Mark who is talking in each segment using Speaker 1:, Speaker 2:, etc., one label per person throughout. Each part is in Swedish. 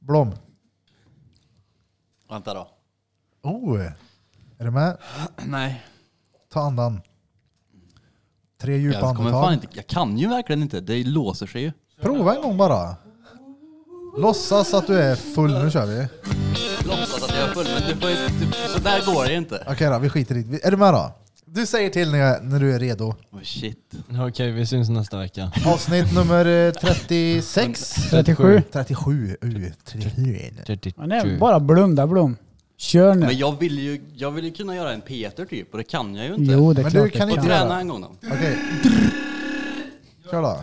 Speaker 1: Blom.
Speaker 2: Vänta då.
Speaker 1: Oh! Är du med?
Speaker 2: Nej.
Speaker 1: Ta andan. Tre djupa
Speaker 2: Jag, kommer fan
Speaker 1: andetag.
Speaker 2: inte, jag kan ju verkligen inte. Det låser sig ju.
Speaker 1: Prova en gång bara. Låtsas att du är full. Nu kör vi.
Speaker 2: Låtsas att jag är full, men du får ju- du, så där går det ju inte.
Speaker 1: Okej då, vi skiter i det. Är du med då? Du säger till när, jag, när du är redo.
Speaker 2: Oh, shit.
Speaker 3: Okej, vi syns nästa vecka.
Speaker 1: Avsnitt nummer eh, 36.
Speaker 4: 37.
Speaker 1: 37. Uh, 37.
Speaker 4: Men det är bara blom där blom. Kör nu.
Speaker 2: Men jag vill, ju, jag vill ju kunna göra en Peter typ, och det kan jag ju inte.
Speaker 4: Jo, det är
Speaker 1: Men
Speaker 4: klart
Speaker 1: du kan
Speaker 4: jag
Speaker 1: inte
Speaker 2: och
Speaker 4: kan.
Speaker 1: göra-
Speaker 2: träna en gång då.
Speaker 1: Okej. Kör då.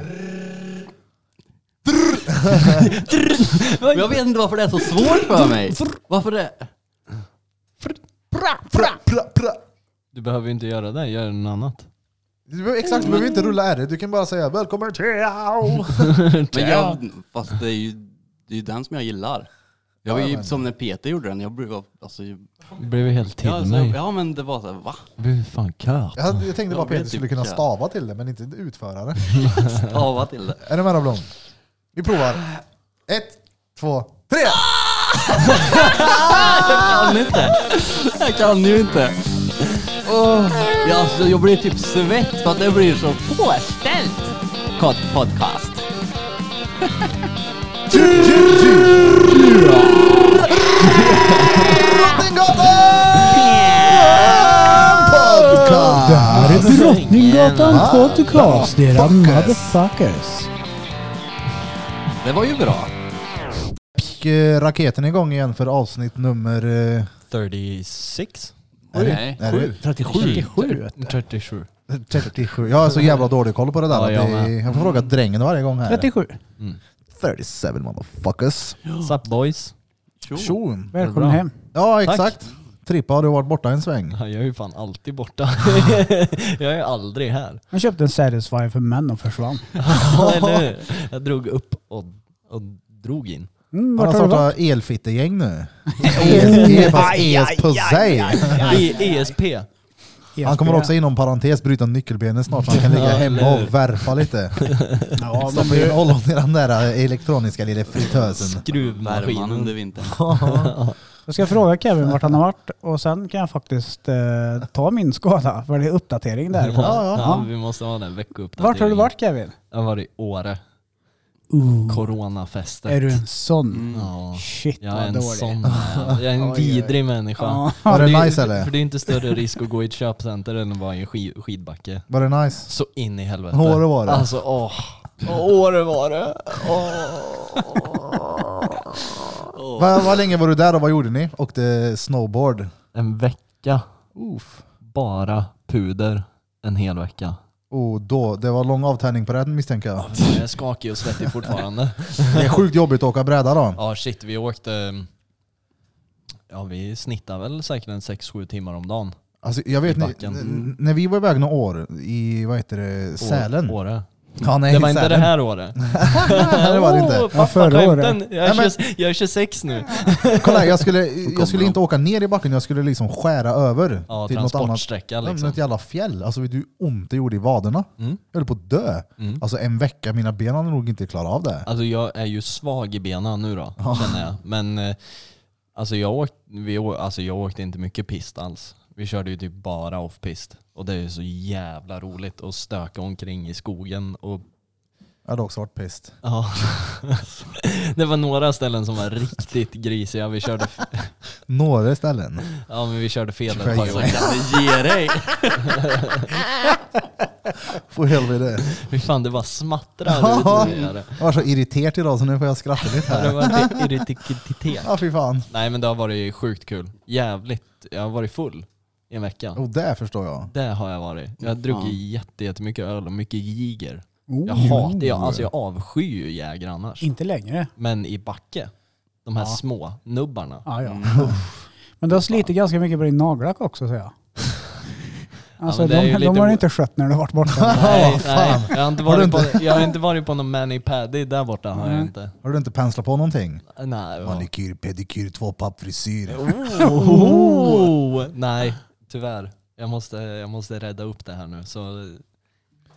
Speaker 2: Men jag vet inte varför det är så svårt för mig. Varför det?
Speaker 1: Pra, pra, pra.
Speaker 3: Du behöver ju inte göra det, gör något annat.
Speaker 1: Du behöver, exakt, du behöver inte rulla R. Du kan bara säga välkommen till...
Speaker 2: Men jag, fast det är ju det är ju den som jag gillar. Jag var
Speaker 1: Ja,
Speaker 2: ju
Speaker 1: men-
Speaker 2: som när Peter gjorde den, jag brukade alltså, ju-
Speaker 3: Det blev ju helt till
Speaker 2: ja, alltså,
Speaker 3: mig.
Speaker 2: ja men det var såhär, va?
Speaker 3: Det blev ju fan kö.
Speaker 1: Jag, hade- jag tänkte bara
Speaker 2: Jag
Speaker 1: att
Speaker 2: vet
Speaker 1: Peter skulle
Speaker 2: inte.
Speaker 1: kunna stava till det, men inte utföra det.
Speaker 2: Stava till det.
Speaker 1: Är du med då Blom? Vi provar. Ett, två, tre!
Speaker 2: Jag kan inte! Jag kan ju inte! Åh, ja, alltså, jag blir typ svett för att det blir så påställt! Kort podcast.
Speaker 4: Ah!
Speaker 1: Podcast!
Speaker 4: Här är Drottninggatan podcast, era motherfuckers.
Speaker 2: Det var ju bra.
Speaker 1: Gick, eh, Raketen igång igen för avsnitt nummer... eh,
Speaker 3: 36?
Speaker 1: Är det,
Speaker 2: Nej.
Speaker 1: är det
Speaker 4: 37.
Speaker 3: 37.
Speaker 1: 37? Jag har så jävla dålig koll på det där.
Speaker 3: Ja,
Speaker 1: att
Speaker 3: jag
Speaker 1: det,
Speaker 3: med. Mm.
Speaker 1: jag får fråga drängen varje gång här.
Speaker 4: 37.
Speaker 1: 37 motherfuckers.
Speaker 3: Sup boys?
Speaker 2: Tjo.
Speaker 1: Tjon!
Speaker 4: Välkommen
Speaker 3: Bra.
Speaker 4: hem.
Speaker 1: Ja,
Speaker 3: Tack.
Speaker 1: exakt. Trippa, har du varit borta en sväng?
Speaker 3: Ja, jag är ju fan alltid borta. jag är aldrig här.
Speaker 4: Han köpte en Satisfyer för män och försvann.
Speaker 3: Eller hur? Jag drog upp och, och drog in.
Speaker 4: Mm,
Speaker 1: Han har
Speaker 4: vart har du varit?
Speaker 1: startat elfittegäng nu. ESG, fast ES på sig.
Speaker 3: E- ESP.
Speaker 1: Han kommer också inom parentes bryta nyckelbenet snart så han kan ligga hemma och värpa lite.
Speaker 4: Ja, men
Speaker 1: Stoppa in
Speaker 4: du,
Speaker 1: ollon i den där eh, elektroniska lilla fritösen.
Speaker 2: Värman
Speaker 3: Skruvmaskinen.
Speaker 2: under vintern.
Speaker 4: jag ska fråga Kevin vart han har varit och sen kan jag faktiskt eh, ta min skada för det är uppdatering där. på.
Speaker 3: Ja, ja.
Speaker 4: Ja.
Speaker 3: vi måste ha den veckouppdateringen.
Speaker 4: Vart har du varit Kevin?
Speaker 3: Jag var i Åre. Coronafestet.
Speaker 4: Är du en sån?
Speaker 1: Mm.
Speaker 2: Mm.
Speaker 3: Ja.
Speaker 4: Shit
Speaker 3: Jag är
Speaker 4: vad
Speaker 3: en
Speaker 4: dålig.
Speaker 3: sån. Jag är en
Speaker 1: Oj, oj.
Speaker 3: vidrig människa.
Speaker 4: Ja.
Speaker 1: Var det
Speaker 3: är ju-
Speaker 1: nice, eller?
Speaker 3: För det är inte större risk att gå i ett köpcenter än att vara i en skid, skidbacke.
Speaker 1: Var det nice?
Speaker 3: Så in i helvete.
Speaker 1: Åre var det.
Speaker 3: Alltså åh. Åh, Åre var det.
Speaker 1: Vad vad länge var du där och vad gjorde ni? Åkte snowboard?
Speaker 3: En vecka.
Speaker 1: Oof.
Speaker 3: Bara puder. En hel vecka.
Speaker 1: Oh, då, det var lång avtänning på det misstänker jag.
Speaker 3: Jag är skakig och svettig fortfarande.
Speaker 1: Det är sjukt jobbigt att åka bräda då.
Speaker 3: Ja shit, vi åkte... mm, Ja vi snittar väl säkert en 6-7 timmar om dagen.
Speaker 1: Alltså, jag vet,
Speaker 3: I
Speaker 1: ni,
Speaker 3: backen.
Speaker 1: n- när vi var iväg några år i, vad heter det,
Speaker 3: Å-
Speaker 1: Sälen.
Speaker 3: Åre.
Speaker 1: Ja, nej,
Speaker 3: Det var inte
Speaker 1: Sälen.
Speaker 3: det här året.
Speaker 1: Nej, det var det inte.
Speaker 3: Åh, pappa,
Speaker 4: förra året.
Speaker 3: skämten. Jag, är
Speaker 1: Nej, men-
Speaker 3: 20 jag är 26 nu.
Speaker 1: Kolla, här, jag skulle, jag skulle
Speaker 2: de.
Speaker 1: inte åka ner i backen, jag skulle liksom skära över
Speaker 3: Ja,
Speaker 1: till något annat.
Speaker 3: transportsträcka
Speaker 1: Ja, men
Speaker 3: liksom.
Speaker 1: Något jävla fjäll. Alltså vet du hur ont det gjorde i vaderna?
Speaker 3: Mm.
Speaker 1: Jag höll på att dö.
Speaker 3: Mm.
Speaker 1: Alltså en vecka, mina ben hade nog inte klarat av det.
Speaker 3: Alltså jag är ju svag i benen nu då, känner jag. Men eh, alltså jag, åkt, vi, å- alltså jag åkte inte mycket pist alls. Vi körde ju typ bara off-pist. Och det är ju så jävla roligt att stöka omkring i skogen. Och,
Speaker 1: Jag hade också varit pist.
Speaker 3: ja. det var några ställen som var riktigt grisiga. Vi körde, f-
Speaker 1: Några ställen.
Speaker 3: ja, men vi körde fel en
Speaker 1: Tjejor.
Speaker 2: Så
Speaker 3: period.
Speaker 2: kan det ge dig.
Speaker 1: För helvete.
Speaker 3: Fy fan, det bara smattrar ut. i det.
Speaker 1: Jag var så irriterad idag så nu får jag skratta lite
Speaker 3: Ja, Det
Speaker 1: här.
Speaker 3: var en irritivitet.
Speaker 1: Ja fy fan.
Speaker 3: Nej men det har varit sjukt kul. Jävligt. Jag har varit full i en vecka.
Speaker 1: Och det förstår jag.
Speaker 3: Det har jag varit. Jag har druckit jätte, jättemycket öl och mycket Jäger. Jag
Speaker 4: Oh,
Speaker 3: hatar, jag, alltså jag avskyr ju Jäger annars.
Speaker 4: inte längre.
Speaker 3: Men i Backe, de här små nubbarna.
Speaker 4: Ja, ja.
Speaker 3: Mm.
Speaker 4: Men du har slitit ganska mycket på din nagellack också ser jag. Alltså
Speaker 3: men det är ju
Speaker 4: de, de
Speaker 3: lite
Speaker 4: har
Speaker 3: o-
Speaker 4: du inte skött när du har varit borta.
Speaker 3: Nej,
Speaker 1: fan.
Speaker 3: nej. Jag, har inte
Speaker 1: Har du
Speaker 3: varit på, jag har inte varit på någon mani paddy där borta har jag
Speaker 4: Nej.
Speaker 3: inte.
Speaker 1: Har du inte penslat på någonting?
Speaker 3: Nej, ja.
Speaker 1: Manikyr, pedikyr, tvåpappfrisyr.
Speaker 3: oh, nej tyvärr. Jag måste, jag måste rädda upp det här nu. Så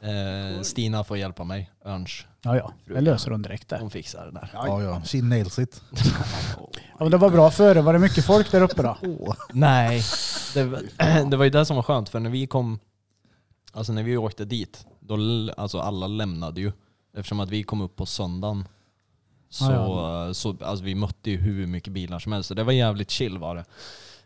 Speaker 3: Eh, Stina får hjälpa mig, Örns.
Speaker 4: Ja, ja. Det löser hon direkt där.
Speaker 3: Hon fixar det där.
Speaker 1: Ja, ja. She nails it.
Speaker 4: Ja, men det var bra före. Var det mycket folk där uppe då?
Speaker 3: Nej, det, var- det var ju det som var skönt för när vi kom, alltså när vi åkte dit, då, l- alltså alla lämnade ju. Eftersom att vi kom upp på söndagen så,
Speaker 4: Ja,
Speaker 3: så alltså vi mötte ju hur mycket bilar som helst. Så det var jävligt chill var det.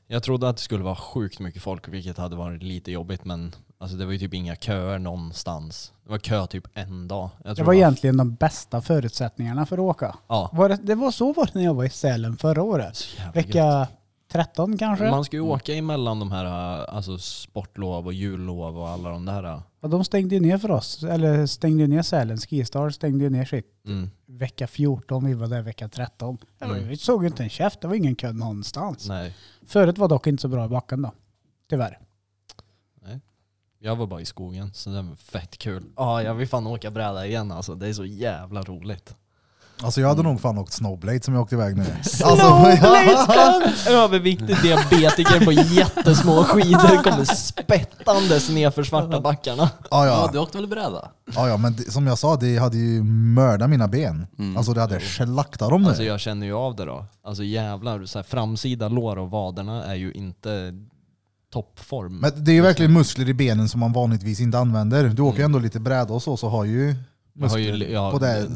Speaker 3: Jag trodde att det skulle vara sjukt mycket folk, vilket hade varit lite jobbigt men alltså det var ju typ inga köer någonstans. Det var kö typ en dag. Jag
Speaker 4: Det
Speaker 3: tror
Speaker 4: var
Speaker 3: det
Speaker 4: egentligen de bästa förutsättningarna för att åka.
Speaker 3: Ja,
Speaker 4: Var det, det var så var det när jag var i Sälen förra året.
Speaker 3: så jävla gött.
Speaker 4: Vecka 13 kanske?
Speaker 3: Man ska ju åka emellan de här alltså sportlov och jullov och alla de där.
Speaker 4: Ja, de stängde ju ner för oss. Eller stängde ju ner Sälen. Skistar stängde ju ner sitt.
Speaker 3: Mm.
Speaker 4: Vecka 14, vi var där vecka 13. Det var-
Speaker 3: Mm.
Speaker 4: Vi såg ju inte en käft. Det var ingen kö någonstans.
Speaker 3: Nej.
Speaker 4: Förut var dock inte så bra i backen då. Tyvärr.
Speaker 3: Jag var bara i skogen, så det var fett kul. Ja, jag vill fan åka bräda igen alltså. Det är så jävla roligt.
Speaker 1: Alltså jag hade nog fan åkt snowblade som jag åkte iväg nu. Alltså,
Speaker 3: Överviktig diabetiker på jättesmå skidor kommer spettandes ner för svarta backarna.
Speaker 2: Ja,
Speaker 1: ja, ja.
Speaker 2: du åkte väl bräda?
Speaker 1: Ja, ja, men det, som jag sa, det hade ju mördat mina ben.
Speaker 2: Mm.
Speaker 1: Alltså det hade slaktat dem nu.
Speaker 3: Alltså jag känner ju av det då. Alltså jävlar, så här, framsida lår och vaderna är ju inte toppform.
Speaker 1: Men det är ju verkligen muskler i benen som man vanligtvis inte använder. Du åker ju ändå lite bräda och så, så har ju
Speaker 3: Mm. jag har
Speaker 1: muskler
Speaker 3: ju ja,
Speaker 1: på det.
Speaker 3: ett,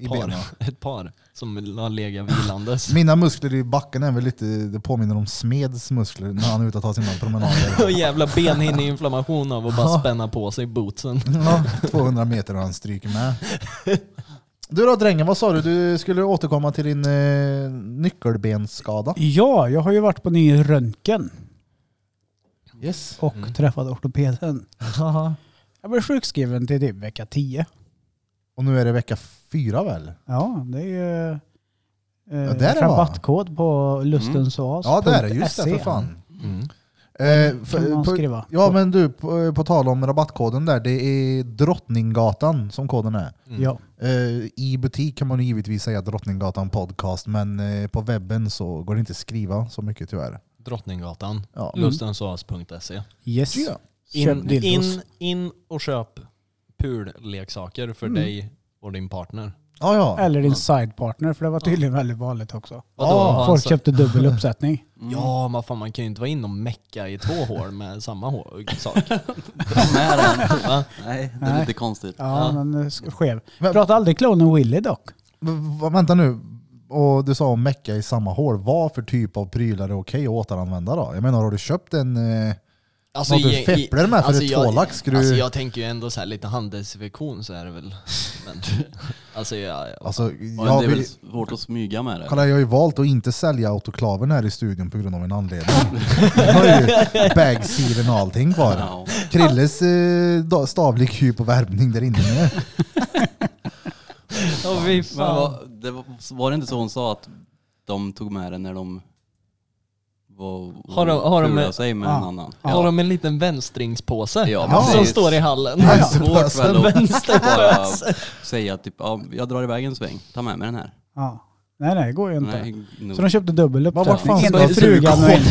Speaker 1: i
Speaker 3: ett, par,
Speaker 1: benen.
Speaker 3: ett par som har legat vilandes.
Speaker 1: Mina muskler i backen är väl lite, det påminner om Smeds muskler när han är ute och tar sina promenader.
Speaker 3: Och jävla benhinneinflammation av att bara spänna på sig bootsen.
Speaker 1: Ja, 200 meter och han stryker med. Du då drängen, vad sa du? Du skulle återkomma till din eh, nyckelbensskada.
Speaker 4: Ja, jag har ju varit på ny röntgen
Speaker 1: Yes.
Speaker 4: och träffat ortopeden.
Speaker 1: Haha.
Speaker 4: Jag blev sjukskriven till typ vecka 10.
Speaker 1: Och nu är det vecka fyra väl?
Speaker 4: Ja, det är ju eh,
Speaker 1: där är det, va?
Speaker 4: rabattkod på lustens oas. E.
Speaker 1: Ja det är det, just det
Speaker 3: E.
Speaker 1: för
Speaker 3: Mm.
Speaker 1: fan. Eh,
Speaker 4: Kan
Speaker 1: för,
Speaker 4: man
Speaker 1: på,
Speaker 4: skriva.
Speaker 1: ja men du, på, på tal om rabattkoden där, det är Drottninggatan som koden är.
Speaker 4: Ja.
Speaker 1: Eh, I butik kan man ju givetvis säga Drottninggatan podcast, men eh, på webben så går det inte att skriva så mycket tyvärr.
Speaker 3: Drottninggatan,
Speaker 1: Ja.
Speaker 3: lustensoas.se.
Speaker 4: Yes.
Speaker 1: Ja.
Speaker 4: Köp
Speaker 3: In,
Speaker 4: dildos.
Speaker 3: in, in och köp pulleksaker för dig och din partner.
Speaker 1: Mm. Ja, ja.
Speaker 4: Eller din sidepartner, för det var tydligen väldigt vanligt också.
Speaker 3: Vadå,
Speaker 1: Ja,
Speaker 3: ha en
Speaker 4: Folk
Speaker 3: så-
Speaker 4: köpte dubbel uppsättning.
Speaker 3: Ja, men fan man kan ju inte vara inne och mecka i två hål med samma hål, sak.
Speaker 2: Med den.
Speaker 3: Va?
Speaker 2: Nej, det är
Speaker 4: Nej.
Speaker 2: lite konstigt.
Speaker 4: Ja, men eh, sk- skev.
Speaker 1: Men-
Speaker 4: Prata aldrig klonen Willy dock.
Speaker 1: V- v- vänta nu, och du sa om mecka i samma hål. Vad för typ av prylar är okej att återanvända då? Jag menar, har du köpt en... Eh,
Speaker 3: Alltså,
Speaker 1: Vad du
Speaker 3: i- i-
Speaker 1: fepplar med för ett
Speaker 3: jag-
Speaker 1: tvålax, ska du-
Speaker 3: Alltså jag tänker ju ändå så här lite handdesinfektion så är det väl. Men, alltså jag...
Speaker 1: alltså,
Speaker 2: Ja,
Speaker 1: jag,
Speaker 2: det är väl
Speaker 1: vill,
Speaker 2: svårt att smyga med det.
Speaker 1: kolla, jag har ju valt att inte sälja autoklaven här i studion på grund av en anledning. Jag har ju bagsilen och allting kvar.
Speaker 2: Ja.
Speaker 1: Krilles eh, da- stavlig kyp och värmning där inne nu.
Speaker 2: Men vad- det var, var det inte så hon sa att de tog med det när de var
Speaker 3: Har de- har de
Speaker 2: fulade
Speaker 3: med-
Speaker 2: sig med
Speaker 4: Ja.
Speaker 2: en annan?
Speaker 3: Har de en liten vänstringspåse
Speaker 2: Ja,
Speaker 3: som
Speaker 2: precis.
Speaker 3: står i hallen?
Speaker 2: Det är
Speaker 1: Ja.
Speaker 3: Alltså,
Speaker 2: svårt väl
Speaker 1: Vänsterpösen.
Speaker 2: att bara säga typ, ja, jag drar iväg en sväng, ta med mig den här.
Speaker 4: Ja. Nej, nej, det går ju inte.
Speaker 2: Nej, nog.
Speaker 4: Så de köpte dubbel
Speaker 1: Vad vart
Speaker 4: uppsättning.
Speaker 1: fan
Speaker 4: En
Speaker 1: ska
Speaker 4: till frugan och en till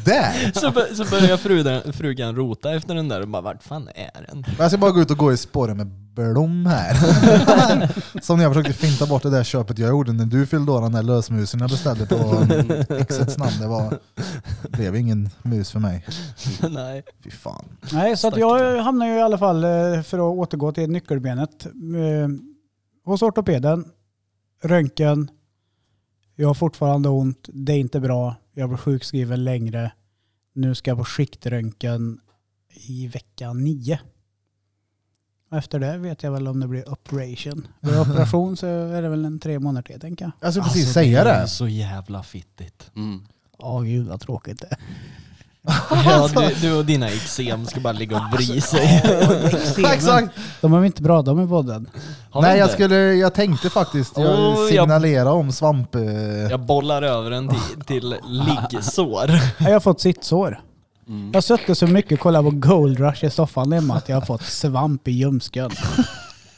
Speaker 1: frugan där?
Speaker 3: Så, bör- så börjar frugan, frugan rota efter den där och bara vart fan är den?
Speaker 1: Jag ska bara gå ut och gå i spåren med Blom här. Som när jag försökte finta bort det där köpet jag gjorde när du fyllde år den där lösmusen jag beställde på exets namn. Det var, det blev ingen mus för mig.
Speaker 3: Nej.
Speaker 1: Fy fan.
Speaker 4: Nej, så att jag hamnar ju i alla fall, eh, för att återgå till nyckelbenet, eh, hos ortopeden, röntgen, jag har fortfarande ont, det är inte bra, jag blir sjukskriven längre, nu ska jag på skiktröntgen i vecka nio. Och Efter det vet jag väl om det blir operation. Blir det operation så är det väl en tre månader till tänker jag.
Speaker 1: Jag skulle precis säga
Speaker 3: Alltså, är
Speaker 1: det.
Speaker 3: så jävla fittigt.
Speaker 2: Mm.
Speaker 4: Ja, gud vad tråkigt det är.
Speaker 3: Ja, du, du och dina eksem ska bara ligga och vri sig.
Speaker 1: Exakt.
Speaker 4: De är väl inte bra de i podden.
Speaker 3: Har
Speaker 1: Nej,
Speaker 3: vi
Speaker 1: jag,
Speaker 3: det?
Speaker 1: skulle, jag tänkte faktiskt jag
Speaker 3: Oh,
Speaker 1: signalera om svamp... eh,
Speaker 3: Jag bollar över den till, till liggsår.
Speaker 1: Alltså.
Speaker 4: Nej, Jag har fått sittsår.
Speaker 5: Mm.
Speaker 4: Jag har suttit så mycket och kollat på Gold Rush i soffan hemma att jag har fått svamp i ljumsken.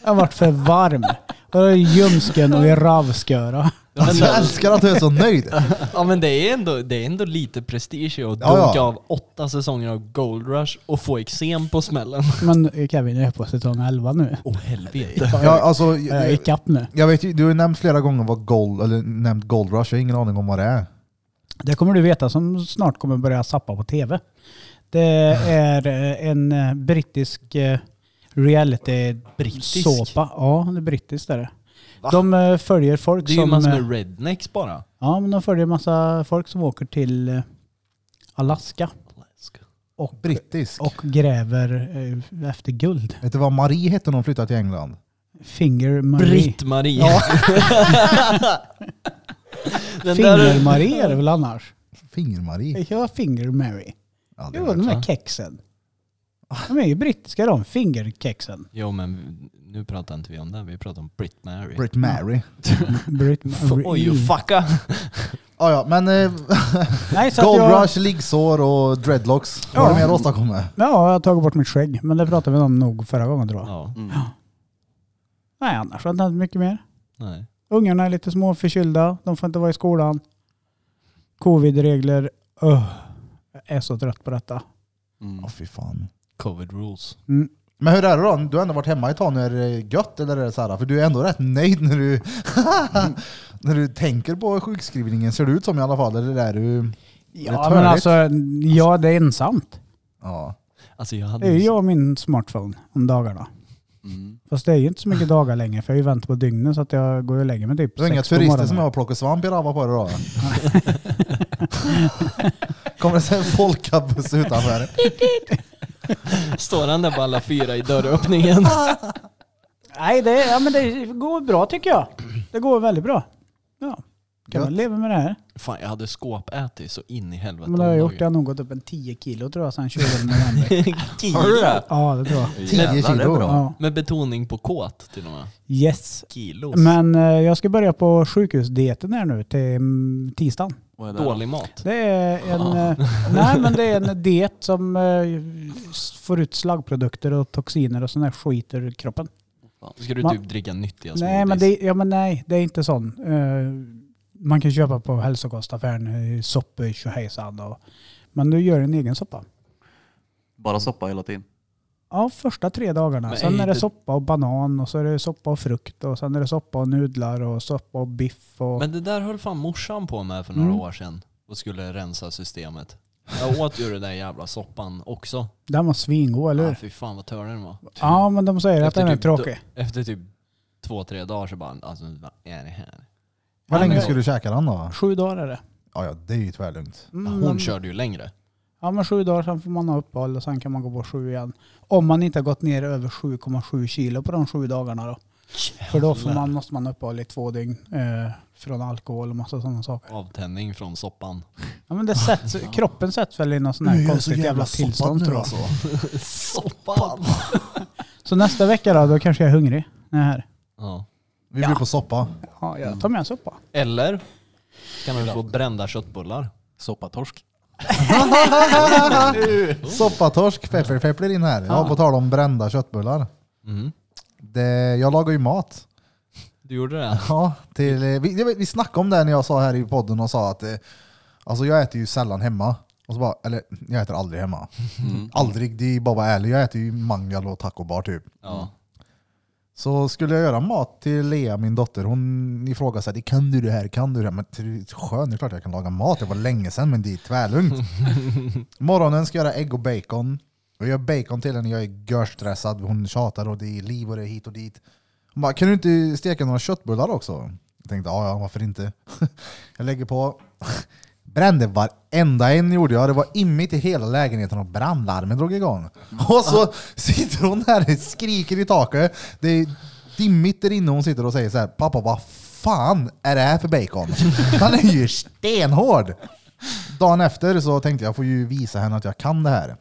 Speaker 4: Jag har varit för varm. Där är ljumsken och i ravsköra.
Speaker 1: Alltså, jag älskar att du är så nöjd.
Speaker 3: Ja men det är ändå, det är ändå lite prestige i
Speaker 1: Ja,
Speaker 3: att
Speaker 1: ja.
Speaker 3: dunka av åtta säsonger av Gold Rush och få eksem på smällen.
Speaker 4: Men eh, Kevin är på säsong 11 nu.
Speaker 3: Åh oh, helvete.
Speaker 1: Jag, alltså,
Speaker 4: Jag är
Speaker 1: jag,
Speaker 4: ikapp nu.
Speaker 1: jag vet ju, du har ju nämnt flera gånger vad gold, eller nämnt gold rush, jag har ingen aning om vad det är.
Speaker 4: Det kommer du veta som snart kommer börja sappa på tv. Det är eh, en eh, brittisk eh, reality
Speaker 3: Brittisk?
Speaker 4: såpa. Ja, det är brittiskt är det. De eh, följer folk
Speaker 3: Det är ju en
Speaker 4: som...
Speaker 3: massa
Speaker 4: eh,
Speaker 3: med rednecks bara.
Speaker 4: Ja, men de följer massa folk som åker till eh, Alaska och,
Speaker 1: Brittisk.
Speaker 4: och gräver eh, efter guld.
Speaker 1: Vet du vad Marie hette när hon flyttade till England?
Speaker 4: Finger Marie.
Speaker 3: Britt-Marie. Den där,
Speaker 4: Finger Marie är det väl annars?
Speaker 1: Finger-Marie.
Speaker 4: Ja, Finger Mary.
Speaker 1: Ja, det
Speaker 4: Jo,
Speaker 1: är
Speaker 4: de
Speaker 1: klart.
Speaker 4: där kexen. De är ju brittiska de, fingerkexen.
Speaker 3: jo men nu pratar inte vi om det, vi pratar om Britt-Marie.
Speaker 1: Brit Mary.
Speaker 4: Brit
Speaker 3: F- Oj, you fucka.
Speaker 1: Ja, ja, men eh,
Speaker 4: Nej, så att
Speaker 1: Gold
Speaker 4: jag,
Speaker 1: Rush, liggsår och dreadlocks. Vad har
Speaker 4: Ja.
Speaker 1: du mer åstadkommit?
Speaker 4: Ja, jag har tagit bort mitt skägg. Men det pratade vi om nog förra gången tror jag.
Speaker 3: Ja,
Speaker 2: Mm.
Speaker 4: Nej, annars har det inte hänt mycket mer.
Speaker 3: nej.
Speaker 4: Ungarna är lite små förkylda. De får inte vara i skolan. Covid-regler. Öh, jag är så trött på detta.
Speaker 2: Mm.
Speaker 1: Ja, fy fan.
Speaker 3: Covid rules.
Speaker 1: Men hur är det då? Du har ändå varit hemma ett tag nu. Är det gött eller är det så här? För du är ändå rätt nöjd när du, när du tänker på sjukskrivningen. Ser det ut som i alla fall? Eller är du... Det är
Speaker 4: Ja,
Speaker 1: törligt.
Speaker 4: men alltså, ja, det är ensamt.
Speaker 1: Ja.
Speaker 3: Alltså jag
Speaker 4: Det
Speaker 3: hade
Speaker 4: är ju
Speaker 3: ju
Speaker 4: jag och min smartphone om dagarna.
Speaker 2: Mm.
Speaker 4: Fast det är ju inte så mycket dagar längre för jag har ju vänt på dygnen så att jag går ju och lägger mig typ
Speaker 1: Du har inga
Speaker 4: sex på
Speaker 1: turister
Speaker 4: morgonen.
Speaker 1: som jag har plockat svamp i Rava på det då? Kommer det sen en folkabuss utanför?
Speaker 3: Står han där på alla fyra i dörröppningen?
Speaker 4: Nej, det, ja, men det går bra tycker jag. Det går väldigt bra. Ja, kan
Speaker 1: Gött.
Speaker 4: man leva med det här.
Speaker 3: Fan, jag hade skåpätit så in i helvete.
Speaker 4: Men det har jag
Speaker 3: om
Speaker 4: gjort. Jag har nog gått upp en 10 kilo tror jag sen 20
Speaker 3: dagen.
Speaker 4: november.
Speaker 2: Har du
Speaker 3: Kilo.
Speaker 2: det?
Speaker 4: Ja, det tror jag.
Speaker 1: Tio
Speaker 2: Jävlar, det är
Speaker 1: kilo.
Speaker 2: bra.
Speaker 4: Ja.
Speaker 3: Med betoning på kåt till och med.
Speaker 4: Yes.
Speaker 3: Kilos.
Speaker 4: Men eh, jag ska börja på sjukhusdieten här nu till mm, tisdagen.
Speaker 2: Vad är det?
Speaker 3: Dålig mat.
Speaker 4: Det är en, eh, nej, men det är en diet som eh, s- får ut slaggprodukter och toxiner och sån där skit ur kroppen.
Speaker 3: Ska du
Speaker 4: Man-
Speaker 3: typ dricka nyttiga
Speaker 4: Nej
Speaker 3: smoothies?
Speaker 4: men, det, ja, men nej, det är inte sån. Eh, man kan köpa på hälsokostaffären eh, soppor tjohejsan. och- Men du gör en egen soppa.
Speaker 2: Bara soppa hela tiden.
Speaker 4: Ja, första tre dagarna.
Speaker 3: Men
Speaker 4: sen
Speaker 3: är
Speaker 4: är det
Speaker 3: det-
Speaker 4: soppa och banan och så är det soppa och frukt och sen är det soppa och nudlar och soppa och biff. Och...
Speaker 3: Men det där höll fan morsan på med för några
Speaker 4: Mm.
Speaker 3: år sedan och skulle rensa systemet. Jag åt ju den där jävla soppan också.
Speaker 4: Den var svingod, eller
Speaker 3: Ah,
Speaker 4: hur?
Speaker 3: fy fan vad törlig den var.
Speaker 4: Ja, men de säger att
Speaker 3: Efter
Speaker 4: den är
Speaker 3: typ
Speaker 4: tråkig.
Speaker 3: Efter typ två, tre dagar så bara, alltså vad är det här?
Speaker 1: Hur
Speaker 4: Ja,
Speaker 1: länge
Speaker 4: men-
Speaker 1: skulle du käka den då?
Speaker 4: Sju dagar är det.
Speaker 1: Ja, ja, det är ju tvärlugnt.
Speaker 4: Mm,
Speaker 3: Ja,
Speaker 4: men-
Speaker 3: Hon körde ju längre.
Speaker 4: Ja, men sju dagar, sen får man ha uppehåll och sen kan man gå på sju igen. Om man inte har gått ner över 7,7 kilo på de sju dagarna då. För då får man, måste man ha uppehåll i två dygn eh, från alkohol och massa sådana saker.
Speaker 3: Avtändning från soppan.
Speaker 4: Ja, men det sätts, kroppen sätts väl i något sånt här konstigt jävla tillstånd tror jag.
Speaker 1: alltså.
Speaker 3: Soppan!
Speaker 4: Så nästa vecka då, då kanske jag är hungrig. när jag är här.
Speaker 3: Ja.
Speaker 1: Vi blir på soppa.
Speaker 4: Ja, jag tar med en soppa.
Speaker 3: Eller kan man ju få brända köttbullar.
Speaker 2: Soppatorsk.
Speaker 1: Soppatorsk, pepper pepper in här. Ja, på tal om brända köttbullar.
Speaker 3: Mm.
Speaker 1: Det, jag lagar ju mat.
Speaker 3: Du gjorde det?
Speaker 1: Ja, till, eh, vi, jag vet, vi snackade om det här när jag sa här i podden och sa att eh, alltså jag äter ju sällan hemma. Och så bara, eller jag äter aldrig hemma. Aldrig, det är bara att vara ärlig. Jag äter ju mangal och taco bar typ.
Speaker 3: Ja.
Speaker 1: Så skulle jag göra mat till Lea, min dotter, hon ifrågasatte kan du det här, kan du det här? Men till- skön, det är klart jag kan laga mat, det var länge sedan men det är tvärlugnt. Morgonen ska jag göra ägg och bacon. Jag gör bacon till henne, jag är görstressad, hon tjatar och det är liv och det är hit och dit. Hon bara, kan du inte steka några köttbullar också? Jag tänkte, ja ja, varför inte? jag lägger på. Brände varenda en gjorde jag. Det var immigt i hela lägenheten och brandlarmet drog igång. Och så sitter hon där och skriker i taket. Det är dimmigt där inne och hon sitter och säger så här, pappa vad fan är det här för bacon? Han är ju stenhård! Dagen efter så tänkte jag, jag får ju visa henne att jag kan det här.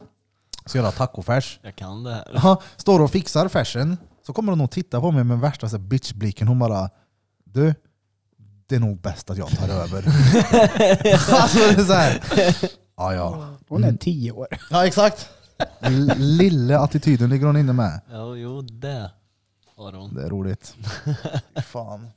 Speaker 1: Så jag gör tacofärs.
Speaker 3: Jag kan det här.
Speaker 1: Ja, står och fixar färsen, så kommer hon och tittar på mig med värsta så här bitchblicken. Hon bara Du, det är nog bäst att jag tar över. alltså det är så här. Ja, ja.
Speaker 4: Hon är tio år.
Speaker 1: Ja, exakt. L- Lille attityden ligger hon inne med.
Speaker 3: Ja, jo det. Aron.
Speaker 1: Det är roligt. Fan.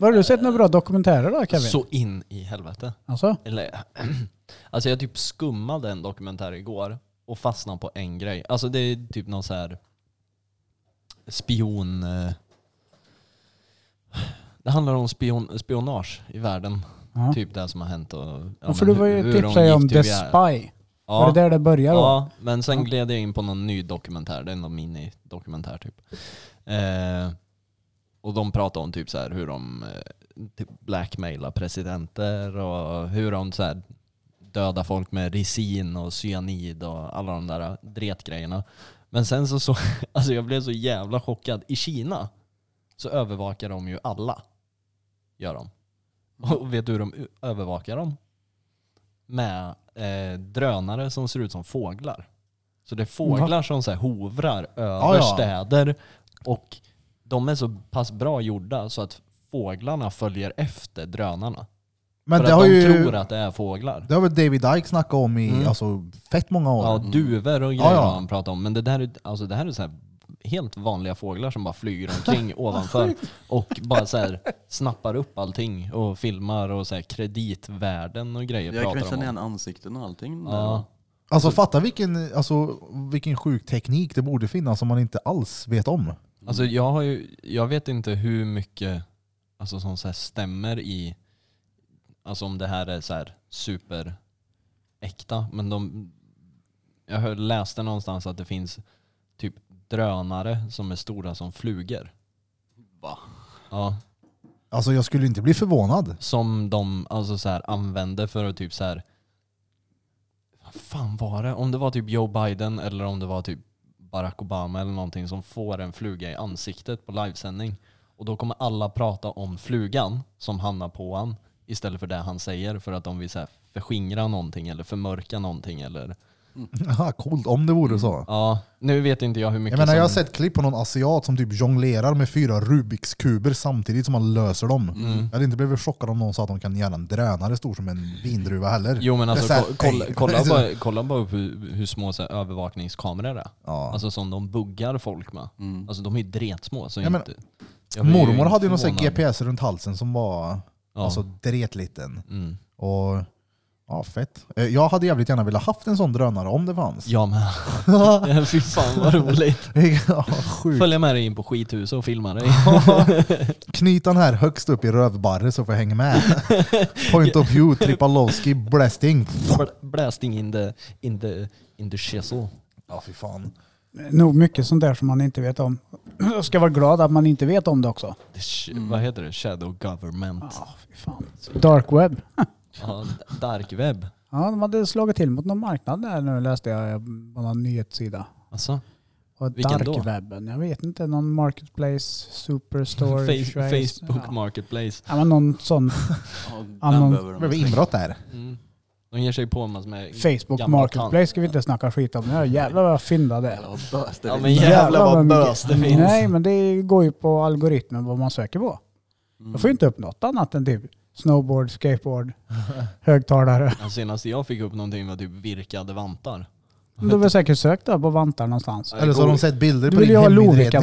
Speaker 4: Har du sett några bra dokumentärer då Kevin?
Speaker 3: Så in i helvete.
Speaker 4: Alltså?
Speaker 3: Eller, alltså jag typ skummade en dokumentär igår och fastnade på en grej. Alltså det är typ någon så här spion... eh, Det handlar om spion, spionage i världen.
Speaker 4: Ja.
Speaker 3: Typ det som har hänt och... ja,
Speaker 4: Ja, för du
Speaker 3: men
Speaker 4: var
Speaker 3: hur-
Speaker 4: ju
Speaker 3: hur de
Speaker 4: tipsade ju
Speaker 3: gick
Speaker 4: om
Speaker 3: till
Speaker 4: The
Speaker 3: via-
Speaker 4: Spy.
Speaker 3: Ja,
Speaker 4: Var det där det började då?
Speaker 3: ja, men sen
Speaker 4: Ja.
Speaker 3: gled jag in på någon ny dokumentär. Det är någon minidokumentär typ. Eh, och de pratar om typ så här hur de eh, typ blackmailar presidenter och hur de så här dödar folk med risin och cyanid och alla de där dretgrejerna. Men sen så, så alltså jag blev så jävla chockad. I Kina så övervakar de ju alla. Gör de. Och vet du hur de u- övervakar dem? Med eh, drönare som ser ut som fåglar. Så det är fåglar som så här hovrar över
Speaker 1: Ah, Ja, ja.
Speaker 3: städer och de är så pass bra gjorda så att fåglarna följer efter drönarna.
Speaker 1: Men
Speaker 3: för
Speaker 1: det
Speaker 3: att
Speaker 1: har,
Speaker 3: de
Speaker 1: ju,
Speaker 3: tror att det är fåglar.
Speaker 1: det har väl David Icke snackat om i
Speaker 3: Mm.
Speaker 1: alltså, fett många år.
Speaker 2: Mm.
Speaker 3: Ja, duvor och grejer
Speaker 1: Ja, ja.
Speaker 3: har han pratat om. Men det där är, alltså, det här är så här helt vanliga fåglar som bara flyger omkring ovanför och bara så här snappar upp allting och filmar och så här kreditvärden och grejer
Speaker 2: Jag kan ju känna
Speaker 3: pratar de om.
Speaker 2: igen ansikten och allting. där.
Speaker 3: Ja.
Speaker 1: Alltså fatta vilken, alltså, vilken sjuk teknik det borde finnas som man inte alls vet om.
Speaker 3: Alltså jag har ju, jag vet inte hur mycket alltså, som så här stämmer i, alltså om det här är så här superäkta, men de, jag hör, läste någonstans att det finns typ drönare som är stora som flugor.
Speaker 2: Va?
Speaker 3: Ja,
Speaker 1: Alltså jag skulle inte bli förvånad.
Speaker 3: som de alltså så här, använde för att typ så här. Vad fan var det? Om det var typ Joe Biden eller om det var typ Barack Obama eller någonting som får en fluga i ansiktet på livesändning. Och då kommer alla prata om flugan som hamnar på han istället för det han säger för att de vill så här, förskingra någonting eller förmörka någonting. Eller,
Speaker 1: Haha, Coolt om det vore så.
Speaker 3: ja, nu vet inte jag hur mycket
Speaker 1: Jag menar jag har
Speaker 3: Mm. som-
Speaker 1: sett klipp på någon asiat som typ jonglerar med fyra Rubiks kuber samtidigt som man löser dem.
Speaker 3: Mm.
Speaker 1: Jag hade inte blivit chockad om någon sa att de kan göra en drönare stor som en vindruva heller.
Speaker 3: Jo men
Speaker 1: Det är
Speaker 3: alltså
Speaker 1: så här,
Speaker 3: ko- kolla,
Speaker 1: "Ey."
Speaker 3: kolla, bara, kolla bara upp hur, hur små så här, övervakningskameror är.
Speaker 1: Ja.
Speaker 3: Alltså som de buggar folk med.
Speaker 2: Mm.
Speaker 3: Alltså de är ju dretsmå. Så
Speaker 1: Ja, men-
Speaker 3: inte, jag blir
Speaker 1: Mormor hade ju någon sån här
Speaker 3: förvånad.
Speaker 1: GPS runt halsen som var
Speaker 3: Ja.
Speaker 1: alltså, dretliten.
Speaker 3: Mm.
Speaker 1: Och ja, fett. Eh, Jag hade jävligt gärna velat haft en sån drönare om det fanns.
Speaker 3: Ja men fy fan vad roligt.
Speaker 1: Ja, sjukt.
Speaker 3: Följa med dig in på skithuset och filma dig.
Speaker 1: Knyta den här högst upp i rövbarre så får jag hänga med. Point of view, Tripalowski, blasting.
Speaker 3: Bl- Blasting in the, in the, in the shizzle.
Speaker 1: Ja, fy fan.
Speaker 4: Nog mycket sånt där som man inte vet om. Jag ska vara glad att man inte vet om det också.
Speaker 3: The sh- Vad heter det? Shadow government.
Speaker 4: Ja, fy fan. Dark web.
Speaker 3: Ja, d- dark web.
Speaker 4: Ja, de hade slagit till mot någon marknad där nu läste jag eh, på någon nyhetssida.
Speaker 3: Alltså,
Speaker 4: Och
Speaker 3: Vilken
Speaker 4: dark
Speaker 3: då?
Speaker 4: webben, jag vet inte, någon marketplace, superstore,
Speaker 3: face-
Speaker 4: Trace,
Speaker 3: Facebook
Speaker 4: Ja.
Speaker 3: marketplace.
Speaker 4: Ja, men någon sån
Speaker 5: Alltså,
Speaker 2: Ja, den
Speaker 4: Anon-
Speaker 2: behöver
Speaker 1: Det
Speaker 2: de.
Speaker 1: blev inbrott där.
Speaker 3: Mm. De ger sig på en massa med...
Speaker 4: Facebook
Speaker 3: Gamla
Speaker 4: marketplace ska vi inte snacka skit om. Ja, jävlar vad fynda det är.
Speaker 2: Jävlar vad bös det
Speaker 3: Ja,
Speaker 2: blir.
Speaker 3: men jävlar vad
Speaker 4: mycket-
Speaker 3: bös det finns.
Speaker 4: Nej, men det går ju på algoritmen vad man söker på. Jag får ju inte upp något annat än typ snowboard, skateboard, högtalare.
Speaker 3: Ja, senaste jag fick upp någonting var typ virkade vantar.
Speaker 4: Du har väl säkert sökt där på vantar någonstans.
Speaker 1: Eller så har de sett bilder
Speaker 4: Du
Speaker 1: på
Speaker 4: vill
Speaker 1: din
Speaker 4: ju ha
Speaker 1: heminredning.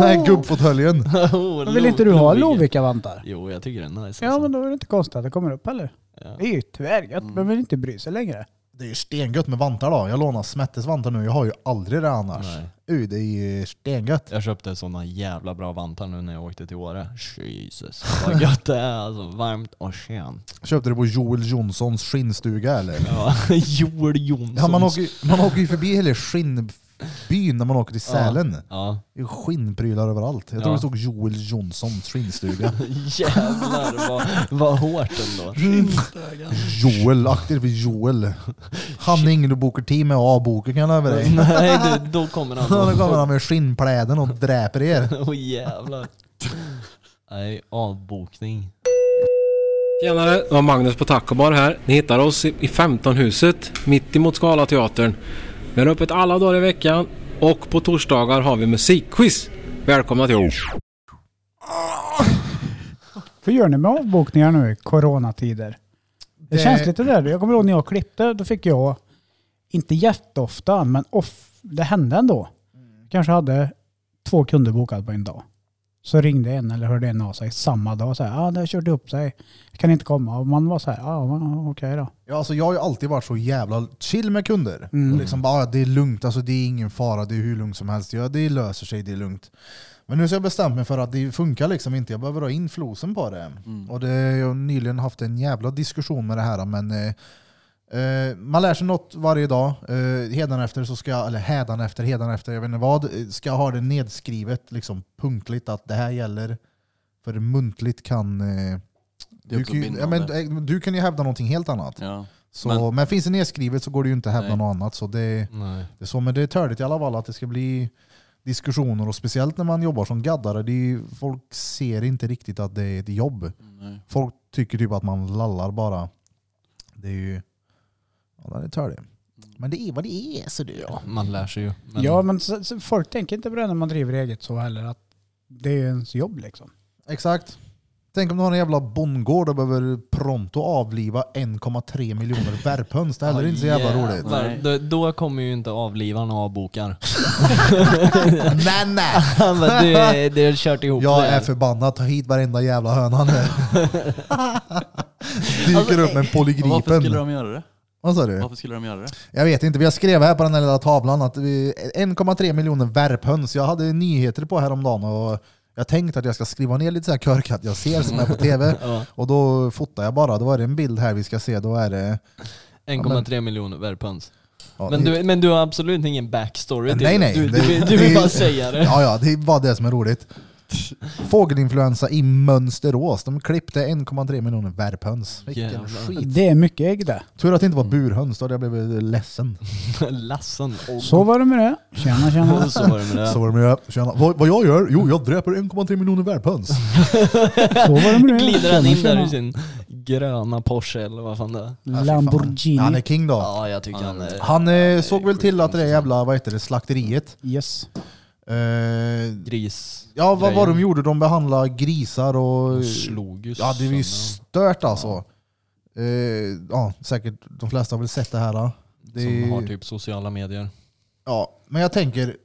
Speaker 1: Nej, gubbfåtöljen.
Speaker 3: Oh,
Speaker 4: Men Vill inte du ha
Speaker 3: Lovi-
Speaker 4: Lovikka-vantar?
Speaker 3: Jo, jag tycker det är nice.
Speaker 4: Ja,
Speaker 3: alltså.
Speaker 4: men då är det inte konstigt att det kommer upp heller.
Speaker 3: Ja. Mm.
Speaker 4: Det är ju tvärgött. Man vill inte bry sig längre.
Speaker 1: Det är ju stengött med vantar då. Jag lånar Smettes vantar nu. Jag har ju aldrig det annars.
Speaker 3: Nej.
Speaker 1: Uh, det är ju stengött.
Speaker 3: Jag köpte sådana jävla bra vantar nu när jag åkte till Åre. Jesus vad gött det är alltså. Varmt och skönt.
Speaker 1: Köpte det på Joel Jonssons skinnstuga eller?
Speaker 3: Ja, Joel Jonsson.
Speaker 1: Ja, man, åker, ju- man åker ju förbi hela skinnbyn när man åker till Sälen.
Speaker 3: Ja,
Speaker 1: Det är ju skinnprylar överallt. Jag tror
Speaker 3: Ja.
Speaker 1: det stod Joel Jonssons skinnstuga.
Speaker 3: jävlar vad, vad hårt ändå.
Speaker 1: Joel, akta dig för Joel. Han är ingen du bokar tid med A-boken kan jag över dig.
Speaker 3: Nej du, då kommer han.
Speaker 1: Nu kommer han med skinnpläden och dräper er.
Speaker 3: Åh jävlar. Nej, avbokning.
Speaker 6: Tjenare, det var Magnus på Tacobar här. Ni hittar oss i i 15-huset mitt emot Scalateatern. Vi är öppet alla dagar i veckan och på torsdagar har vi musikquiz. Välkomna till oss!
Speaker 4: Vad gör ni med avbokningar nu i coronatider? Det,
Speaker 1: Det-
Speaker 4: känns lite där. Jag kommer ihåg när jag klippte, då fick jag, inte jätteofta, men off, det hände ändå. Kanske hade två kunder bokade på en dag. Så ringde en eller hörde en av sig samma dag och sa ah, det har kört upp sig. Jag kan inte komma. Och man var så här, ah, okej då.
Speaker 1: Ja, alltså jag har ju alltid varit så jävla chill med kunder.
Speaker 4: Mm.
Speaker 1: Och liksom bara, "Ah, det är lugnt, alltså, det är ingen fara, det är hur lugnt som helst. Ja, det löser sig, det är lugnt. Men nu så har jag bestämt mig för att det funkar liksom inte. Jag behöver ha in flosen på det.
Speaker 3: Mm.
Speaker 1: Och det, jag har nyligen haft en jävla diskussion med det här. Men, eh, eh, man lär sig något varje dag. Eh, hädanefter, så ska, jag- eller hädanefter, hädanefter, jag vet inte vad. eh, Ska jag ha det nedskrivet liksom punktligt att det här gäller. För muntligt kan... Eh,
Speaker 3: Det är
Speaker 1: du,
Speaker 3: också
Speaker 1: kan ju, ja, men,
Speaker 3: bindande.
Speaker 1: eh, du kan ju hävda någonting helt annat.
Speaker 3: Ja.
Speaker 1: Så, men,
Speaker 3: Men-
Speaker 1: finns det nedskrivet så går det ju inte att hävda
Speaker 3: Nej.
Speaker 1: något annat. Så det,
Speaker 3: Nej.
Speaker 1: det är så, men det är törligt i alla fall att det ska bli diskussioner och speciellt när man jobbar som gaddare. Det är, ju- folk ser inte riktigt att det är ett jobb.
Speaker 3: Nej.
Speaker 1: Folk tycker typ att man lallar bara. Det är ju... Ja, det är törligt. Men det är vad det är, så du.
Speaker 3: Mm. Ja, man lär sig ju. Men,
Speaker 4: Ja men så, så, folk tänker inte på det när man driver eget så heller. Att det är ens jobb liksom.
Speaker 1: Exakt. Tänk om du har en jävla bondgård och behöver pronto avliva 1,3 miljoner värphöns. Det är heller inte så jävla
Speaker 3: jävlar.
Speaker 1: roligt.
Speaker 2: Nej.
Speaker 3: Då, då kommer ju inte avlivaren och avbokar.
Speaker 1: Nej, nej!
Speaker 2: Han bara, du, eh, du har kört ihop
Speaker 1: Jag
Speaker 2: det
Speaker 1: är
Speaker 2: här."
Speaker 1: förbannad, ta hit varenda jävla höna nu. Dyker
Speaker 2: Alltså,
Speaker 1: upp med en
Speaker 5: Varför skulle
Speaker 1: polygripen.
Speaker 5: de göra det?
Speaker 1: Vad sa du?
Speaker 5: Varför skulle de göra det?
Speaker 1: Jag vet inte, vi har skrev här på den här lilla tavlan att vi- 1,3 miljoner värphöns. Jag hade nyheter på häromdagen och jag tänkte att jag ska skriva ner lite så här körkat jag ser som är på tv. Och då fotar jag bara. Då var det en bild här vi ska se. Då är det...
Speaker 3: 1,3 miljoner värphöns.
Speaker 1: Ja,
Speaker 3: Men
Speaker 1: det-
Speaker 3: du, men du har absolut ingen backstory till
Speaker 1: Nej,
Speaker 3: det.
Speaker 1: nej,
Speaker 3: Du,
Speaker 1: det-
Speaker 3: du, vill-
Speaker 1: det-
Speaker 3: du vill bara säga det.
Speaker 1: Ja, ja, det var det som är roligt. Fågelinfluensa i Mönsterås. De klippte 1,3 miljoner värphöns. Vilken
Speaker 3: Jävlar.
Speaker 1: skit.
Speaker 4: Det är mycket ägg det.
Speaker 1: Tur att det inte var burhöns, då hade jag blivit ledsen.
Speaker 3: Lassen. Och
Speaker 4: Så var det med det. Tjena tjena.
Speaker 3: så var det med det.
Speaker 1: Så var det med det. Tjena. Vad, vad jag gör? Jo, jag dräper 1,3 miljoner värphöns.
Speaker 3: Mm.
Speaker 4: Så var det med det.
Speaker 2: Glider han
Speaker 4: Tjena,
Speaker 2: in där
Speaker 4: tjena.
Speaker 2: i sin gröna Porsche eller vad fan det är?
Speaker 4: Lamborghini.
Speaker 1: Han är king då.
Speaker 2: Ja, jag tycker han är...
Speaker 1: Han eh, såg väl till att det där jävla vad heter det, slakteriet...
Speaker 4: Yes.
Speaker 1: Eh,
Speaker 3: Gris.
Speaker 1: ja, vad var
Speaker 3: grejen.
Speaker 1: de gjorde? De behandlade grisar och...
Speaker 3: Slog ju
Speaker 1: Ja, det var ju
Speaker 3: sönder
Speaker 1: stört alltså. Eh, ja, säkert de flesta har väl sett det här. då. Det
Speaker 3: dem.
Speaker 1: är-
Speaker 3: Som har typ sociala medier.
Speaker 1: Ja, men jag tänker,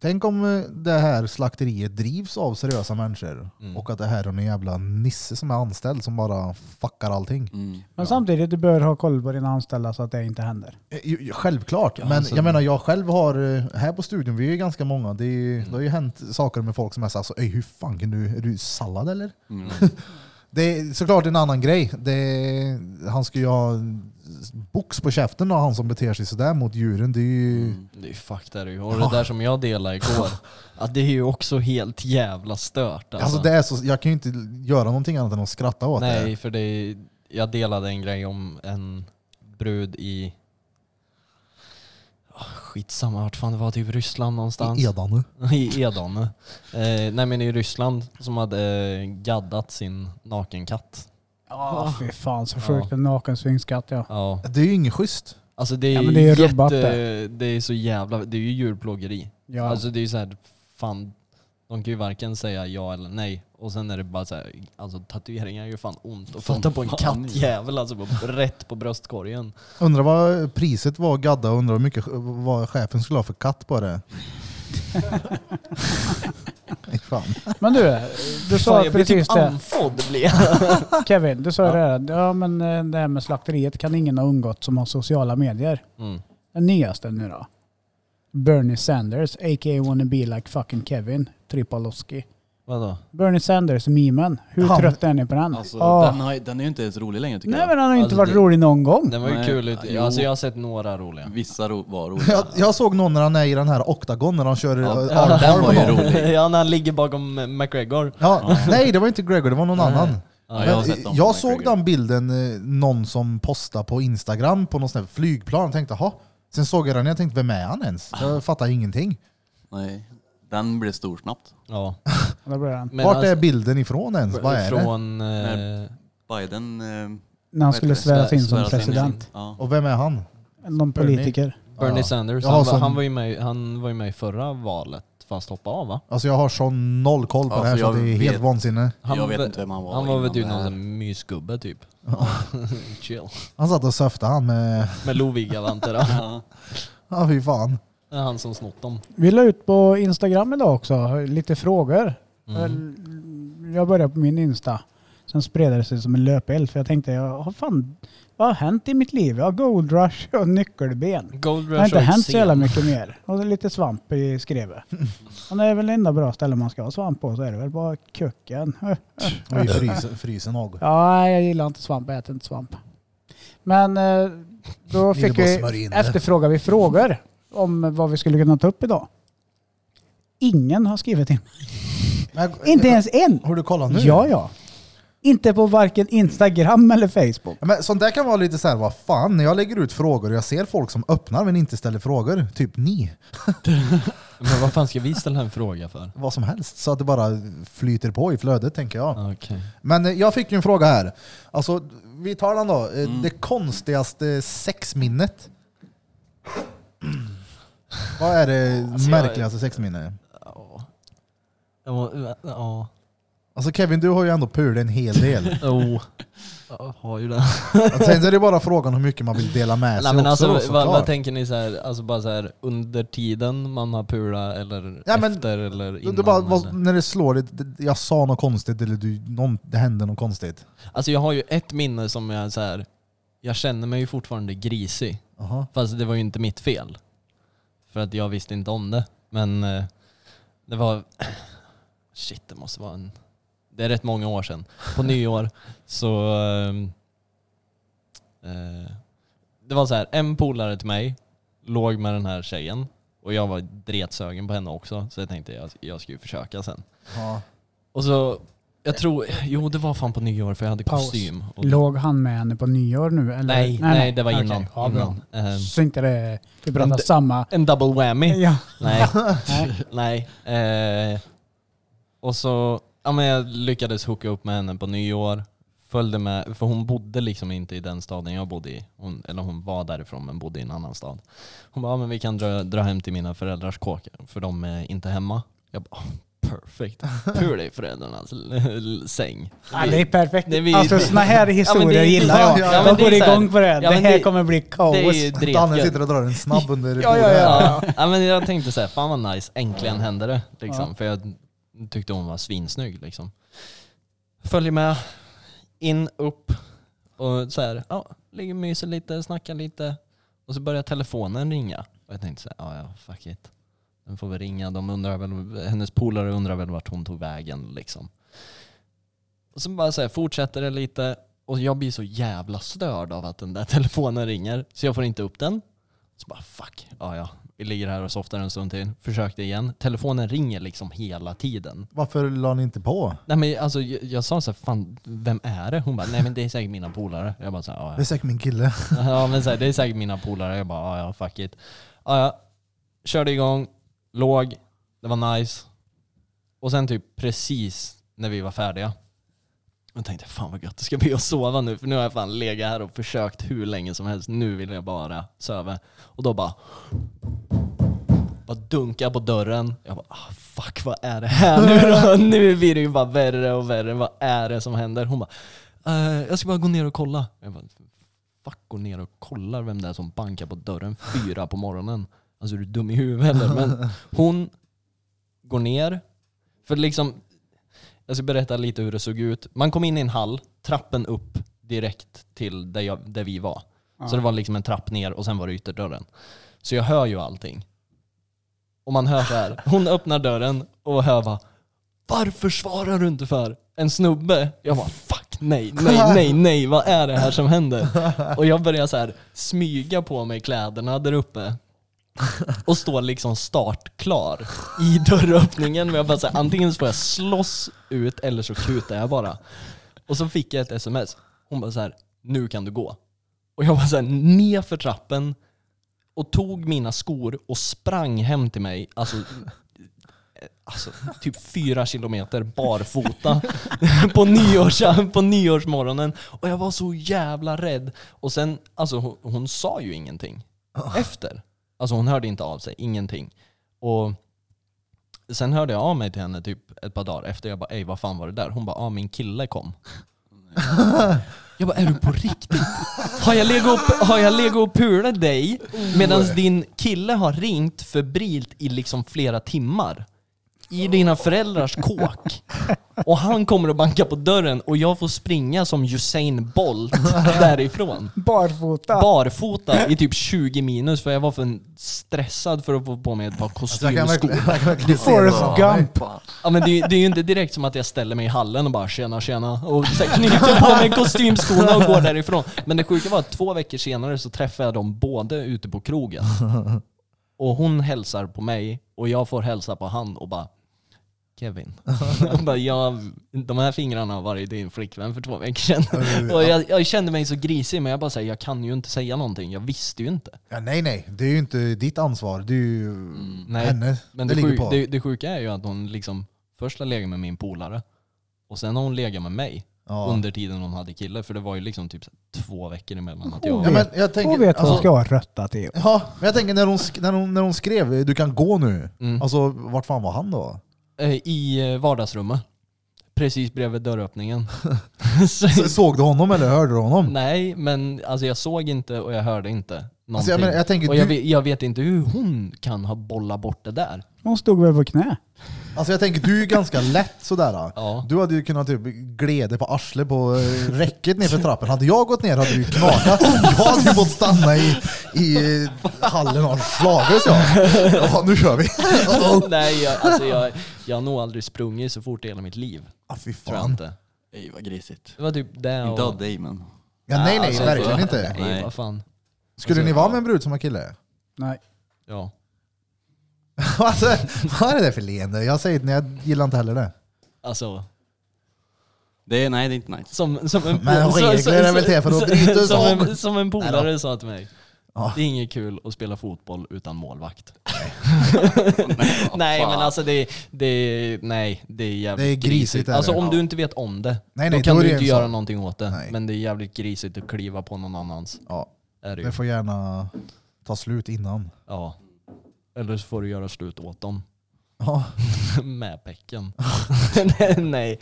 Speaker 1: tänk om eh, det här slakteriet drivs av seriösa människor
Speaker 3: Mm.
Speaker 1: och att det här är en jävla nisse som är anställd som bara fuckar allting.
Speaker 5: Mm.
Speaker 4: Men samtidigt, du bör ha koll på dina anställda så att det inte händer.
Speaker 1: Eh, ju- ju- Självklart, men
Speaker 3: alltså-
Speaker 1: jag menar jag själv har, eh, här på studion, vi är ju ganska många, det, är, ju- det har ju hänt saker med folk som är såhär, så, alltså, "Ey, hur fan kan du, är du sallad eller?
Speaker 5: Mm.
Speaker 1: Det är såklart en annan grej. Det är, han ska ju ha box på käften och han som beter sig sådär mot djuren. Det är ju...
Speaker 3: Det är fuck det är ju. Och det där som jag delade igår. Att det är ju också helt jävla stört
Speaker 1: Alltså det är så, jag kan ju inte göra någonting annat än att skratta åt det.
Speaker 3: Nej, för det är, jag delade en grej om en brud i... Ah, Skitsamma vart fan det var, typ Ryssland någonstans.
Speaker 1: I Edane.
Speaker 3: I Edane. Eh, nej men i Ryssland som hade eh, gaddat sin nakenkatt.
Speaker 4: Ja, fy fan så sjukt. En naken svingskatt ja.
Speaker 3: Ja.
Speaker 1: Det är ju inget schysst.
Speaker 3: Alltså det är,
Speaker 4: Ja, men det är ju
Speaker 3: jätte,
Speaker 4: rubbat
Speaker 3: det. är så jävla, det är ju djurplågeri.
Speaker 4: ja.
Speaker 3: Alltså det är ju såhär, fan, de kan ju varken säga ja eller nej. Och sen är det bara såhär, alltså tatueringar gör ju fan ont. Och fatta på en
Speaker 5: fan, ja.
Speaker 3: kattjävel alltså, på, rätt på bröstkorgen.
Speaker 1: Undrar vad priset var gadda och undrar hur mycket vad chefen skulle ha för katt på det. Nej, Fan.
Speaker 4: Men du, du sa
Speaker 3: Fan, jag blir
Speaker 4: precis
Speaker 3: typ
Speaker 4: det.
Speaker 3: andfådd blir jag.
Speaker 4: Kevin, du sa det här. Ja men eh, det här med slakteriet kan ingen ha undgått som har sociala medier.
Speaker 3: Mm.
Speaker 4: Den nyaste nu då. Bernie Sanders, a.k.a. wanna be like fucking Kevin Tripaloski.
Speaker 3: Vadå?
Speaker 4: Bernie Sanders, memen. Hur
Speaker 1: Han-
Speaker 4: trött är ni på den?
Speaker 5: Alltså,
Speaker 4: Ah.
Speaker 5: den, har, den är ju inte ens rolig längre tycker
Speaker 4: Nej
Speaker 5: jag.
Speaker 4: men han har ju inte
Speaker 3: Alltså,
Speaker 4: varit
Speaker 3: det-
Speaker 4: rolig någon gång.
Speaker 3: Den var ju
Speaker 5: Nej,
Speaker 3: kul ut.
Speaker 5: jo.
Speaker 3: Alltså jag har sett några roliga.
Speaker 5: Vissa ro, var
Speaker 1: Jag,
Speaker 5: roliga.
Speaker 1: jag såg någon när han är i den här oktagon när han kör ja,
Speaker 5: Ja, den var ju rolig.
Speaker 3: ja, när han ligger bakom eh, McGregor.
Speaker 1: Ja, nej, det var inte Gregor, det var någon annan.
Speaker 5: Ja, jag har
Speaker 1: Men,
Speaker 5: sett dem på
Speaker 1: jag
Speaker 5: Mike
Speaker 1: såg
Speaker 5: Gregor.
Speaker 1: den bilden, eh, någon som postade på Instagram på någon sån här flygplan och tänkte ha. Sen såg jag den och jag tänkte, vem är han ens? Jag fattar ingenting.
Speaker 5: Nej. Den blev stor snabbt.
Speaker 3: Ja.
Speaker 4: Där börjar han.
Speaker 3: Men
Speaker 1: Vart är
Speaker 3: alltså,
Speaker 1: bilden ifrån ens? Vad är det?
Speaker 3: Från... Eh,
Speaker 5: Biden... Eh,
Speaker 4: När han
Speaker 5: vad heter
Speaker 4: skulle
Speaker 5: det?
Speaker 4: sväras in som
Speaker 5: Sväras in
Speaker 4: president.
Speaker 5: Ja.
Speaker 1: Och vem är han?
Speaker 4: Någon
Speaker 1: Bernie.
Speaker 4: politiker.
Speaker 3: Bernie
Speaker 1: Ja.
Speaker 3: Sanders.
Speaker 1: Jag
Speaker 3: Han,
Speaker 1: har
Speaker 3: var-
Speaker 1: sån-
Speaker 3: han, var ju med, han var ju med i förra valet, fast hoppade av va?
Speaker 1: Alltså jag har sån noll koll på
Speaker 5: Alltså,
Speaker 1: det här så
Speaker 5: jag
Speaker 1: det är helt
Speaker 5: vet-
Speaker 1: vansinne.
Speaker 3: Han
Speaker 5: Jag vet
Speaker 3: var-
Speaker 5: inte vem han var
Speaker 3: Han var väl
Speaker 5: innan
Speaker 3: typ
Speaker 5: det
Speaker 3: någon
Speaker 5: här.
Speaker 3: sån mysgubbe typ. Chill.
Speaker 1: Han satt och söfte han med...
Speaker 3: Med Loviga-vantar då.
Speaker 5: Ja.
Speaker 1: Ja fy fan.
Speaker 3: Eh, Det är han som snott dem.
Speaker 4: Vi la ut på Instagram idag också, lite frågor. Mm. Jag började på min Insta. Sen spred det sig som en löpeld för jag tänkte, jag har fan, vad har hänt i mitt liv? Jag har Gold Rush och nyckelben.
Speaker 3: Gold
Speaker 4: Det
Speaker 3: Rush
Speaker 4: har inte
Speaker 3: och
Speaker 4: hänt så jävla
Speaker 3: eksem.
Speaker 4: mycket mer. Och lite svamp i skrevet. Och det är väl det enda bra ställe man ska ha svamp på så är det väl bara kucken.
Speaker 1: Och i frysen, frysen nog.
Speaker 4: Ja, nej, jag gillar inte svamp, jag äter inte svamp. Men eh, då
Speaker 1: Vill
Speaker 4: fick
Speaker 1: bara
Speaker 4: vi,
Speaker 1: smörja in det.
Speaker 4: efterfrågar vi frågor om vad vi skulle kunna ta upp idag. Ingen har skrivit in.
Speaker 1: Men-
Speaker 4: Inte ens en!
Speaker 1: Har du kollat nu?
Speaker 4: Ja, ja. Inte på varken Instagram eller Facebook.
Speaker 1: Ja, Men sånt där kan vara lite så här, vad fan, när jag lägger ut frågor och jag ser folk som öppnar men inte ställer frågor, typ ni,
Speaker 3: Men vad fan ska vi ställa en fråga för?
Speaker 1: vad som helst, så att det bara flyter på i flödet tänker jag.
Speaker 3: Okej.
Speaker 1: Men eh, jag fick ju en fråga här. Alltså, vi tar den då. Eh,
Speaker 3: Mm.
Speaker 1: Det konstigaste sexminnet? Vad är det
Speaker 3: Alltså, jag-
Speaker 1: märkligaste sexminnet?
Speaker 3: Ja. Det var- Ja.
Speaker 1: Alltså Kevin, du har ju ändå pulat en hel del.
Speaker 3: Jo. Jag Oh. har ju det.
Speaker 1: Och Sen är det bara frågan hur mycket man vill dela med sig
Speaker 3: Nej, men
Speaker 1: också
Speaker 3: alltså,
Speaker 1: då,
Speaker 3: vad,
Speaker 1: såklart.
Speaker 3: vad tänker ni så här, alltså bara så här under tiden man har pulat eller
Speaker 1: Ja, men-
Speaker 3: efter eller
Speaker 1: Du-
Speaker 3: innan?
Speaker 1: du bara, vad,
Speaker 3: eller?
Speaker 1: när det slår dig, det- jag sa något konstigt eller du, någon, det hände något konstigt.
Speaker 3: Alltså jag har ju ett minne som jag så här, jag känner mig ju fortfarande grisig.
Speaker 1: Aha.
Speaker 3: Fast det var ju inte mitt fel. För att jag visste inte om det. Men eh, det var... Shit, det måste vara en... Det är rätt många år sedan. På nyår så... ehm, eh, det var så här, en polare till mig låg med den här tjejen. Och jag var dretsögen på henne också. Så jag tänkte jag, jag ska ju försöka sen.
Speaker 1: Ja.
Speaker 3: Och så... Jag tror... Jo, det var fan på nyår för jag hade
Speaker 4: Paus.
Speaker 3: kostym. Och,
Speaker 4: Låg han med henne på nyår nu? Eller?
Speaker 3: nej, nej, det var
Speaker 4: Okej,
Speaker 3: innan.
Speaker 4: ja, bra.
Speaker 3: innan. Eh,
Speaker 4: Så inte det, vi pratar
Speaker 3: Men det-
Speaker 4: samma.
Speaker 3: en double whammy.
Speaker 4: Ja.
Speaker 3: Nej. Nej. Eh, och så, ja men jag lyckades hooka upp med henne på nyår. Följde med, för hon bodde liksom inte i den staden jag bodde i. Hon, eller hon var därifrån men bodde i en annan stad. Hon bara, ja, men vi kan dra, dra hem till mina föräldrars kåk för de är inte hemma. Jag bara, oh, perfekt. Pur dig föräldrarnas l- säng.
Speaker 4: Ja, det är perfekt.
Speaker 3: Det är vi-
Speaker 4: alltså sådana här
Speaker 3: men
Speaker 4: historier
Speaker 3: det är-
Speaker 4: gillar
Speaker 1: Ja,
Speaker 4: jag.
Speaker 1: ja, men
Speaker 4: jag
Speaker 3: det är
Speaker 4: går
Speaker 3: så här-
Speaker 4: igång på det.
Speaker 3: ja,
Speaker 4: det
Speaker 3: men
Speaker 4: här
Speaker 3: det-
Speaker 4: kommer bli kaos.
Speaker 3: det är ju
Speaker 1: Danne
Speaker 3: dretgött.
Speaker 1: sitter och drar en snabb under
Speaker 4: Ja, ja,
Speaker 1: bordet här.
Speaker 4: ja.
Speaker 3: ja, men jag tänkte så här, fan vad nice, äntligen hände det. Liksom. För jag tyckte hon var svinsnygg. Liksom. Följer med, in, upp och så här, ja, ligger och myser lite, snackar lite. Och så börjar telefonen ringa. Och jag tänkte så här, ja, ja fuck it. Den får väl ringa, de undrar väl, hennes polare undrar väl vart hon tog vägen. Liksom. Och så bara så här, fortsätter det lite. Och jag blir så jävla störd av att den där telefonen ringer. Så jag får inte upp den. Så bara fuck, ja ja. Vi ligger här och softar en stund till. Försökte igen. Telefonen ringer liksom hela tiden.
Speaker 1: Varför la ni inte på?
Speaker 3: Nej men alltså jag, jag sa så här, fan vem är det? Hon bara, nej men det är säkert mina polare. Jag bara så här,
Speaker 1: Det
Speaker 3: ja,
Speaker 1: är säkert min kille.
Speaker 3: ja. ja men så här, det är säkert mina polare. Jag bara, "Ah, ja ja fuck it. Ja, ja. Körde igång, låg, det var nice. Och sen typ precis när vi var färdiga. Jag tänkte fan vad gött det ska bli att sova nu för nu har jag fan legat här och försökt hur länge som helst. Nu vill jag bara söva. Och då bara bara dunkar på dörren. Jag bara ah, fuck vad är det här nu då? Nu blir det ju bara värre och värre. Vad är det som händer? Hon bara eh, jag ska bara gå ner och kolla. Jag bara fuck går ner och kollar vem det är som bankar på dörren fyra på morgonen. Alltså är du dum i huvudet eller? Men hon går ner. För liksom, jag ska berätta lite hur det såg ut. Man kom in i en hall, trappen upp direkt till där, jag, där vi var. Så det var liksom en trapp ner och sen var det ytterdörren. Så jag hör ju allting. Och man hör så här. hon öppnar dörren och hör bara Varför svarar du inte för? En snubbe. Jag bara fuck nej, nej, nej, nej, vad är det här som händer? Och jag börjar så här smyga på mig kläderna där uppe och står liksom startklar i dörröppningen. Men jag bara så här, antingen så får jag slåss ut eller så kutar jag bara. Och så fick jag ett sms. Hon bara så här, nu kan du gå. Och jag var så här, ner för trappen och tog mina skor och sprang hem till mig. Alltså, eh, alltså typ fyra kilometer barfota på, nyårs, på nyårsmorgonen. Och jag var så jävla rädd. Och sen, alltså hon, hon sa ju ingenting efter. Alltså hon hörde inte av sig, ingenting. Och sen hörde jag av mig till henne typ ett par dagar efter. Jag bara, ey vad fan var det där? Hon bara, ah min kille kom. Jag bara, är du på riktigt? Har jag legat och, har jag legat och pulat dig medan din kille har ringt febrilt i liksom flera timmar? I dina föräldrars kåk. Och han kommer och bankar på dörren och jag får springa som Usain Bolt därifrån.
Speaker 4: Barfota.
Speaker 3: Barfota i typ 20 minus för jag var för stressad för att få på mig ett par
Speaker 1: Alltså, Jag kan
Speaker 3: kostymskor.
Speaker 1: verkligen, jag kan verkligen se det
Speaker 4: Forrest
Speaker 1: framför mig.
Speaker 4: Gump.
Speaker 3: Ja, men det, är- det är ju inte direkt som att jag ställer mig i hallen och bara tjena tjena och så här knyter på mig kostymskorna och går därifrån. Men det sjuka var att två veckor senare så träffade jag dem båda ute på krogen. Och hon hälsar på mig och jag får hälsa på han och bara Kevin, jag bara, jag, de här fingrarna har varit din flickvän för två veckor sedan. Och jag, jag kände mig så grisig men jag bara säger jag kan ju inte säga någonting, jag visste ju inte.
Speaker 1: Ja, nej, nej. Det är ju inte ditt ansvar. Det är ju
Speaker 3: Mm, Nej,
Speaker 1: henne
Speaker 3: Men
Speaker 1: det,
Speaker 3: det,
Speaker 1: ligger
Speaker 3: sjuk,
Speaker 1: på.
Speaker 3: det, det sjuka är ju att hon liksom först har legat med min polare och sen har hon legat med mig
Speaker 1: ja.
Speaker 3: under tiden hon hade kille. För det var ju liksom typ så här två veckor emellan att jag...
Speaker 1: Ja, men jag
Speaker 4: Hon
Speaker 1: tänker,
Speaker 4: vet vad hon
Speaker 1: alltså,
Speaker 4: ska ha rötta till.
Speaker 1: ja, men jag tänker när, hon, sk- när, hon, när hon skrev du kan gå nu,
Speaker 3: Mm.
Speaker 1: alltså vart fan var han då?
Speaker 3: Eh, I eh, vardagsrummet. Precis bredvid dörröppningen. så,
Speaker 1: Så- Såg du honom eller hörde du honom?
Speaker 3: nej, men alltså jag såg inte och jag hörde inte någonting.
Speaker 1: Alltså, jag, menar, jag tänker,
Speaker 3: och jag
Speaker 1: du,
Speaker 3: vet, jag vet inte hur hon kan ha bollat bort det där.
Speaker 4: Hon stod väl på knä.
Speaker 1: alltså jag tänker du är ganska lätt sådär.
Speaker 3: Ja.
Speaker 1: Du hade ju kunnat typ gleda på arslet på eh, räcket nerför trappen. Hade jag gått ner hade du ju knakat. Jag hade ju fått stanna i, i eh, hallen och slagits jag. Ja, nu kör vi. Oh.
Speaker 3: nej, jag, alltså jag, jag har nog aldrig sprungit så fort i hela mitt liv.
Speaker 1: Ah, fy
Speaker 3: Tror jag
Speaker 1: fan.
Speaker 3: inte.
Speaker 5: Nej vad grisigt.
Speaker 3: Det var typ det och...
Speaker 5: Inte av dig men.
Speaker 1: Ja, nej, nej,
Speaker 3: Alltså,
Speaker 1: verkligen
Speaker 3: det-
Speaker 1: inte.
Speaker 3: Nej,
Speaker 5: Nej.
Speaker 3: vad fan.
Speaker 1: Skulle
Speaker 3: Alltså,
Speaker 1: ni vara med en brud som har kille?
Speaker 4: Nej.
Speaker 3: Ja.
Speaker 1: Alltså, vad är det där för leende? Jag säger det, jag gillar inte heller det.
Speaker 3: Alltså,
Speaker 5: Det är, nej det är inte nice.
Speaker 3: som, som en...
Speaker 1: Men
Speaker 3: så-
Speaker 1: regler
Speaker 3: så-
Speaker 1: är
Speaker 3: så-
Speaker 1: väl till för att
Speaker 3: så-
Speaker 1: brytas
Speaker 3: som
Speaker 1: om.
Speaker 3: en, som en polare sa till mig.
Speaker 1: Ja.
Speaker 3: Det är inget kul att spela fotboll utan målvakt. nej men alltså det, det, nej, det är jävligt
Speaker 1: Det är grisigt, är det.
Speaker 3: Alltså om
Speaker 1: Ja.
Speaker 3: du inte vet om det,
Speaker 1: Nej, nej,
Speaker 3: då kan
Speaker 1: då är
Speaker 3: du
Speaker 1: det
Speaker 3: inte
Speaker 1: en
Speaker 3: göra
Speaker 1: sak.
Speaker 3: någonting åt det.
Speaker 1: Nej.
Speaker 3: Men det är jävligt grisigt att kliva på någon annans.
Speaker 1: Ja,
Speaker 3: Är det ju.
Speaker 1: det får gärna ta slut innan.
Speaker 3: Ja. Eller så får du göra slut åt dem.
Speaker 1: Ja.
Speaker 3: Med pecken. nej.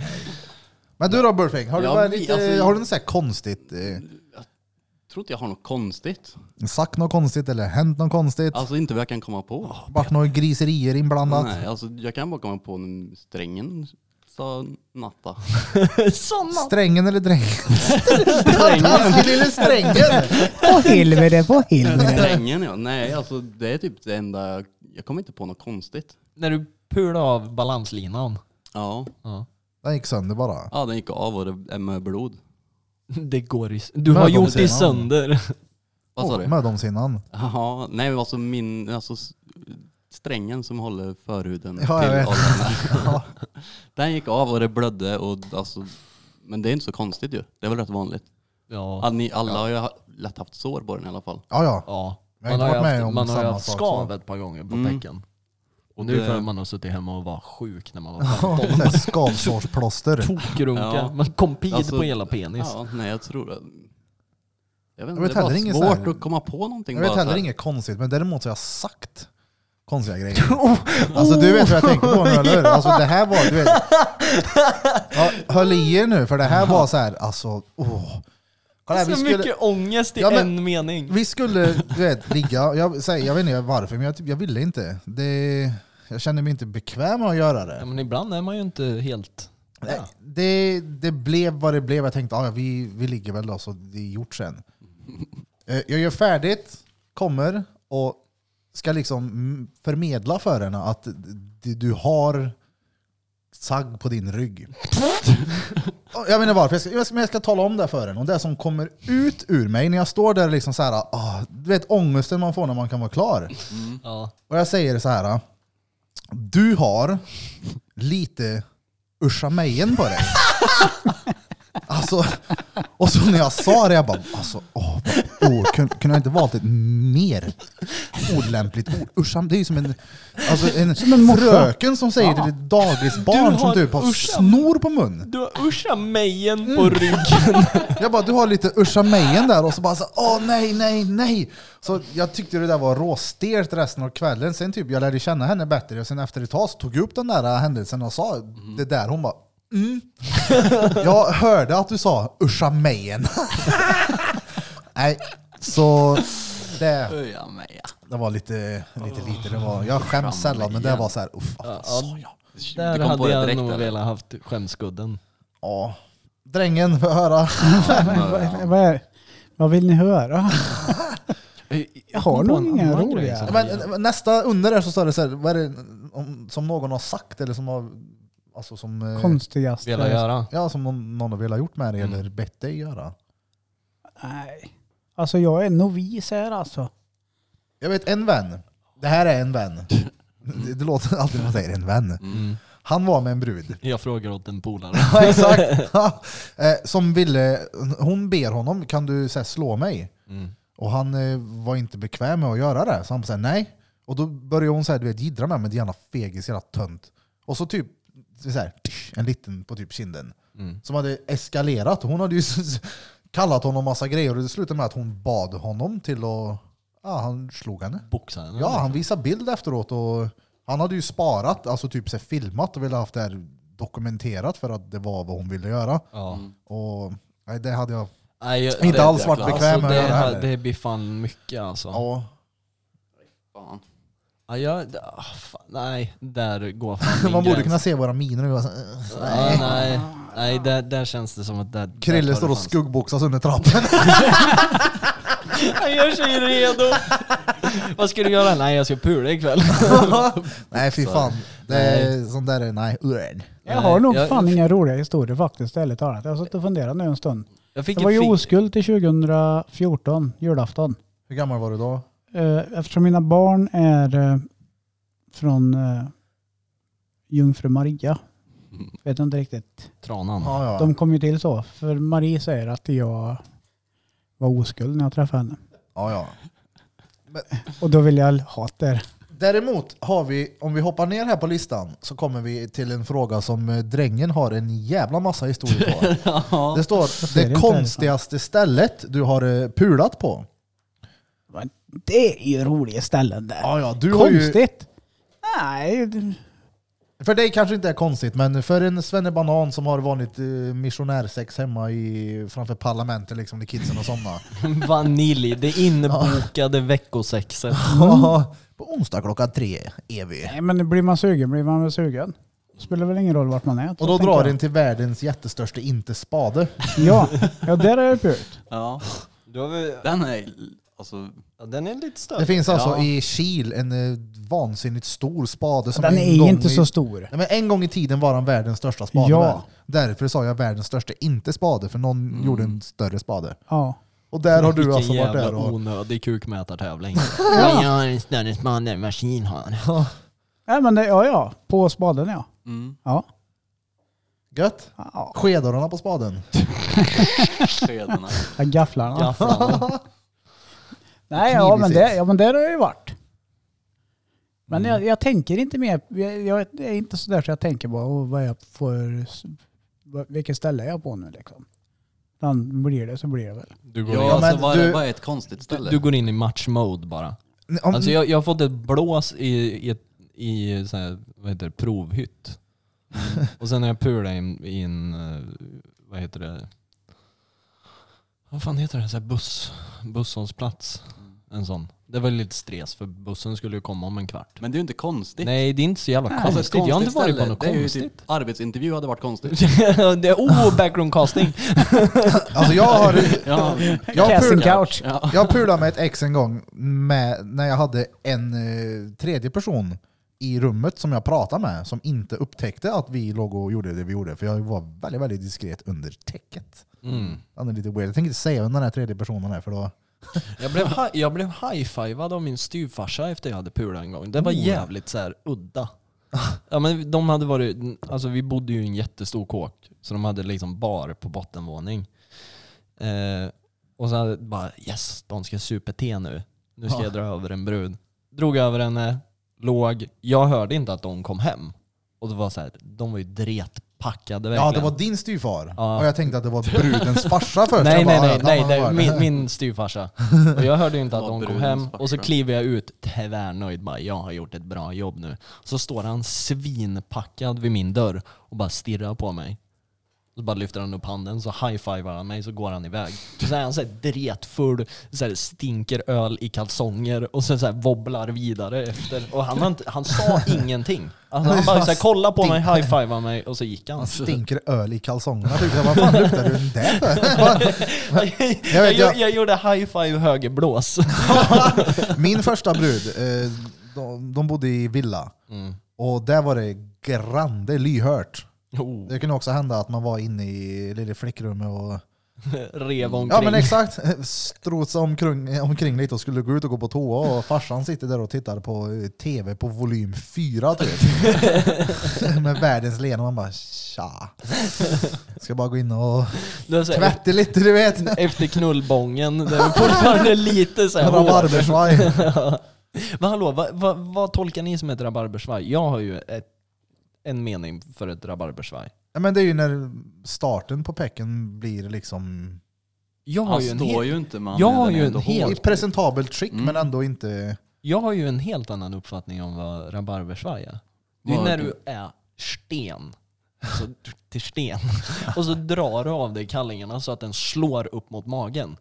Speaker 1: Men du då Burfing, har, du
Speaker 5: Ja,
Speaker 1: bara
Speaker 5: vi-
Speaker 1: lite,
Speaker 5: alltså-
Speaker 1: har du något så här konstigt? Eh,
Speaker 5: Jag tror inte jag har något konstigt.
Speaker 1: sagt något konstigt eller hänt något konstigt?
Speaker 5: Alltså inte vad jag kan komma på.
Speaker 3: Ah,
Speaker 1: Vart några griserier inblandat?
Speaker 5: Nej, alltså jag kan bara komma på när strängen sa natta.
Speaker 3: Såna
Speaker 1: Strängen eller drängen? Taskig lille strängen!
Speaker 4: På helvete, på helvete.
Speaker 5: Strängen ja. Nej, alltså det är typ det enda. jag- Jag kommer inte på något konstigt.
Speaker 3: När du pulade av balanslinan.
Speaker 5: Ja,
Speaker 1: Den gick sönder bara.
Speaker 5: ja den gick av och det är med blod.
Speaker 3: Det går i, du
Speaker 1: Men
Speaker 3: har
Speaker 1: de
Speaker 3: gjort
Speaker 1: säger
Speaker 3: det
Speaker 1: man.
Speaker 3: sönder.
Speaker 5: Vad sa du?
Speaker 1: Mödomshinnan.
Speaker 5: Jaha, nej men alltså min, alltså s- strängen som håller förhuden
Speaker 1: Ja, jag
Speaker 5: till
Speaker 1: vet.
Speaker 5: ollonen.
Speaker 1: Ja.
Speaker 5: Den gick av och det blödde och alltså, men det är inte så konstigt ju. Det är väl rätt vanligt.
Speaker 3: Ja.
Speaker 5: Alla, ni, alla har ju ha- lätt haft sår på den i alla fall.
Speaker 1: Ja, ja.
Speaker 3: ja.
Speaker 1: Jag har
Speaker 3: Man
Speaker 1: inte
Speaker 3: har ju
Speaker 1: varit med
Speaker 3: haft,
Speaker 1: om
Speaker 3: man har ju
Speaker 1: samma
Speaker 3: haft
Speaker 1: sak,
Speaker 3: skav
Speaker 1: så.
Speaker 3: ett par gånger på
Speaker 5: Mm.
Speaker 3: pecken.
Speaker 5: Och
Speaker 3: Och nu
Speaker 5: det-
Speaker 3: för att man har suttit hemma och var sjuk när man var
Speaker 1: Ja,
Speaker 3: 15.
Speaker 1: det där Skavsårsplåster.
Speaker 3: Tokrunka.
Speaker 5: Ja.
Speaker 3: Man kom pid
Speaker 5: Alltså,
Speaker 3: på hela penis.
Speaker 5: Ja, nej jag tror det. Jag vet
Speaker 1: vet
Speaker 5: inte, det
Speaker 1: heller
Speaker 5: är
Speaker 1: inget
Speaker 5: bara svårt
Speaker 1: så här-
Speaker 5: att komma på någonting.
Speaker 1: Jag vet
Speaker 5: bara så
Speaker 1: heller
Speaker 5: här.
Speaker 1: inget konstigt, men däremot så har jag sagt konstiga grejer.
Speaker 5: Oh.
Speaker 1: Alltså du vet vad jag tänker på nu, eller hur? Alltså det här var, du vet. Ja, höll i er nu, för det här var så här, alltså, åh. Kolla här,
Speaker 3: så
Speaker 1: vi skulle,
Speaker 3: mycket ångest i
Speaker 1: Ja, men-
Speaker 3: en mening.
Speaker 1: vi skulle, du vet, ligga, jag, säger, jag vet inte varför, men jag, typ- jag ville inte. Det, jag kände mig inte bekväm med att göra
Speaker 3: Ja,
Speaker 1: det.
Speaker 3: men ibland är man ju inte helt...
Speaker 1: Nej, Det, det blev vad det blev, jag tänkte, ah, ja, vi, vi ligger väl då, så det är gjort sen. Eh, Jag gör färdigt, kommer och ska liksom mm, förmedla för henne att d- du har sagg på din rygg. Och jag vet inte varför, jag ska, jag, ska, men jag ska tala om det för henne. Och det som kommer ut ur mig när jag står där liksom så här, ah, du vet ångesten man får när man kan vara klar.
Speaker 3: Ja.
Speaker 1: Och jag säger så här. Du har lite Usha Mejen på dig. Alltså, och så när jag sa det, jag bara, alltså, åh, vad, åh, kunde, kunde jag inte valt ett mer olämpligt ord? Usha, det är ju som en, alltså en,
Speaker 4: Som en morsa.
Speaker 1: fröken som säger till ett dagisbarn
Speaker 3: Du
Speaker 1: som
Speaker 3: har
Speaker 1: typ har
Speaker 3: Usha.
Speaker 1: snor på mun.
Speaker 3: Du har Usha Mejen på ryggen.
Speaker 1: Jag bara, du har lite Usha Mejen där och så bara så, åh nej, nej, nej. Så jag tyckte det där var råstelt resten av kvällen. Sen typ jag lärde känna henne bättre och sen efter ett tag så tog jag upp den där händelsen och sa det där. Hon bara, Jag hörde att du sa usha mejen. Nej, så det,
Speaker 5: Öja mig.
Speaker 1: det var lite, lite lite. Det var, jag skäms sällan men det var så här, uff, vad fan sa jag?
Speaker 3: Där
Speaker 5: Du kom på
Speaker 3: hade
Speaker 5: det
Speaker 3: jag
Speaker 5: direkt.
Speaker 3: nog
Speaker 5: eller?
Speaker 3: velat haft skämskudden.
Speaker 1: Ja. Drängen, får jag höra.
Speaker 4: Vad- Vad, är, vad vill ni höra? Jag har nog inga roliga.
Speaker 1: Ja, Men, nästa under där så står det så här, vad är det om, som någon har sagt eller som har, alltså som, eh,
Speaker 4: Konstigaste.
Speaker 3: Velat göra.
Speaker 1: ja, som någon, någon har velat gjort med dig eller bett dig göra.
Speaker 4: Nej. Alltså jag är novis här alltså.
Speaker 1: Jag vet en vän, det här är en vän. Det, det låter alltid när man säger en vän.
Speaker 3: Mm.
Speaker 1: Han var med en brud.
Speaker 3: Jag frågar åt en polare.
Speaker 1: Ja, exakt. Ja. Eh, Som ville, hon ber honom, kan du så här, slå mig?
Speaker 3: Mm.
Speaker 1: Och han eh, var inte bekväm med att göra det, så han sa nej. Och då började hon så här, du vet, jiddra med mig, din jävla fegis, jävla tönt. Och så typ så här, tsch, en liten på typ kinden. Som hade eskalerat. Hon hade ju kallat honom massa grejer och det slutade med att hon bad honom till att, ja han slog henne.
Speaker 3: Boxaren.
Speaker 1: Ja, han visade bild efteråt och han hade ju sparat, alltså typ så här filmat och ville haft det här dokumenterat för att det var vad hon ville göra.
Speaker 3: Ja.
Speaker 1: Och nej, det hade jag...
Speaker 3: Nej, jag-
Speaker 1: Inte
Speaker 3: det-
Speaker 1: alls varit
Speaker 3: alltså,
Speaker 1: bekväm med att
Speaker 3: det,
Speaker 1: göra
Speaker 3: här-
Speaker 1: heller.
Speaker 3: det blir fan mycket alltså.
Speaker 1: Ja.
Speaker 5: Fan.
Speaker 3: Ja, jag, ah, fan, nej, där går fan min
Speaker 1: Man borde
Speaker 3: gräns.
Speaker 1: kunna se våra miner och bara så, äh,
Speaker 3: Nej, nej, nej där, där känns det som att... Där, där
Speaker 1: Krille
Speaker 3: tar
Speaker 1: står
Speaker 3: det
Speaker 1: och
Speaker 3: fan-
Speaker 1: skuggboxas under trappen.
Speaker 3: Han gör sig redo. Vad ska du göra? Nej, jag ska pula ikväll.
Speaker 1: nej fy fan. Det är, sånt där är nej. Urn.
Speaker 4: Jag
Speaker 3: Nej,
Speaker 4: har nog
Speaker 3: jag-
Speaker 4: fan inga roliga historier faktiskt, ärligt talat. Jag har suttit och funderat nu en stund.
Speaker 3: Jag fick
Speaker 4: Jag var ju
Speaker 3: ett fing-
Speaker 4: oskuld till 2014, julafton.
Speaker 1: Hur gammal var du då?
Speaker 4: Eh, Eftersom mina barn är eh, från eh, Jungfru Maria.
Speaker 1: Mm.
Speaker 4: Vet inte riktigt.
Speaker 3: tranan.
Speaker 1: Ja, ja.
Speaker 4: De kom ju till så. För Marie säger att jag var oskuld när jag träffade henne.
Speaker 1: ja, ja.
Speaker 4: Och då vill jag hata er.
Speaker 1: Däremot har vi, om vi hoppar ner här på listan, så kommer vi till en fråga som eh, drängen har en jävla massa historier på. Det står
Speaker 4: ser
Speaker 1: det
Speaker 4: inte
Speaker 1: konstigaste stället du har eh, pulat på.
Speaker 4: Men Det är ju roliga ställen där.
Speaker 1: Ja, ja, du har ju,
Speaker 4: Konstigt. Nej, det-
Speaker 1: för dig kanske inte är konstigt, men för en svennebanan som har vanligt eh, missionärsex hemma i, framför parlamentet liksom, när kidsen har somnat.
Speaker 3: Vanilj, det inbokade veckosexet.
Speaker 4: Mm.
Speaker 1: Ja, på onsdag klockan tre är vi.
Speaker 4: nej, men blir man sugen blir man väl sugen. Spelar väl ingen roll vart man är.
Speaker 1: Och då
Speaker 4: tänker
Speaker 1: drar
Speaker 4: jag.
Speaker 1: den till världens jättestörsta inte spade.
Speaker 4: Ja, ja där är det pult.
Speaker 5: Ja,
Speaker 3: Du har väl,
Speaker 5: den är alltså...
Speaker 3: ja, den är lite
Speaker 1: Det
Speaker 3: större.
Speaker 1: finns alltså
Speaker 5: Ja.
Speaker 1: i Kil en eh, vansinnigt stor spade. Som
Speaker 4: Den
Speaker 1: en
Speaker 4: är ju
Speaker 1: gång
Speaker 4: inte
Speaker 1: i-
Speaker 4: så stor.
Speaker 1: Nej, men en gång i tiden var han världens största spade.
Speaker 4: Ja.
Speaker 1: väl? Därför sa jag världens största inte spade, för någon
Speaker 4: Mm.
Speaker 1: gjorde en större spade.
Speaker 4: Ja.
Speaker 1: Och där har du
Speaker 3: Vilken
Speaker 1: alltså varit
Speaker 3: jävla
Speaker 1: där och...
Speaker 3: onödig kukmätartävling. ja. Jag har en större span än vad Kil har.
Speaker 4: Nej, men det, ja, ja. På spaden ja.
Speaker 5: Mm.
Speaker 4: Ja.
Speaker 1: Gött!
Speaker 4: ja.
Speaker 1: Skedorna på spaden.
Speaker 5: Skedarna.
Speaker 4: ja, Gafflarna.
Speaker 3: Gafflarna.
Speaker 4: Nej, ja men,
Speaker 1: Kiwisits.
Speaker 4: det, ja men där har jag ju varit. Men jag, jag tänker inte mer. Jag, jag är inte sådär så jag tänker bara "Åh, vad jag får, vad- vilket ställe är jag på nu liksom. Utan blir det så blir det väl.
Speaker 3: Du går,
Speaker 5: Ja,
Speaker 1: men
Speaker 5: alltså vad
Speaker 1: du-
Speaker 5: är, vad är ett konstigt
Speaker 3: in, du,
Speaker 5: ställe?
Speaker 3: du går in i matchmode bara.
Speaker 1: Om,
Speaker 3: Alltså jag, jag har fått ett blås i, i, ett, i så här, vad heter det, provhytt. Och sen när jag pulade i en- i en, eh, vad heter det, vad fan heter det, så här buss, busshållplats. En sån. Det var ju lite stress för bussen skulle ju komma om en kvart.
Speaker 5: Men det är ju inte konstigt.
Speaker 3: Nej det är inte så jävla
Speaker 5: Alltså,
Speaker 3: konstigt. Jag har inte varit på
Speaker 5: ställe,
Speaker 3: något
Speaker 5: det är ju
Speaker 3: konstigt.
Speaker 5: Typ, arbetsintervju hade varit konstigt.
Speaker 3: det är, oh, background casting.
Speaker 1: alltså jag har...
Speaker 5: Ja,
Speaker 1: Jag,
Speaker 4: Casting
Speaker 1: pul,
Speaker 4: couch.
Speaker 5: ja.
Speaker 1: jag pulade med ett ex en gång med, när jag hade en eh, tredje person i rummet som jag pratade med som inte upptäckte att vi låg och gjorde det vi gjorde. För jag var väldigt, väldigt diskret under täcket.
Speaker 3: Mm.
Speaker 1: Han är lite weird. Jag tänker inte säga vem den här tredje personen är för då...
Speaker 3: Jag blev, hi- jag blev high-fivad av min styvfarsa efter jag hade pulat en gång. Det var
Speaker 1: Oh.
Speaker 3: jävligt så här udda. Ja, men de hade varit, alltså vi bodde ju i en jättestor kåk, så de hade liksom bar på bottenvåning. Eh, och så hade bara yes, de ska supa te nu. Nu ska jag dra över en brud. Drog över henne, låg. Jag hörde inte att de kom hem. Och det var så här, de var ju dretpackade verkligen.
Speaker 1: Ja, det var din styvfar.
Speaker 3: Ja.
Speaker 1: Och jag tänkte att det var brudens farsa först.
Speaker 3: Nej
Speaker 1: Jag
Speaker 3: nej
Speaker 1: bara,
Speaker 3: nej,
Speaker 1: "Ja,
Speaker 3: nej
Speaker 1: han
Speaker 3: det
Speaker 1: var
Speaker 3: är
Speaker 1: det."
Speaker 3: min, min styvfarsa. Och jag hörde ju inte att
Speaker 5: Ja,
Speaker 3: de kom
Speaker 5: brudens
Speaker 3: hem och så
Speaker 5: farsa.
Speaker 3: kliver jag ut tvärnöjd bara jag har gjort ett bra jobb nu. Så står han svinpackad vid min dörr och bara stirrar på mig. Så bara lyfter han upp handen, så high-fivar han mig, så går han iväg. Så är han såhär dretfull, så här stinker öl i kalsonger och sen såhär wobblar vidare efter. Och han, har inte- han sa ingenting. Alltså, han bara såhär kollade på mig, high-fivar mig och så gick han.
Speaker 1: Han stinker öl i kalsongerna tyckte jag. Vad fan luktar du där för? Jag
Speaker 3: Jag,
Speaker 1: vet,
Speaker 3: jag,
Speaker 1: jag,
Speaker 3: jag gjorde high-five högerblås.
Speaker 1: min första brud, eh, de, de bodde i villa.
Speaker 3: Mm.
Speaker 1: Och där var det grande lyhört.
Speaker 3: Oh,
Speaker 1: Det kunde också hända att man var inne i lilla flickrummet och
Speaker 3: rev omkring.
Speaker 1: Ja men exakt. Strotsa omkring, omkring lite och skulle gå ut och gå på toa och farsan sitter där och tittar på eh, tv på volym 4 typ. Med världens leende och man bara tja. Ska bara gå in och
Speaker 3: Det var så här,
Speaker 1: tvätta lite du vet.
Speaker 3: Efter knullbången, det är fortfarande lite såhär hår.
Speaker 1: Rabarbersvaj.
Speaker 3: Men hallå, vad, vad, vad tolkar ni som ett rabarbersvaj? Jag har ju ett, en mening för ett rabarbersvaj.
Speaker 1: Ja, Men det är ju när starten på pecken blir liksom
Speaker 3: Jag har,
Speaker 5: Han
Speaker 3: ju en,
Speaker 5: står
Speaker 3: hel,
Speaker 5: ju inte man.
Speaker 3: Jag har ju en hel-
Speaker 1: i presentabelt skick
Speaker 5: Mm.
Speaker 1: men ändå inte...
Speaker 3: jag har ju en helt annan uppfattning om vad rabarbersvaj är. Det är
Speaker 5: Vad är
Speaker 3: när
Speaker 5: det?
Speaker 3: du är sten. Alltså till sten. Och så drar du av dig kallingarna så att den slår upp mot magen.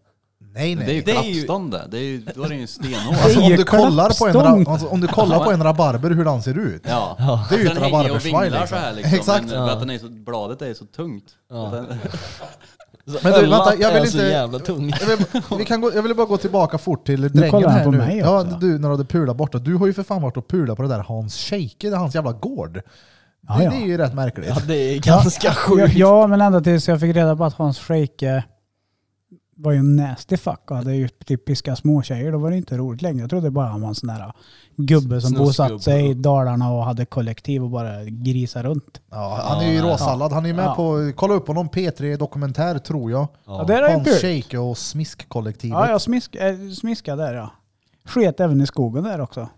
Speaker 1: Nej
Speaker 5: Det är ju
Speaker 1: nej.
Speaker 3: Det är ju-
Speaker 5: klappstånd det. det är ju, då är det ju stenhård.
Speaker 1: Alltså, om, du kollar på en, ra-
Speaker 4: Kollapstång.
Speaker 1: alltså, om du kollar på en rabarber hur den ser ut.
Speaker 5: Ja.
Speaker 1: Det är ju
Speaker 5: Alltså, Den
Speaker 1: ett
Speaker 5: hänger och
Speaker 1: rabarbersvaj
Speaker 5: vinglar
Speaker 1: liksom.
Speaker 5: så här liksom.
Speaker 1: Exakt.
Speaker 5: Men för att den är så, bladet är ju så tungt.
Speaker 3: Ja.
Speaker 5: Så den-
Speaker 3: Så
Speaker 1: Men du,
Speaker 3: öllat
Speaker 1: vänta, jag vill
Speaker 3: är så
Speaker 1: inte-
Speaker 3: jävla tungt.
Speaker 1: Jag vill, vi kan gå, jag ville bara gå tillbaka fort till drängen
Speaker 4: kollar han
Speaker 1: här
Speaker 4: på
Speaker 1: nu.
Speaker 4: mig
Speaker 1: ja,
Speaker 4: också.
Speaker 1: du, när du hade pulat borta. Du har ju för fan varit och pulat på det där Hans Scheike, det är hans jävla gård.
Speaker 4: Ja,
Speaker 1: det,
Speaker 4: ja.
Speaker 1: det är ju rätt märkligt.
Speaker 3: Ja, det är ganska
Speaker 4: Ja,
Speaker 3: sjukt.
Speaker 4: ja, men ända tills jag fick reda på att Hans Scheike var ju en nasty fuck och hade ju typ piskat småtjejer. Då var det inte roligt längre. Jag trodde bara han var en sån där gubbe som
Speaker 3: Snuskgubbe.
Speaker 4: bosatt sig i Dalarna och hade kollektiv och bara grisa runt.
Speaker 1: Ja, han är ju råsallad. Han är ju med
Speaker 4: Ja.
Speaker 1: på, kolla upp honom, P3 Dokumentär tror jag.
Speaker 4: Ja, det är ju
Speaker 1: Hans
Speaker 4: kul.
Speaker 1: Scheike och Smiskkollektivet.
Speaker 4: Ja,
Speaker 1: Ja,
Speaker 4: jag smisk, eh, smiskade där ja. Sket även i skogen där också.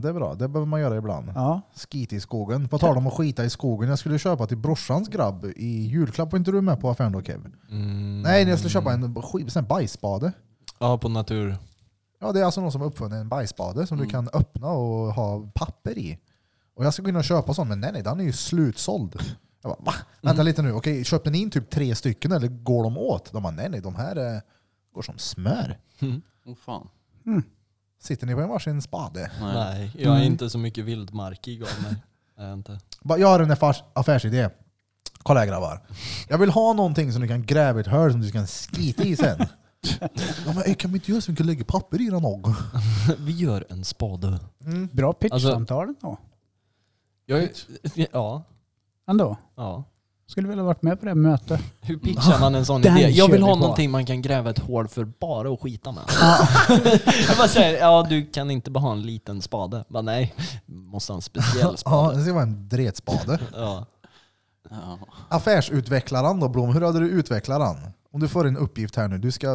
Speaker 1: det är bra, det behöver man göra ibland.
Speaker 4: Ja.
Speaker 1: Skit i skogen. På tal om att skita i skogen, jag skulle köpa till brorsans grabb i julklapp. Var inte du med på affären då Kevin?
Speaker 5: Mm.
Speaker 1: Nej, jag skulle köpa en, sk- sån här bajsspade.
Speaker 3: Ja, på natur.
Speaker 1: Ja, det är alltså någon som har uppfunnit en bajsspade som du kan öppna och ha papper i. Och jag ska gå in och köpa sån, men nej nej, den är ju slutsåld. Jag bara, va? Vänta lite nu, okej, köpte ni in typ tre stycken eller går de åt? De bara, nej nej, de här eh, går som smör.
Speaker 5: Åh fan.
Speaker 1: Sitter ni på en varsin spade?
Speaker 5: Nej.
Speaker 3: Nej, jag är inte så mycket vildmarkig av mig. Jag är inte.
Speaker 1: Bara, jag har en affärs affärsidé. Kolla här grabbar. Jag vill ha någonting som du kan gräva i ett hål som du kan skita i sen. Ja, men, eh, kan vi inte göra så att vi kan lägga papper i den också?
Speaker 3: Vi gör en spade.
Speaker 4: Bra
Speaker 3: Alltså-
Speaker 4: pitchsamtal ändå.
Speaker 3: Jag är, ja,
Speaker 4: Ändå.
Speaker 3: ja.
Speaker 4: Skulle vilja varit med på det mötet.
Speaker 3: Hur pitchar man en sån
Speaker 4: Den
Speaker 3: idé? Jag
Speaker 4: kör
Speaker 3: vill
Speaker 4: vi
Speaker 3: ha
Speaker 4: på.
Speaker 3: någonting man kan gräva ett hål för bara och skita med. jag bara säger, ja du kan inte bara ha en liten spade. Bara, nej, måste ha en speciell
Speaker 1: Ja,
Speaker 3: spade.
Speaker 1: det ska vara en dretspade.
Speaker 3: Ja.
Speaker 5: Ja.
Speaker 1: Affärsutvecklaren då Blom, hur hade du utvecklat den? Om du får en uppgift här nu, du ska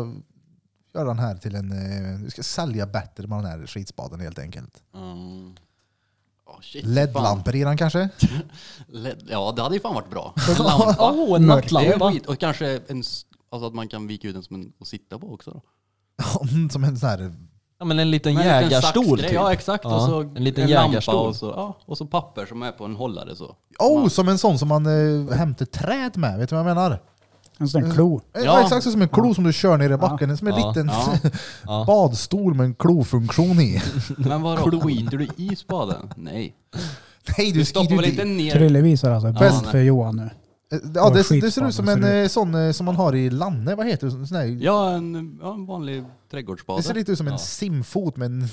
Speaker 1: göra den här till en... eh, Du ska sälja bättre med den här skitspaden helt enkelt.
Speaker 5: Mm. Åh, shit, fan.
Speaker 1: LED-lampor i den kanske?
Speaker 5: LED, ja det hade ju fan varit bra. En lampa.
Speaker 3: Åh, en
Speaker 5: Det är ju
Speaker 3: nattlampa.
Speaker 5: skit. Och kanske en, s- alltså att man kan vika ut den som en, och sitta på också. Då.
Speaker 1: Som en sån här...
Speaker 3: Ja, men en liten
Speaker 5: Men en liten
Speaker 3: jägarstol
Speaker 5: saxgrej,
Speaker 3: typ.
Speaker 5: Ja exakt.
Speaker 3: Ja,
Speaker 5: Och så
Speaker 3: en liten
Speaker 5: lampa
Speaker 3: jägarstol.
Speaker 5: och så, ja, och så papper som är på en hållare så.
Speaker 1: Oh, som en sån som man eh, hämtar träd med, vet du vad jag menar? Eh,
Speaker 4: En sån där klo.
Speaker 1: Ja.
Speaker 5: Ja.
Speaker 1: exakt som en klo som du kör ner i backen. Som en
Speaker 3: Ja.
Speaker 1: liten
Speaker 5: Ja.
Speaker 3: Ja.
Speaker 1: badstol med en klofunktion i.
Speaker 5: Men vadå, skiter du i spaden? Nej.
Speaker 1: Nej,
Speaker 5: Du
Speaker 1: du skriver
Speaker 5: stoppar väl
Speaker 1: ju
Speaker 5: inte
Speaker 1: dit.
Speaker 5: ner?
Speaker 4: Trille visar alltså bäst
Speaker 1: men-
Speaker 4: för Johan nu.
Speaker 1: Ja, det, det ser
Speaker 4: skitspaden
Speaker 1: ut som en
Speaker 4: ser
Speaker 1: eh, sån eh, som man har i Lanne, vad heter det? Sån här,
Speaker 5: Ja en, ja, en vanlig
Speaker 1: det ser
Speaker 5: trädgårdsspade.
Speaker 1: lite ut som en simfot med en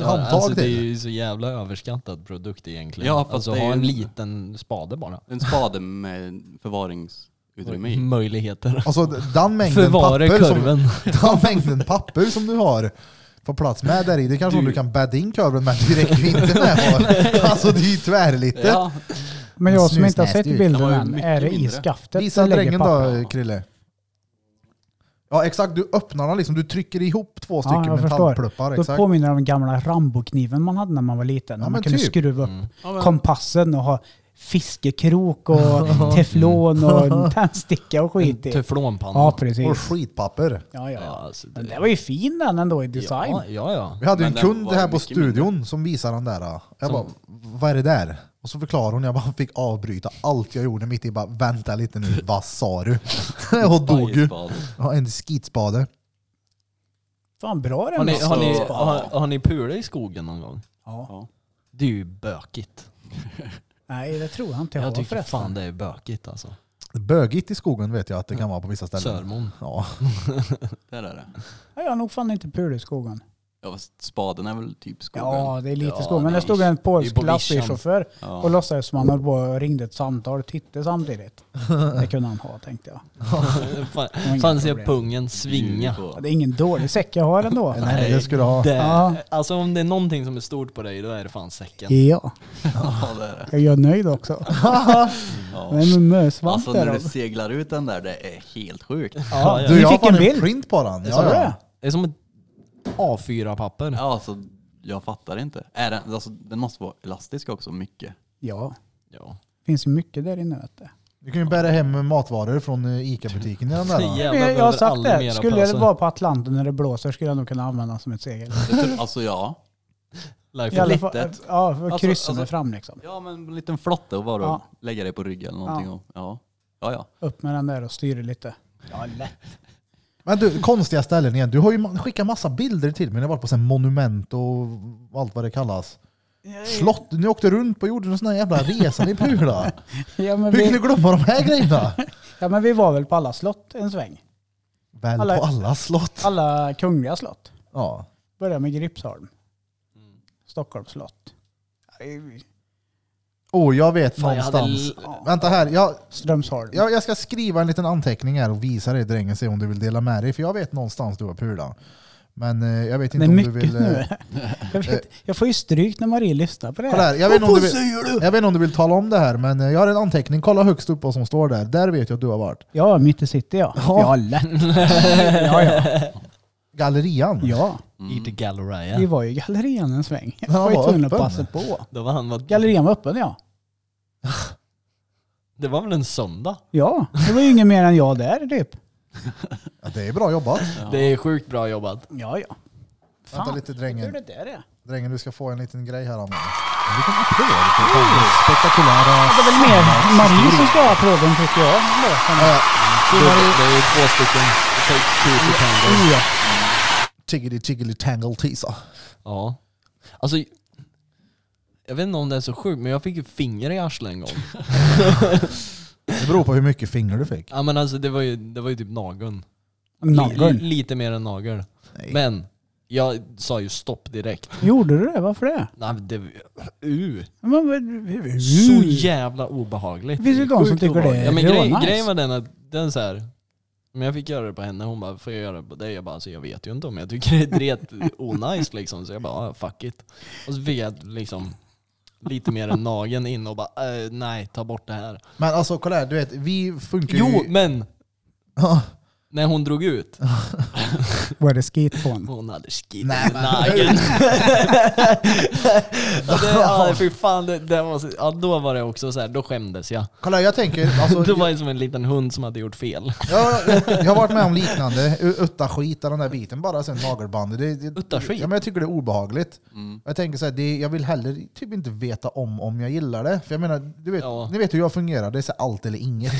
Speaker 3: Ja,
Speaker 1: handtag
Speaker 3: alltså, det är
Speaker 1: till.
Speaker 3: ju så jävla överskattad produkt egentligen.
Speaker 5: Ja,
Speaker 3: Ja,
Speaker 5: fast
Speaker 3: alltså
Speaker 5: det är
Speaker 3: ha
Speaker 5: ju-
Speaker 3: en liten spade bara.
Speaker 5: En spade med förvaringsutrymme
Speaker 4: Mm.
Speaker 5: i.
Speaker 3: Möjligheter.
Speaker 1: Alltså den mängden,
Speaker 3: Förvara
Speaker 1: papper som,
Speaker 3: kurven.
Speaker 1: den mängden papper som du har på plats med där i, det kanske du, du kan bädda in kurven med direkt inte med på. Alltså det är ju tvärlite.
Speaker 5: Ja,
Speaker 4: Men jag som inte har
Speaker 1: Snusnäs,
Speaker 4: sett
Speaker 1: det är ju-
Speaker 4: bilden
Speaker 5: den var ju
Speaker 4: än,
Speaker 5: mycket
Speaker 4: är det i
Speaker 5: mindre.
Speaker 4: skaftet
Speaker 1: Visa
Speaker 4: du lägger
Speaker 1: drängen
Speaker 4: papper?
Speaker 1: då Krille. Ja exakt, du öppnar den liksom, du trycker ihop två stycken
Speaker 4: jag förstår.
Speaker 1: metallpluppar.
Speaker 4: Då
Speaker 1: Exakt.
Speaker 4: påminner det om den gamla Rambo-kniven man hade när man var liten.
Speaker 1: Ja,
Speaker 4: när man
Speaker 1: men
Speaker 4: kunde
Speaker 1: typ.
Speaker 4: skruva upp
Speaker 5: Ja, men-
Speaker 4: kompassen och ha fiskekrok och teflon och en tändsticka och skit i.
Speaker 3: Teflonpanna.
Speaker 4: Ja,
Speaker 1: Och
Speaker 4: precis.
Speaker 1: skitpapper.
Speaker 4: Ja, ja,
Speaker 3: Ja,
Speaker 4: ja.
Speaker 3: alltså, det-
Speaker 4: Men det var ju fin den ändå i design.
Speaker 3: Ja, ja. ja.
Speaker 1: Vi hade ju
Speaker 5: Men
Speaker 1: en
Speaker 5: den
Speaker 1: kund
Speaker 5: var
Speaker 1: här på
Speaker 5: mycket
Speaker 1: studion som visade den där. Jag bara, vad är det där? Och så förklarade hon, jag bara fick avbryta allt jag gjorde mitt i. Bara, Vänta lite nu, vad sa du? Hon dog ju.
Speaker 5: Bajsbad.
Speaker 1: Ja, en skitspade.
Speaker 4: Fan bra den
Speaker 3: Har ni,
Speaker 4: alltså.
Speaker 3: har ni, har, har ni pulat i skogen någon gång?
Speaker 4: Ja.
Speaker 3: Det är ju bökigt.
Speaker 4: Nej, det tror jag inte jag,
Speaker 3: Jag
Speaker 4: har
Speaker 3: tycker
Speaker 4: förresten.
Speaker 3: fan det är bökigt alltså.
Speaker 1: Bögigt i skogen vet jag att det kan vara på vissa ställen.
Speaker 3: Sörmon.
Speaker 1: Ja,
Speaker 5: Där är det.
Speaker 4: Ja, jag har nog fan inte pul i skogen.
Speaker 5: Ja fast spaden är väl typ skogen?
Speaker 4: Ja, det är lite
Speaker 5: Ja,
Speaker 4: skog. Men det
Speaker 5: nej.
Speaker 4: stod en
Speaker 3: Det är
Speaker 4: polsk
Speaker 3: på
Speaker 4: lastbilschaufför
Speaker 5: Ja.
Speaker 4: och låtsades som han höll på och ringde ett samtal och tittade samtidigt. Det kunde han ha tänkte jag.
Speaker 3: Fan,
Speaker 4: var inga
Speaker 3: fan ser
Speaker 4: problem.
Speaker 3: pungen svinga.
Speaker 4: Ja, Det är ingen dålig säck jag har ändå.
Speaker 1: nej, nej det ska du ha.
Speaker 3: Det,
Speaker 4: Ja.
Speaker 3: Alltså om det är någonting som är stort på dig, då är det fan säcken.
Speaker 4: Ja,
Speaker 5: Ja, det är det.
Speaker 4: jag är nöjd också.
Speaker 5: Ja.
Speaker 4: Men mösvamp
Speaker 5: Alltså
Speaker 4: där
Speaker 5: när
Speaker 4: då.
Speaker 5: det seglar ut den där, det är helt sjukt.
Speaker 4: Ja,
Speaker 1: Du,
Speaker 4: Vi
Speaker 1: jag har
Speaker 4: fick
Speaker 1: fan
Speaker 4: en
Speaker 1: en,
Speaker 4: bild.
Speaker 1: print på den.
Speaker 4: Sa du det?
Speaker 3: Det är som ett A4-papper.
Speaker 5: Ja, alltså, jag fattar inte. Är den, alltså, den måste vara elastisk också, mycket.
Speaker 4: Ja,
Speaker 3: Ja.
Speaker 4: finns ju mycket där inne vet du.
Speaker 1: Du kan ju bära hem matvaror från eh, ICA-butiken i den där. va?
Speaker 3: Jävlar,
Speaker 4: Men jag, jag har
Speaker 3: behöver
Speaker 4: sagt
Speaker 3: aldrig alltså-
Speaker 4: det,
Speaker 3: mera
Speaker 4: skulle det
Speaker 3: påsar.
Speaker 4: vara på Atlanten när det blåser skulle jag nog kunna använda den som ett segel.
Speaker 5: Det tror- Alltså ja.
Speaker 3: Life
Speaker 4: I alla fall,
Speaker 5: litet.
Speaker 4: ja, för
Speaker 5: Alltså,
Speaker 4: kryssen är
Speaker 5: alltså-
Speaker 4: fram liksom.
Speaker 5: Ja, men en liten flotte och bara
Speaker 4: Ja.
Speaker 5: lägga dig på ryggen eller någonting. Och, ja. Ja, ja.
Speaker 4: Upp med den där och styra lite. Ja, lätt.
Speaker 1: Men du, konstiga ställen igen. Du har ju ma- skickat massa bilder till mig. Ni har varit på sån här monument och allt vad det kallas. Slott. Ni åkte runt på jorden och sån här jävla resa ni pula.
Speaker 4: Ja men,
Speaker 1: Hur kan
Speaker 4: vi,
Speaker 1: du glömma de här grejerna?
Speaker 4: ja men vi var väl på alla slott en sväng.
Speaker 1: Väl
Speaker 4: Alla-
Speaker 1: på alla slott.
Speaker 4: Alla kungliga slott.
Speaker 1: Ja.
Speaker 4: Började med Gripsholm. Stockholms slott.
Speaker 1: Oh, jag vet
Speaker 3: Fan, jag hade
Speaker 1: någonstans.
Speaker 3: l-
Speaker 1: Vänta här. Jag,
Speaker 4: Strömsholm.
Speaker 1: jag, jag ska skriva en liten anteckning här och visa dig drängen se om du vill dela med dig. För jag vet någonstans du har pula. Men eh, jag vet
Speaker 4: Det
Speaker 1: inte
Speaker 4: är
Speaker 1: om du
Speaker 4: mycket
Speaker 1: vill... eh,
Speaker 4: nu. Jag, vet, jag får ju stryk när Marie lyssnar på det
Speaker 1: Kolla
Speaker 4: här.
Speaker 1: här, jag, vet inte om du vill, jag vet inte om du vill tala om det här, men eh, jag har en anteckning. Kolla högst upp vad som står där. Där vet jag att du har varit.
Speaker 4: Ja, mitt i city ja.
Speaker 1: Ja.
Speaker 4: Ja, lätt. Ja, ja.
Speaker 1: Gallerian.
Speaker 4: ja.
Speaker 3: Eat
Speaker 4: Vi
Speaker 3: Galleria.
Speaker 4: var ju i gallerian en sväng. Jag
Speaker 1: Ja,
Speaker 4: var ju
Speaker 1: var
Speaker 4: tvungen att
Speaker 1: öppen.
Speaker 4: passa på.
Speaker 3: Då var han, vad-
Speaker 4: Gallerian var öppen ja.
Speaker 3: det var väl en söndag?
Speaker 4: Ja, det var ju ingen mer än jag där typ.
Speaker 1: Ja, det är bra jobbat.
Speaker 3: Det är sjukt bra jobbat.
Speaker 4: Ja, ja. Fan,
Speaker 1: Vänta lite
Speaker 4: hur
Speaker 1: drängen.
Speaker 4: det där är.
Speaker 1: Drängen, du ska få en liten grej här av mig. En liten applåd. Spektakulära...
Speaker 4: Det är väl mer Marie som ska ha applåden tycker jag. Låten.
Speaker 3: Det är ju två stycken. Take two to tango.
Speaker 1: Oh, ja. Tiggity tiggity tangle tisa.
Speaker 3: Ja. Alltså, jag vet inte om det är så sjukt, men jag fick ju finger i arslet en gång.
Speaker 1: Det beror på hur mycket fingrar du fick.
Speaker 3: Ja men alltså det var ju, det var ju typ nageln. Li-
Speaker 4: Nageln.
Speaker 3: lite mer än nagel.
Speaker 1: Nej.
Speaker 3: Men jag sa ju stopp direkt.
Speaker 4: Gjorde du det? Varför det?
Speaker 3: Nej, men det, uh,
Speaker 4: Men, men, hur?
Speaker 3: så jävla obehagligt.
Speaker 4: Det Mm. finns ju de som
Speaker 3: Sjukt
Speaker 4: tycker det
Speaker 3: obehagligt. ja, men
Speaker 4: är
Speaker 3: grej,
Speaker 4: nice.
Speaker 3: Grejen var den att den så här, men jag fick göra det på henne, hon bara får jag göra det på dig? Jag bara alltså, jag vet ju inte om jag tycker det är dret onajs liksom. Så jag bara ah, fuck it. Och så fick jag liksom lite mer än nageln in och bara eh, nej ta bort det här.
Speaker 1: Men alltså kolla här, du vet, vi funkar ju...
Speaker 3: Jo men
Speaker 1: Ja.
Speaker 3: när hon drog ut,
Speaker 4: Var det skit på honom?
Speaker 3: hon hade skit i
Speaker 1: Nej, men-
Speaker 3: nageln. Och det, ja, fy fan, det, det var så, ja, då var det också så här, då skämdes jag.
Speaker 1: Kolla här, jag tänker... Alltså,
Speaker 3: Det var ju som en liten hund som hade gjort fel.
Speaker 1: Jag, jag har varit med om liknande. Uttaskit och den där biten. Bara sen nagelbandet. Det, det,
Speaker 3: Uttaskit?
Speaker 1: Ja, men jag tycker det är obehagligt.
Speaker 3: Mm.
Speaker 1: Jag tänker så här, det, jag vill heller typ inte veta om om jag gillar det. För jag menar, du vet,
Speaker 3: Ja.
Speaker 1: ni vet hur jag fungerar. Det är så här allt eller inget.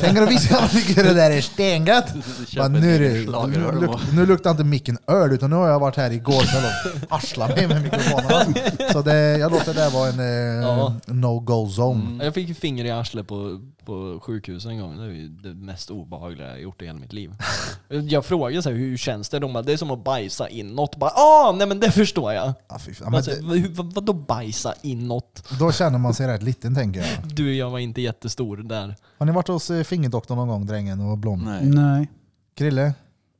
Speaker 1: Tänker du visa jag tycker det där är stengött?
Speaker 5: köper
Speaker 1: Bara,
Speaker 5: en
Speaker 1: Nu, är
Speaker 5: egen
Speaker 1: det-
Speaker 5: schlager,
Speaker 1: nu,
Speaker 5: hör du
Speaker 1: luk, nu luktar inte micken öl, utan nu har jag varit här igår kväll och arslat mig med mikrofonen. Så det, jag låter det där vara en eh,
Speaker 3: Ja.
Speaker 1: no-go zone.
Speaker 5: Mm.
Speaker 3: Jag fick ju finger i arslet på, på sjukhuset en gång. Det är ju det mest obehagliga jag gjort i hela mitt liv. Jag frågade så här, hur känns det? De bara, det är som att bajsa inåt. Bara, ah, nej men det förstår jag.
Speaker 1: Ja, Ah, fy fan. Men
Speaker 3: alltså,
Speaker 1: det,
Speaker 3: vad, vad, vadå bajsa inåt?
Speaker 1: då känner man sig rätt liten tänker jag.
Speaker 3: Du, jag var inte jättestor där.
Speaker 1: Har ni varit hos eh, fingerdoktorn någon gång drängen och blond?
Speaker 5: Nej.
Speaker 4: Nej.
Speaker 1: Krille?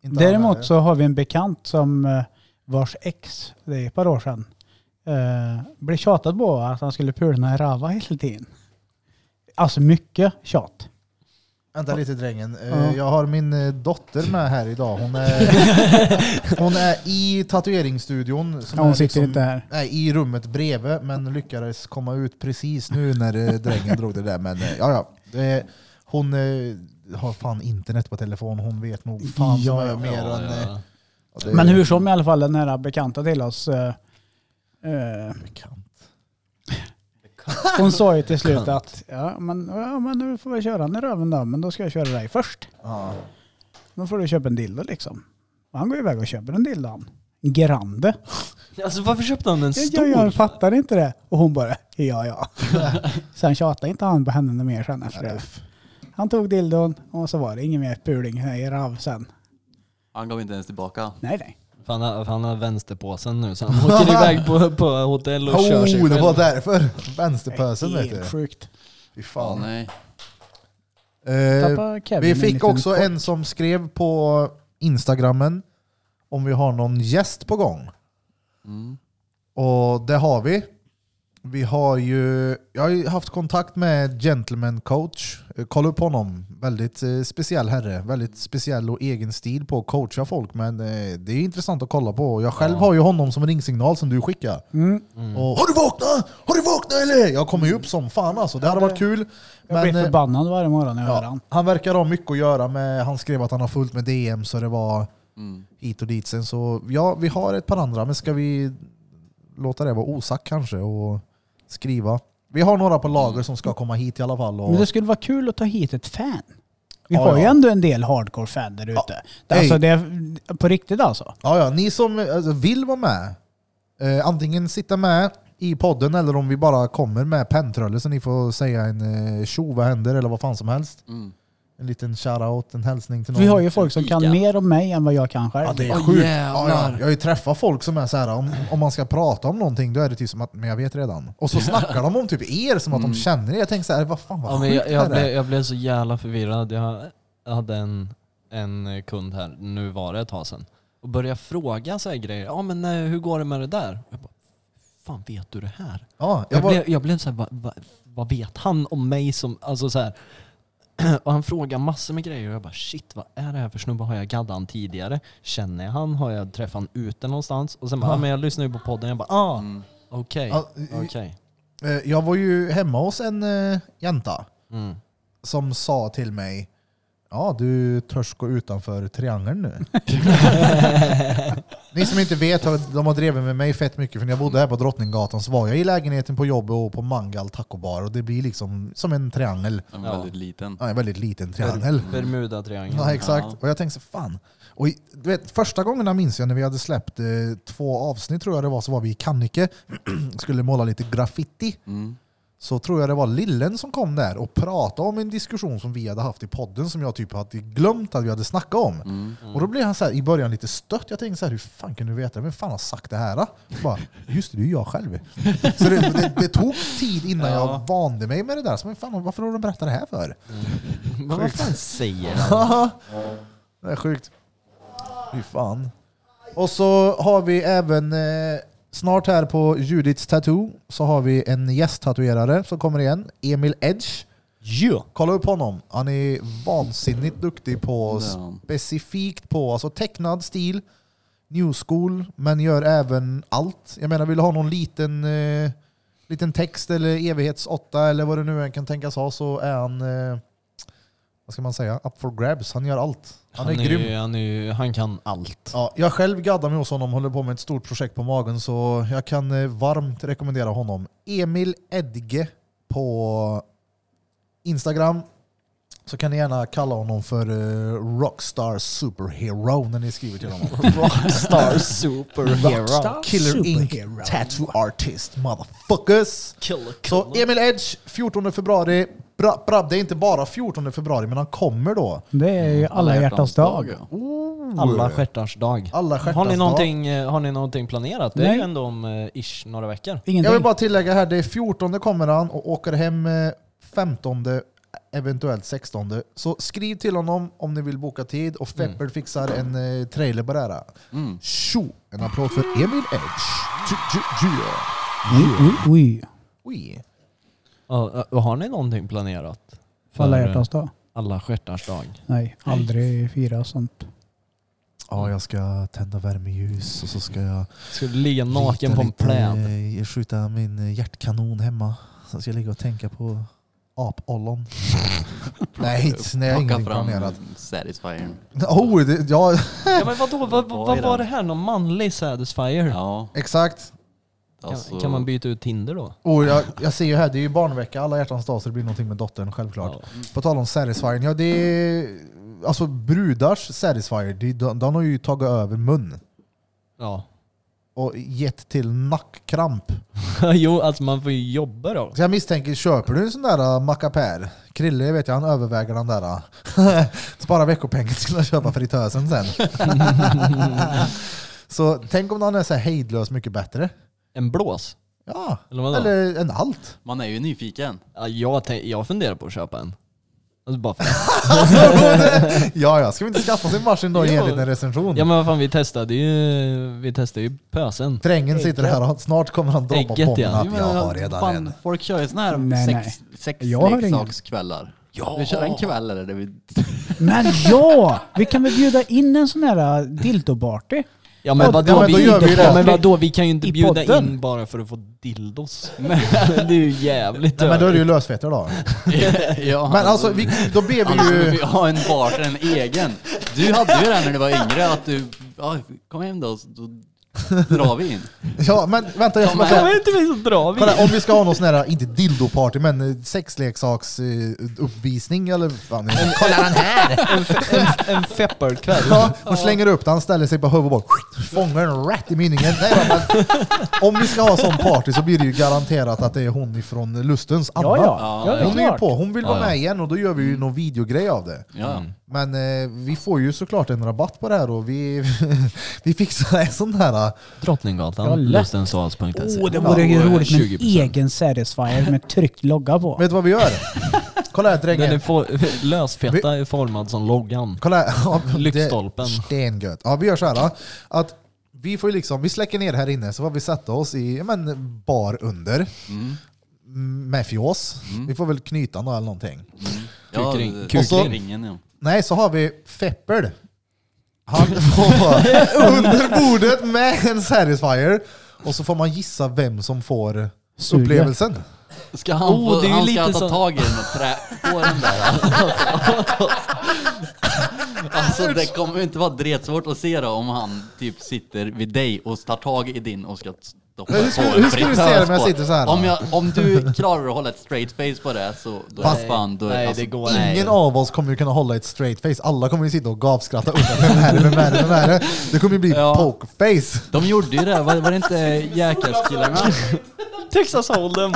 Speaker 1: Inte han,
Speaker 4: Däremot
Speaker 1: eller?
Speaker 4: så har vi en bekant som eh, vars ex, det är ett par år sedan, eh, blev tjatad på att han skulle pula Rava hela tiden. Alltså mycket tjat.
Speaker 1: Vänta lite drängen. Eh,
Speaker 4: Ja.
Speaker 1: Jag har min eh, dotter med här idag. Hon är, hon är i tatueringsstudion. som
Speaker 4: Ja, hon
Speaker 1: är
Speaker 4: sitter
Speaker 1: liksom-
Speaker 4: inte här.
Speaker 1: Nej, i rummet bredvid, men lyckades komma ut precis nu när eh, drängen drog det där. Men eh, ja, ja. Eh, Hon eh, har fan internet på telefon. Hon vet nog fan
Speaker 4: Ja,
Speaker 1: som är
Speaker 4: ja,
Speaker 1: mer än... eh,
Speaker 3: ja.
Speaker 1: ja, det är
Speaker 4: Men hur som i alla fall den här bekanta till oss eh, eh,
Speaker 1: bekant.
Speaker 4: Hon sa ju till slut att ja men, ja, men du får väl köra den i röven då, men då ska jag köra dig först.
Speaker 1: Ja.
Speaker 4: Då får du köpa en dildo liksom. Och han går iväg och köper en dildo han. En Grande.
Speaker 3: Alltså varför köpte han en
Speaker 4: Jag,
Speaker 3: stor?
Speaker 4: jag, jag fattar inte det. Och hon bara, ja ja. sen tjatade inte han på henne något mer sen efter det. Han tog dildon och så var det ingen mer puling i rav sen.
Speaker 5: Han gav inte ens tillbaka.
Speaker 4: Nej nej.
Speaker 3: För han, har, för han har vänsterpåsen nu så han åker iväg på, på hotell och kör sig
Speaker 1: Oh, det var
Speaker 3: själv.
Speaker 1: därför. Vänsterpösen vet du.
Speaker 4: Helt sjukt.
Speaker 1: Fy
Speaker 5: Ja,
Speaker 1: fan.
Speaker 5: nej.
Speaker 1: Eh,
Speaker 4: Tappa Kevin
Speaker 1: vi
Speaker 4: en
Speaker 1: fick
Speaker 4: liten
Speaker 1: också
Speaker 4: kort.
Speaker 1: en som skrev på Instagrammen om vi har någon gäst på gång.
Speaker 5: Mm.
Speaker 1: Och det har vi. Vi har ju, jag har ju haft kontakt med Gentleman Coach. Eh, Kolla upp honom. Väldigt eh, speciell herre. Väldigt speciell och egen stil på att coacha folk. Men eh, det är intressant att kolla på. Jag själv har ju honom som ringsignal som du skickar.
Speaker 4: Mm.
Speaker 1: Och, har du vaknat? Har du vaknat eller? Jag kommer ju upp som fan alltså. Det hade varit kul.
Speaker 4: Jag
Speaker 1: Men,
Speaker 4: blir
Speaker 1: eh,
Speaker 4: förbannad varje morgon när jag hör
Speaker 1: ja,
Speaker 4: han.
Speaker 1: han verkar ha mycket att göra med. Han skrev att han har fullt med DM så det var
Speaker 5: Mm.
Speaker 1: hit och dit. Sen så, ja, vi har ett par andra, men ska vi låta det vara osagt kanske och skriva? Vi har några på lager som ska komma hit i alla fall. Och,
Speaker 4: Men det skulle vara kul att ta hit ett fan. Vi
Speaker 1: Ja,
Speaker 4: har ju
Speaker 1: ja.
Speaker 4: ändå en del hardcore fan där ute. Det är alltså,
Speaker 1: Hej.
Speaker 4: det är på riktigt alltså.
Speaker 1: ja, ja, ni som alltså, vill vara med, eh, antingen sitta med i podden eller om vi bara kommer med penntrulle så ni får säga en eh, tjo, vad händer eller vad fan som helst.
Speaker 5: Mm.
Speaker 1: En liten shoutout, en hälsning till någon.
Speaker 4: Vi har ju folk som kan
Speaker 3: Ica.
Speaker 4: mer om mig än vad jag kan själv.
Speaker 1: Ja, det är
Speaker 5: Åh,
Speaker 1: sjukt.
Speaker 5: jävlar.
Speaker 1: Ja, ja. Jag har ju träffat folk som är så här, om, om man ska prata om någonting, då är det typ som att men jag vet redan. Och så snackar de om typ er som att de känner er. Jag tänker så här, vad fan vad
Speaker 3: Mm. Ja, men
Speaker 1: sjukt
Speaker 3: jag, jag,
Speaker 1: det här
Speaker 3: blev,
Speaker 1: är.
Speaker 3: jag blev så jävla förvirrad. Jag jag hade en, en kund här, nu var det ett tag sedan, och började fråga så här grejer. Ja men eh, hur går det med det där? Jag bara, fan vet du det här?
Speaker 1: Ja, jag
Speaker 3: Jag,
Speaker 1: var,
Speaker 3: blev, jag blev så här, vad, vad, vad vet han om mig som, alltså så här. Och han frågar massor med grejer och jag bara shit vad är det här för snubbe? Har jag gaddat han tidigare? Känner jag han? Har jag träffat han ute någonstans? Och sen
Speaker 1: Ah.
Speaker 3: bara, ja men jag lyssnar ju på podden. Jag bara ah,
Speaker 5: Mm.
Speaker 3: okej,
Speaker 1: ja,
Speaker 3: okej.
Speaker 1: eh, jag var ju hemma hos en eh, jänta
Speaker 3: Mm.
Speaker 1: som sa till mig, ja du törs gå utanför triangeln nu. ni som inte vet, har- de har drivit med mig fett mycket för när jag bodde här på Drottninggatan så var jag i lägenheten på jobbet och på Mangal tacobar och det blir liksom som en triangel.
Speaker 5: Den
Speaker 3: Ja.
Speaker 5: var väldigt liten.
Speaker 1: Ja, en väldigt liten triangel.
Speaker 3: Bermuda-triangeln.
Speaker 1: Ja, exakt.
Speaker 5: Ja.
Speaker 1: Och jag tänkte så fan. Och i- du vet, första gångerna minns jag när vi hade släppt eh, två avsnitt tror jag det var, så var vi i Kannike skulle måla lite graffiti.
Speaker 5: Mm.
Speaker 1: Så tror jag det var Lillen som kom där och pratade om en diskussion som vi hade haft i podden som jag typ hade glömt att vi hade snackat om.
Speaker 5: Mm.
Speaker 1: Och då blev han så här, i början lite stött. Jag tänkte så här, hur fan kan du veta? Vem fan har sagt det här? Då? Bara, Just det, det är ju jag själv. Så det, det, det tog tid innan jag vande mig med det där. Så, men fan, varför har de berättat det här för?
Speaker 3: Men vad fan säger han?
Speaker 1: det är sjukt. Fy fan. Och så har vi även eh, snart här på Judiths Tattoo så har vi en gästtatuerare som kommer igen. Emil Edge.
Speaker 3: Ja.
Speaker 1: Kolla upp honom. Han är vansinnigt duktig på
Speaker 5: Det är han.
Speaker 1: specifikt på alltså tecknad stil, new school, men gör även allt. Jag menar, vill du ha någon liten, eh, liten text eller evighetsåtta eller vad det nu än kan tänkas ha så är han, eh, vad ska man säga, up for grabs. Han gör allt. Han, är, grym.
Speaker 3: han, är, han kan allt.
Speaker 1: Ja, jag själv gaddar mig hos honom, håller på med ett stort projekt på magen så jag kan eh, varmt rekommendera honom. Emil Edge på Instagram. Så kan ni gärna kalla honom för eh, Rockstar Superhero när ni skriver till honom.
Speaker 3: Rockstar superhero.
Speaker 1: Killer Ink
Speaker 4: Superhero.
Speaker 1: Tattoo Artist motherfuckers.
Speaker 3: Killer,
Speaker 1: Så Emil Edge, 14 februari. Bra, bra, det är inte bara 14 februari, men han kommer då.
Speaker 4: Det är ju alla hjärtans dag.
Speaker 5: ja.
Speaker 3: Alla stjärtars dag.
Speaker 1: Alla
Speaker 3: har,
Speaker 1: stjärtans
Speaker 3: ni
Speaker 1: dag.
Speaker 3: någonting, eh, har ni någonting planerat? Det är
Speaker 4: Nej.
Speaker 3: ju ändå om eh, ish några veckor.
Speaker 1: Jag vill
Speaker 4: Ingenting.
Speaker 1: bara tillägga här, det är 14 kommer han och åker hem eh, 15, eventuellt 16. Så skriv till honom om ni vill boka tid och
Speaker 3: Mm.
Speaker 1: Feppel fixar en eh, trailer på det här.
Speaker 5: Mm.
Speaker 1: Tjo! En applåd för Emil Edge. Tju, tju, tju.
Speaker 4: Oj, oj.
Speaker 1: Oj.
Speaker 3: Ja, eh, har ni någonting planerat? För
Speaker 4: Alla
Speaker 3: eh,
Speaker 4: hjärtans dag.
Speaker 3: alla stjärtars dag.
Speaker 4: Nej, aldrig fira sånt.
Speaker 1: Ja, jag ska tända värmeljus och så ska jag
Speaker 3: Ska du ligga naken
Speaker 1: rita
Speaker 3: på en
Speaker 1: lite,
Speaker 3: pläd?
Speaker 1: eh, skjuta min eh, hjärtkanon hemma. Sen ska jag ligga och tänka på apollon. nej, nej, jag har
Speaker 5: Plocka
Speaker 1: ingenting
Speaker 5: fram
Speaker 1: planerat.
Speaker 5: Satisfyern.
Speaker 1: Oh, det, ja,
Speaker 3: Ja men vadå, vad, vad,
Speaker 5: Vad
Speaker 3: vad
Speaker 5: är
Speaker 3: var det
Speaker 5: den?
Speaker 3: här? Någon manlig satisfier?
Speaker 5: Ja.
Speaker 1: exakt.
Speaker 5: Alltså,
Speaker 3: Kan, kan man byta ut Tinder då?
Speaker 1: Och jag, jag ser ju här, det är ju barnvecka, alla hjärtans dag, så det blir någonting med dottern självklart. På tal om satisfying, ja det är... Alltså brudars satisfier, de, de, de har ju tagit över mun
Speaker 3: Ja.
Speaker 1: och gett till nackkramp.
Speaker 3: jo, alltså man får ju jobba då.
Speaker 1: Så jag misstänker, köper du en sån där uh, mackapär? Krille vet jag, han överväger den där. uh. Spara veckopengen till att köpa fritösen sen. så tänk om någon är så här hejdlös mycket bättre.
Speaker 3: En blås?
Speaker 1: Ja,
Speaker 3: Eller vadå?
Speaker 1: eller en allt.
Speaker 5: man är ju nyfiken.
Speaker 3: Ja, jag, tän- jag funderar på att köpa en. Alltså bara för
Speaker 1: ja, ja, ska vi inte skaffa sin varsin då
Speaker 3: Jo.
Speaker 1: enligt en recension?
Speaker 3: Ja men vad fan vi testade ju, vi testade ju pösen.
Speaker 1: Drängen sitter här och snart kommer han droppa
Speaker 3: Ägget,
Speaker 1: på mig
Speaker 3: ja.
Speaker 1: att jag har redan en.
Speaker 5: Folk kör ju såna här
Speaker 4: Nej,
Speaker 5: sex,
Speaker 4: Jag har ingen.
Speaker 5: sexleksakskvällar. Ja. Vi kör en kväll eller? Där vi...
Speaker 4: Men ja! Vi kan väl bjuda in en sån här äh, dildoparty?
Speaker 3: Ja men
Speaker 1: Ja,
Speaker 3: vadå,
Speaker 1: ja, men då
Speaker 3: vi,
Speaker 1: gör vi det.
Speaker 3: ja, men vadå, vi kan ju inte
Speaker 4: I
Speaker 3: bjuda
Speaker 4: podden.
Speaker 3: in bara för att få dildos. Men det är ju jävligt
Speaker 1: Nej, men då är det ju
Speaker 3: övrigt.
Speaker 1: lösfetter då.
Speaker 5: ja,
Speaker 1: Men alltså, vi, då ber vi
Speaker 3: alltså,
Speaker 5: Annars
Speaker 1: ju...
Speaker 5: vi ha en partner, en egen. Du hade ju det här när du var yngre, att du, ja, kom hem då, så då drar vi in.
Speaker 1: Ja, men vänta, jag ska bara
Speaker 5: Ja, men-
Speaker 1: säga.
Speaker 3: Kan vi inte vi så drar vi?
Speaker 1: Kolla, om vi ska ha någon sån här, inte dildoparty, men eh, sexleksaks eh, uppvisning eller vad fan Kolla den här!
Speaker 3: En fepparkväll.
Speaker 1: Ja, hon slänger upp den, ställer sig på huvudet och bara fångar den rätt i minningen. Nej, då, men, om vi ska ha sån party så blir det ju garanterat att det är hon ifrån Lustens, Anna.
Speaker 4: Ja, ja. ja det
Speaker 1: Hon är ju
Speaker 4: klart.
Speaker 1: på, hon vill vara
Speaker 3: Ja, ja.
Speaker 1: med igen och då gör vi ju någon videogrej av det.
Speaker 5: Ja.
Speaker 1: Men eh, vi får ju såklart en rabatt på det här och vi, vi fixar en sån här... eh,
Speaker 4: Ja,
Speaker 3: Drottninggatan,
Speaker 4: lätt.
Speaker 3: lustensals.se.
Speaker 1: Oh,
Speaker 4: Åh, det vore ju
Speaker 5: Ja,
Speaker 4: roligt med en
Speaker 3: 20%.
Speaker 4: egen satisfier med tryckt logga på.
Speaker 1: Vet du vad vi gör? Kolla här
Speaker 3: Den är
Speaker 1: drängen.
Speaker 3: for- lösfeta är formad som loggan.
Speaker 1: Kolla här. Ja, det-
Speaker 3: Lyktstolpen.
Speaker 1: Stengött. Ja, vi gör så här då. att vi får ju liksom, vi släcker ner här inne så får vi sätta oss i ja, men, bar under. Mm. Med fjås. Vi får väl knyta nå eller någonting.
Speaker 5: Ja,
Speaker 3: Kukring.
Speaker 5: det-
Speaker 1: Kukring.
Speaker 5: och så- Ringen, ja.
Speaker 1: Nej, så har vi Feppel. Han får vara under bordet med en Satisfyer. Och så får man gissa vem som får
Speaker 4: Suger.
Speaker 1: upplevelsen.
Speaker 5: Ska han,
Speaker 3: Oh,
Speaker 5: få,
Speaker 3: det är ju
Speaker 5: han
Speaker 3: lite
Speaker 5: ska ta
Speaker 3: så-
Speaker 5: tag i den och trä på den där. alltså det kommer ju inte vara dretsvårt att se då om han typ sitter vid dig och tar tag i din och ska stoppa
Speaker 1: Men hur skulle-
Speaker 5: på en
Speaker 1: hur skulle du
Speaker 5: fritös
Speaker 1: se det om jag
Speaker 5: på.
Speaker 1: sitter så här då?
Speaker 5: Om, jag, om du klarar att hålla ett straight face på det så då är
Speaker 1: Fast-
Speaker 5: det fan, då är
Speaker 3: nej,
Speaker 5: alltså,
Speaker 3: det går
Speaker 5: nej.
Speaker 1: Ingen av oss kommer ju kunna hålla ett straight face. Alla kommer ju sitta och gapskratta. Undra, Vem är det? Vem är det? Vem är det? Det kommer ju bli
Speaker 5: Ja.
Speaker 1: pokerface.
Speaker 5: De gjorde ju det, här, var, var det inte Jackass-killarna?
Speaker 3: Texas Hold'em.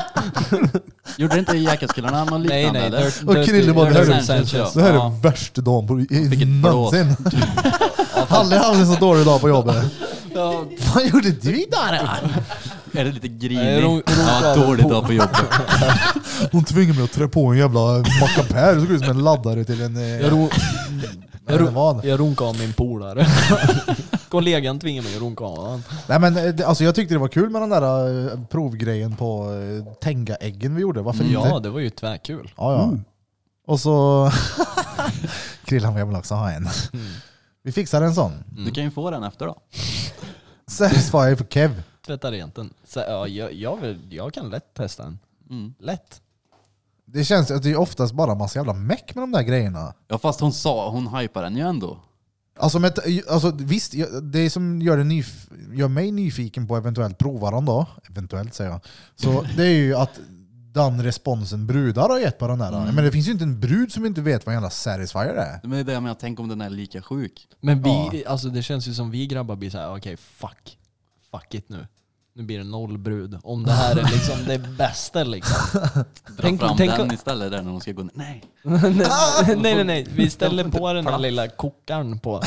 Speaker 5: Gjorde det inte Jackass-killarna något
Speaker 3: Nej
Speaker 5: liknande
Speaker 3: nej.
Speaker 5: eller?
Speaker 3: Dirt-
Speaker 1: Och
Speaker 3: Dirty-
Speaker 1: Krille bara, det här är-
Speaker 3: Dirty Sanchez.
Speaker 1: Det här är
Speaker 5: Ja.
Speaker 1: värsta dagen på
Speaker 5: Vilket
Speaker 1: någonsin. Aldrig haft en så dålig dag på jobbet. Vad gjorde du idag då?
Speaker 5: Är det lite
Speaker 3: Nej, de-
Speaker 5: grinig?
Speaker 3: de
Speaker 5: Ja,
Speaker 3: klarar
Speaker 5: dålig
Speaker 3: på.
Speaker 5: dag på jobbet.
Speaker 1: Hon tvingade mig att trä på en jävla mackapär. Det såg ut som en laddare till en... eh,
Speaker 3: Jag, ro- jag,
Speaker 1: det var
Speaker 3: ro-
Speaker 1: det.
Speaker 3: jag runkade av min polare. Kollegan tvingade mig att runka av honom.
Speaker 1: Nej men eh, det- alltså jag tyckte det var kul med den där eh, provgrejen på eh, Tenga-äggen vi gjorde. Varför inte?
Speaker 3: Mm. Ja, det var ju tvärkul.
Speaker 1: Ja, ja. Och så... Krillan vill väl också ha en. Vi fixar en sån.
Speaker 5: Du kan ju få den efter då.
Speaker 1: Satisfyer för Kev.
Speaker 3: Tvätta rent den. Så, ja, jag, jag, vill, jag kan lätt testa en.
Speaker 5: Mm.
Speaker 3: Lätt.
Speaker 1: Det känns att det är oftast bara massa jävla meck med de där grejerna.
Speaker 5: Ja fast hon sa, hon hypar den ju ändå.
Speaker 1: Alltså, men, alltså visst, jag- det som gör, det nyf gör mig nyfiken på eventuellt prova den då, eventuellt säger jag, så det är ju att den responsen brudar har gett på den där. Men det finns ju inte en brud som inte vet vad en jävla satisfier är.
Speaker 5: Men det är det jag menar, tänk om den är lika sjuk.
Speaker 3: Men vi, alltså det känns ju som vi grabbar blir såhär, okej fuck. Fuck it nu. Nu blir det noll brud. Om det här är liksom det bästa liksom.
Speaker 5: Dra
Speaker 3: Tänk-
Speaker 5: fram
Speaker 3: tänk-
Speaker 5: den istället där när hon ska gå ner. Nej.
Speaker 3: nej nej nej, vi ställer på den här lilla kokaren på.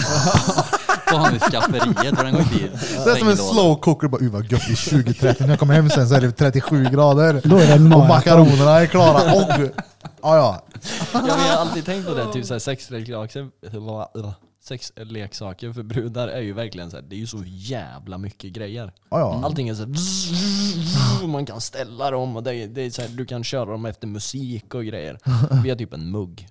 Speaker 5: Så har hon i skafferiet för den går inte i
Speaker 1: Det är som en slow cooker, bara "Uh, vad gött i 20-30, när jag kommer hem sen så är det 37 grader.
Speaker 4: Då är det en
Speaker 1: Och
Speaker 4: maraton.
Speaker 1: makaronerna är klara. Och, ja, ja.
Speaker 3: Ja, men jag har alltid tänkt på det, typ såhär sexleksaker, sexleksaker för brudar är ju verkligen såhär, det är ju så jävla mycket grejer.
Speaker 1: Ja, ja.
Speaker 3: Mm. Allting är så här, man kan ställa dem och det är, det är så här, du kan köra dem efter musik och grejer. Vi har typ en mugg.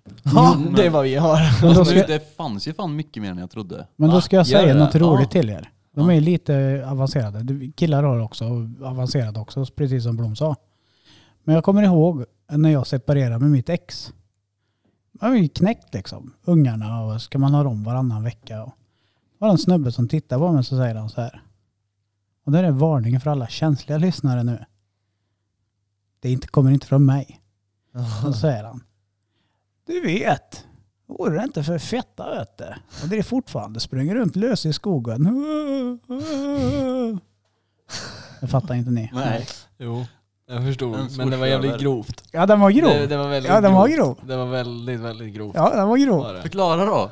Speaker 3: Mm, det är vad vi har.
Speaker 4: Men då
Speaker 5: Nu,
Speaker 4: ska,
Speaker 5: det fanns ju fan mycket mer än jag trodde.
Speaker 4: men då ska jag
Speaker 3: Gör
Speaker 4: säga
Speaker 3: det?
Speaker 4: något roligt
Speaker 3: Ja.
Speaker 4: till er. De är ju lite avancerade. Du- Killar har också avancerat också, precis som Blom sa. Men jag kommer ihåg när jag separerade med mitt ex. Man var ju knäckt liksom. Ungarna och ska man ha dem varannan vecka. Och det var en snubbe som tittade på mig så säger han så här. Och där är varningen för alla känsliga lyssnare nu. Det inte, kommer inte från mig. Och så säger han. Du vet, vore det inte för fetta vet du? Och det är fortfarande, springer runt lös i skogen. Det fattar inte ni.
Speaker 5: Nej.
Speaker 3: Jo, jag förstod.
Speaker 5: En
Speaker 3: Men det var jävligt
Speaker 5: swoosh
Speaker 3: grovt.
Speaker 4: Ja den var grov.
Speaker 3: Det, det var väldigt
Speaker 4: Ja, den var
Speaker 3: grovt.
Speaker 4: grov.
Speaker 3: Det var väldigt, väldigt grovt.
Speaker 4: Ja den var grov.
Speaker 3: Var det.
Speaker 5: Förklara då.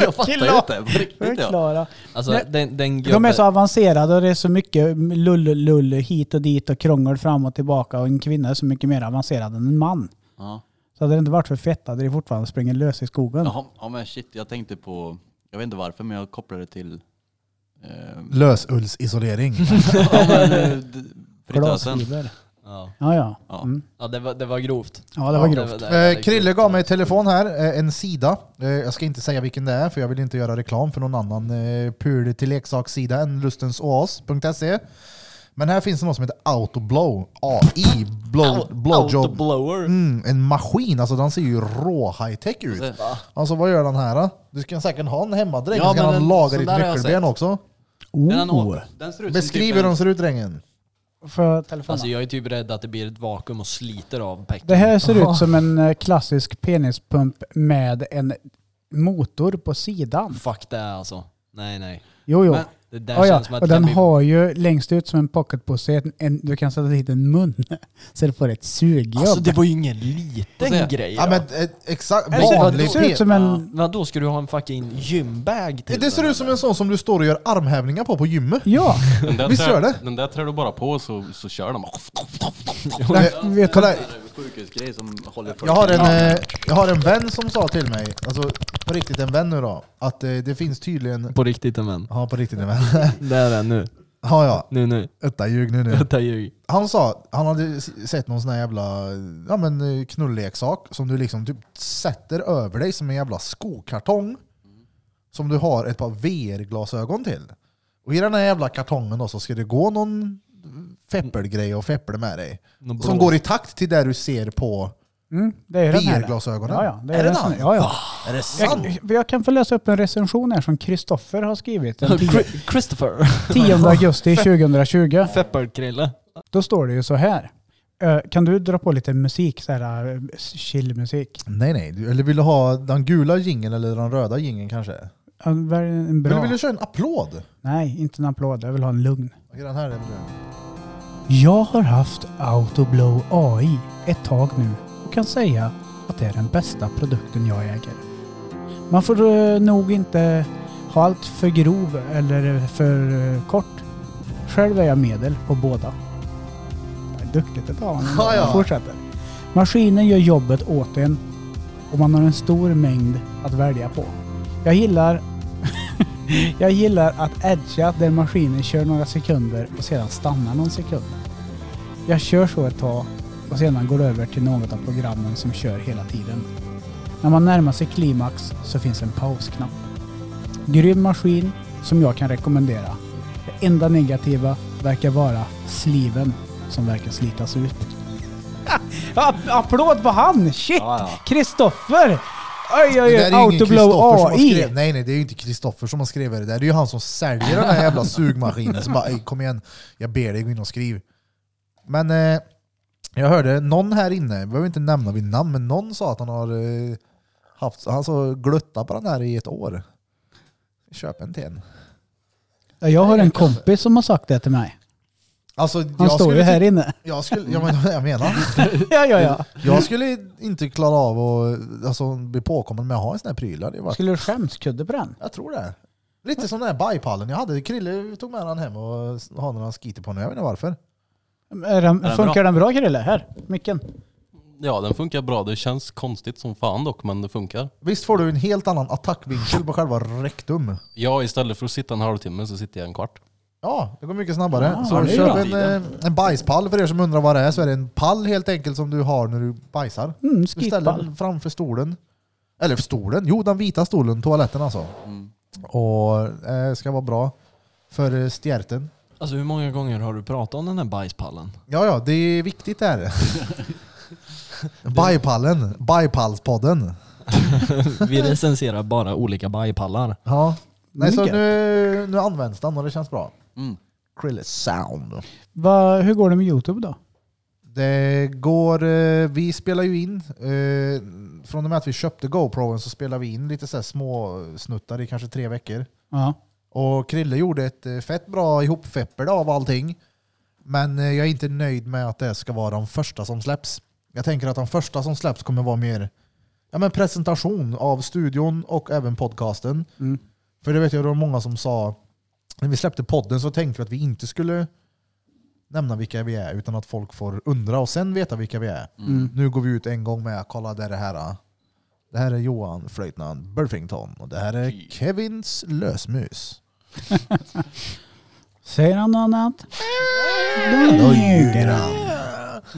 Speaker 5: jag fattar ju inte. På riktigt ja.
Speaker 4: Förklara.
Speaker 3: Alltså,
Speaker 4: Nej.
Speaker 3: den, den
Speaker 4: De är
Speaker 3: gubben-
Speaker 4: så avancerade och det är så mycket lull-lull hit och dit och krångel fram och tillbaka och en kvinna är så mycket mer avancerad än en man.
Speaker 5: ja.
Speaker 4: Så hade det inte varit för fetta hade det fortfarande sprungit lös i skogen.
Speaker 5: Jaha, ja men shit, jag tänkte på, jag vet inte varför men jag kopplade det till eh,
Speaker 1: Lösullsisolering.
Speaker 5: ja, men, eh, d- fritösen.
Speaker 4: Glasfiber.
Speaker 3: Ja.
Speaker 4: Ja, ja.
Speaker 5: Ja.
Speaker 4: Mm.
Speaker 3: ja, det var, det var grovt.
Speaker 4: Ja, det var grovt.
Speaker 3: det
Speaker 1: Eh, Krille gav mig telefon här, eh, en sida. Eh, jag ska inte säga vilken det är för jag vill inte göra reklam för någon annan eh, pul till leksakssida än lustensoas.se. Men här finns det något som heter Autoblow. AI. Blow, blowjob.
Speaker 3: Autoblower.
Speaker 1: Mm, en maskin, alltså den ser ju rå high-tech ut. Alltså vad gör den här? Då? Du ska säkert ha en hemmadräng,
Speaker 5: Ja,
Speaker 1: ja, ska
Speaker 5: men
Speaker 1: han
Speaker 5: den-
Speaker 1: laga
Speaker 5: sån
Speaker 1: ditt
Speaker 5: där har jag
Speaker 1: nyckelben också?
Speaker 5: Den,
Speaker 4: Oh.
Speaker 5: har- den ser ut
Speaker 1: Beskriv hur
Speaker 5: som
Speaker 1: den
Speaker 5: typ
Speaker 1: ser ut drängen.
Speaker 4: För telefonen.
Speaker 3: Alltså jag är typ rädd att det blir ett vakuum och sliter av pecken.
Speaker 4: det här ser ut som en eh, klassisk penispump med en motor på sidan.
Speaker 3: Fuck det alltså. Nej nej.
Speaker 4: Jo, jo.
Speaker 3: Men det där
Speaker 4: Ja,
Speaker 3: känns
Speaker 4: ja.
Speaker 3: som att
Speaker 4: Och
Speaker 3: det
Speaker 4: den
Speaker 3: kan
Speaker 4: har ju längst ut som en pocketpåse, en, en, du kan sätta dit en mun så du får ett sugjobb.
Speaker 3: bli... Alltså det var ju ingen liten
Speaker 5: se.
Speaker 3: grej.
Speaker 1: Ja, men eh, exakt,
Speaker 4: det ser, det
Speaker 1: vanlig
Speaker 4: ser ut
Speaker 1: pe-
Speaker 4: som en...
Speaker 3: Vadå, ska du ha en fucking gymbag till
Speaker 1: Det ser
Speaker 3: den,
Speaker 1: ut som
Speaker 3: eller?
Speaker 1: en sån som du står och gör armhävningar på på gymmet.
Speaker 4: Ja,
Speaker 7: Den där,
Speaker 1: Visst
Speaker 7: trär,
Speaker 1: gör det?
Speaker 7: den där trär du bara på så, så kör de.
Speaker 1: Eh,
Speaker 4: den, vet,
Speaker 1: Kolla,
Speaker 5: sjukhusgrej som håller folk
Speaker 1: Jag har, en,
Speaker 5: i-
Speaker 1: eh, jag har en vän som sa till mig, alltså på riktigt en vän nu då, att eh, det finns tydligen...
Speaker 3: På riktigt en vän.
Speaker 1: Ja, på riktigt en vän.
Speaker 3: Det är den nu.
Speaker 1: ja, ja.
Speaker 3: Nu nu.
Speaker 1: Utta ljug nu nu.
Speaker 3: Detta är ju...
Speaker 1: Han sa, han hade s- sett någon sån här jävla ja, men, eh, knulleksak som du liksom typ sätter över dig som en jävla skokartong. Som du har ett par VR-glasögon till. Och i den här jävla kartongen då så ska det gå någon feppelgrej och feppel med dig.
Speaker 3: Någon
Speaker 1: Som
Speaker 3: blå-
Speaker 1: går i takt till där du ser på
Speaker 4: mm, det är ju den här.
Speaker 1: VR-glasögonen.
Speaker 4: Ja, ja, det är,
Speaker 1: är det
Speaker 4: den som-
Speaker 1: den?
Speaker 4: ja, ja.
Speaker 1: Är det sant?
Speaker 4: Jag, jag kan få läsa upp en recension här som Kristoffer har skrivit den 10,
Speaker 3: Chri- Christopher.
Speaker 4: 10 augusti 2020.
Speaker 3: Pepparkrille.
Speaker 4: Då står det ju så här. Eh, Kan du dra på lite musik, så här eh, chillmusik?
Speaker 1: Nej, nej. Du- Eller vill du ha den gula jingeln eller den röda jingeln kanske?
Speaker 4: Ja, Välj en
Speaker 1: Eller
Speaker 4: bra.
Speaker 1: vill du köra en applåd?
Speaker 4: Nej, inte en applåd. Jag vill ha en lugn.
Speaker 1: Okej, den här är bra.
Speaker 4: Jag har haft Autoblow AI ett tag nu och kan säga att det är den bästa produkten jag äger. Man får eh, nog inte ha allt för grov eller för eh, kort. Själv är jag medel på båda. Det är duktigt ett tag. men
Speaker 1: Ja, ja.
Speaker 4: jag Fortsätter. Maskinen gör jobbet åt en och man har en stor mängd att välja på. Jag gillar jag gillar att edga där maskinen kör några sekunder och sedan stannar någon sekund. Jag kör så ett tag och sedan går det över till något av programmen som kör hela tiden. När man närmar sig klimax så finns en pausknapp. Grym maskin som jag kan rekommendera. Det enda negativa verkar vara sliven som verkar slitas ut. Ja, applåd på han! Shit! Kristoffer! Oj,
Speaker 1: Det
Speaker 4: oj,
Speaker 1: där är
Speaker 4: oj!
Speaker 1: ju ingen Kristoffer som
Speaker 4: Autoblow
Speaker 1: har
Speaker 4: AI!
Speaker 1: skrivit. Nej, nej, det är ju inte Kristoffer som har skrivit det. där. Det är ju han som säljer den här jävla sugmaskinen. Som bara, "Ey, kom igen, jag ber dig gå in och skriv. Men eh, jag hörde någon här inne, jag behöver inte nämna vid namn, men någon sa att han har eh, haft, han så glutta på den här i ett år. Köp en till en.
Speaker 4: Ja, Jag har en kompis som har sagt det till mig.
Speaker 1: Alltså,
Speaker 4: Han
Speaker 1: jag
Speaker 4: står ju
Speaker 1: skulle,
Speaker 4: här inne.
Speaker 1: Jag skulle, ja, men, jag menar.
Speaker 4: ja, ja, ja.
Speaker 1: Jag skulle inte klara av att alltså, bli påkommen med att ha en sån här pryl. Det hade ju varit-
Speaker 4: Skulle du skämskudde på den?
Speaker 1: Jag tror det. Lite som den här bajpallen jag hade. Krille tog med den hem och s- har några skiter på den. Jag vet inte varför.
Speaker 4: Är den,
Speaker 5: den
Speaker 4: funkar
Speaker 5: bra?
Speaker 4: den bra Krille? Här, micken.
Speaker 7: Ja, den funkar bra. Det känns konstigt som fan dock, men det funkar.
Speaker 1: Visst får du en helt annan attackvinkel på själva rektum?
Speaker 7: Ja, istället för att sitta en halvtimme så sitter jag en kvart.
Speaker 1: Ja, det går mycket snabbare.
Speaker 4: Ah,
Speaker 1: så
Speaker 4: det är
Speaker 1: köp
Speaker 7: bra.
Speaker 1: en, eh, en bajspall för er som undrar vad det är. Så är det en pall helt enkelt som du har när du bajsar.
Speaker 4: Mm,
Speaker 1: Du ställer
Speaker 4: skitball.
Speaker 1: den framför stolen. Eller stolen? Jo, den vita stolen. Toaletten alltså.
Speaker 5: Mm.
Speaker 1: Och eh, ska vara bra för eh, stjärten.
Speaker 3: Alltså hur många gånger har du pratat om den här bajspallen?
Speaker 1: Ja, ja, det är viktigt det här. Bajpallen, bajpallspodden.
Speaker 3: Vi recenserar bara olika bajpallar.
Speaker 1: Ja. Nej, så
Speaker 4: Mycket.
Speaker 1: nu, nu används den och det känns bra.
Speaker 5: Mm.
Speaker 1: Acrylic Sound.
Speaker 4: Va, hur går det med Youtube då?
Speaker 1: Det går, eh, vi spelar ju in, eh, från och med att vi köpte GoProen så spelar vi in lite så här små snuttar i kanske tre veckor.
Speaker 4: Ja.
Speaker 1: Och Krille gjorde ett eh, fett bra ihopfepper då av allting. Men eh, jag är inte nöjd med att det ska vara de första som släpps. Jag tänker att de första som släpps kommer vara mer ja, men presentation av studion och även podcasten.
Speaker 4: Mm.
Speaker 1: För det vet jag, det var många som sa, när vi släppte podden så tänkte vi att vi inte skulle nämna vilka vi är, utan att folk får undra och sen veta vilka vi är.
Speaker 4: Mm.
Speaker 1: Nu går vi ut en gång med, kolla det är det här. ah. Det här är Johan Flöjtnant Burfington och det här är Kevins lösmus.
Speaker 4: Säger han något annat?
Speaker 1: Då ljuger han.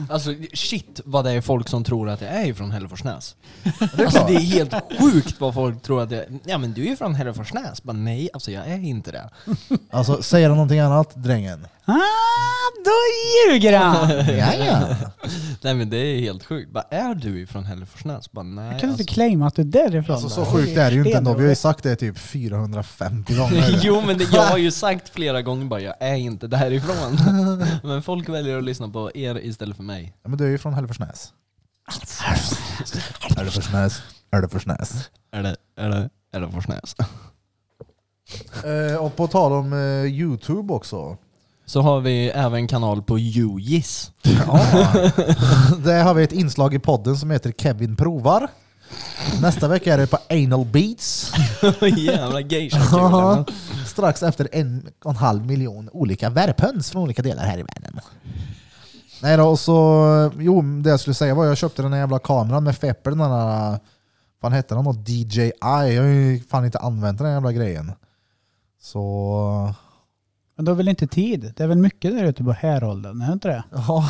Speaker 3: Alltså shit vad det är folk som tror att jag är från Hälleforsnäs.
Speaker 1: Det är
Speaker 3: Alltså
Speaker 1: klart.
Speaker 3: det är helt sjukt vad folk tror att jag Ja men du är ju från Hälleforsnäs. Bara nej, alltså jag är inte det.
Speaker 1: Alltså, säger han någonting annat, drängen?
Speaker 4: Ah, då ljuger han!
Speaker 1: Ja, ja.
Speaker 3: Nej men det är helt sjukt. Bara är du ifrån Hälleforsnäs? Bara nej.
Speaker 4: Jag kan
Speaker 3: alltså.
Speaker 4: inte claima att du är därifrån.
Speaker 1: Alltså,
Speaker 4: då.
Speaker 1: så sjukt är det ju inte ändå. Vi har ju
Speaker 4: Stenhårt.
Speaker 1: sagt det typ 450 gånger.
Speaker 3: Jo men det, jag har ju sagt flera gånger bara jag är inte därifrån. Men folk väljer att lyssna på er istället för mig.
Speaker 1: Ja, men du är ju från Hälleforsnäs. Hälleforsnäs. Hälleforsnäs.
Speaker 3: Är det, är det Hälleforsnäs?
Speaker 1: Eh, och på tal om eh, Youtube också.
Speaker 3: Så har vi även kanal på UGIS.
Speaker 1: Ja. Där har vi ett inslag i podden som heter Kevin provar. Nästa vecka är det på anal beats.
Speaker 3: Jävla geisha
Speaker 1: Ja. Strax efter en och en halv miljon olika värphöns från olika delar här i världen. Nej då, och så, jo, det jag skulle säga var jag köpte den här jävla kameran med Fepper, den här, vad hette den då? DJI? Jag har ju fan inte använt den här jävla grejen. Så,
Speaker 4: Men du har väl inte tid? Det är väl mycket där ute på Härolden, är det inte det?
Speaker 1: ja.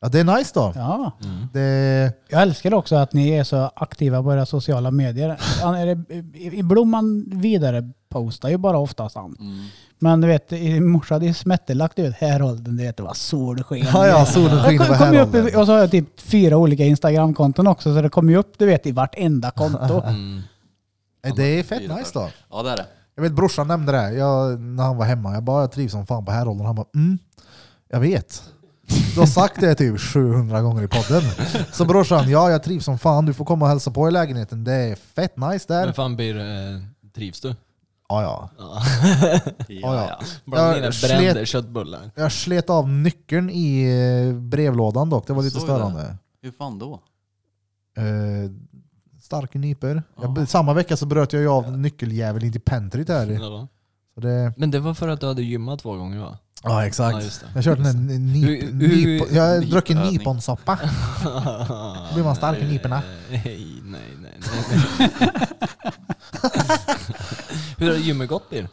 Speaker 1: ja det är nice då.
Speaker 4: Ja.
Speaker 1: Det,
Speaker 4: Jag älskar också att ni är så aktiva på era sociala medier. Han är, i- I Blomman vidare postar ju bara oftast han.
Speaker 1: Mm.
Speaker 4: Men du vet, i morse hade ju Smette lagt ut Härolden, du vet det var solsken.
Speaker 1: ja, ja, solen skiner på
Speaker 4: Jag kom, kom ju upp, i-
Speaker 1: härolden.
Speaker 4: och så har jag typ fyra olika Instagramkonton också, så det kommer ju upp du vet, i vartenda konto.
Speaker 1: Mm.
Speaker 3: Mm.
Speaker 1: Nej, Det är fett nice då.
Speaker 5: Ja det är det.
Speaker 1: Jag vet brorsan nämnde det jag, när han var hemma. Jag bara, jag trivs som fan på Härolden. Han bara, mm, jag vet. Du har sagt det typ 700 gånger i podden. Så brorsan, ja jag trivs som fan. Du får komma och hälsa på i lägenheten. Det är fett nice
Speaker 3: Men
Speaker 1: där.
Speaker 3: fan blir, eh, trivs du?
Speaker 1: Ja, ja.
Speaker 5: Ja,
Speaker 1: ja, ja. Jag
Speaker 3: Bland dina brända
Speaker 1: slet,
Speaker 3: köttbullar.
Speaker 1: jag slet av nyckeln i eh, brevlådan dock. Det var lite
Speaker 5: Såg jag det.
Speaker 1: störande.
Speaker 5: Hur fan då?
Speaker 1: Eh, starka nyper. Jag, samma vecka så bröt jag ju av nyckeljäveln in till pentryt här.
Speaker 3: Ja.
Speaker 1: Så det,
Speaker 3: Men det var för att du hade gymmat två gånger va?
Speaker 1: ja,
Speaker 3: Ja,
Speaker 1: exakt.
Speaker 3: just det.
Speaker 1: Jag körde en nip,
Speaker 3: Hur- hur-
Speaker 1: nip, jag har druckit
Speaker 5: nipövning.
Speaker 1: nyponsoppa. Då blir man stark i nyporna.
Speaker 3: Nej, nej, nej. nej. Hur har gymmet gått Birr?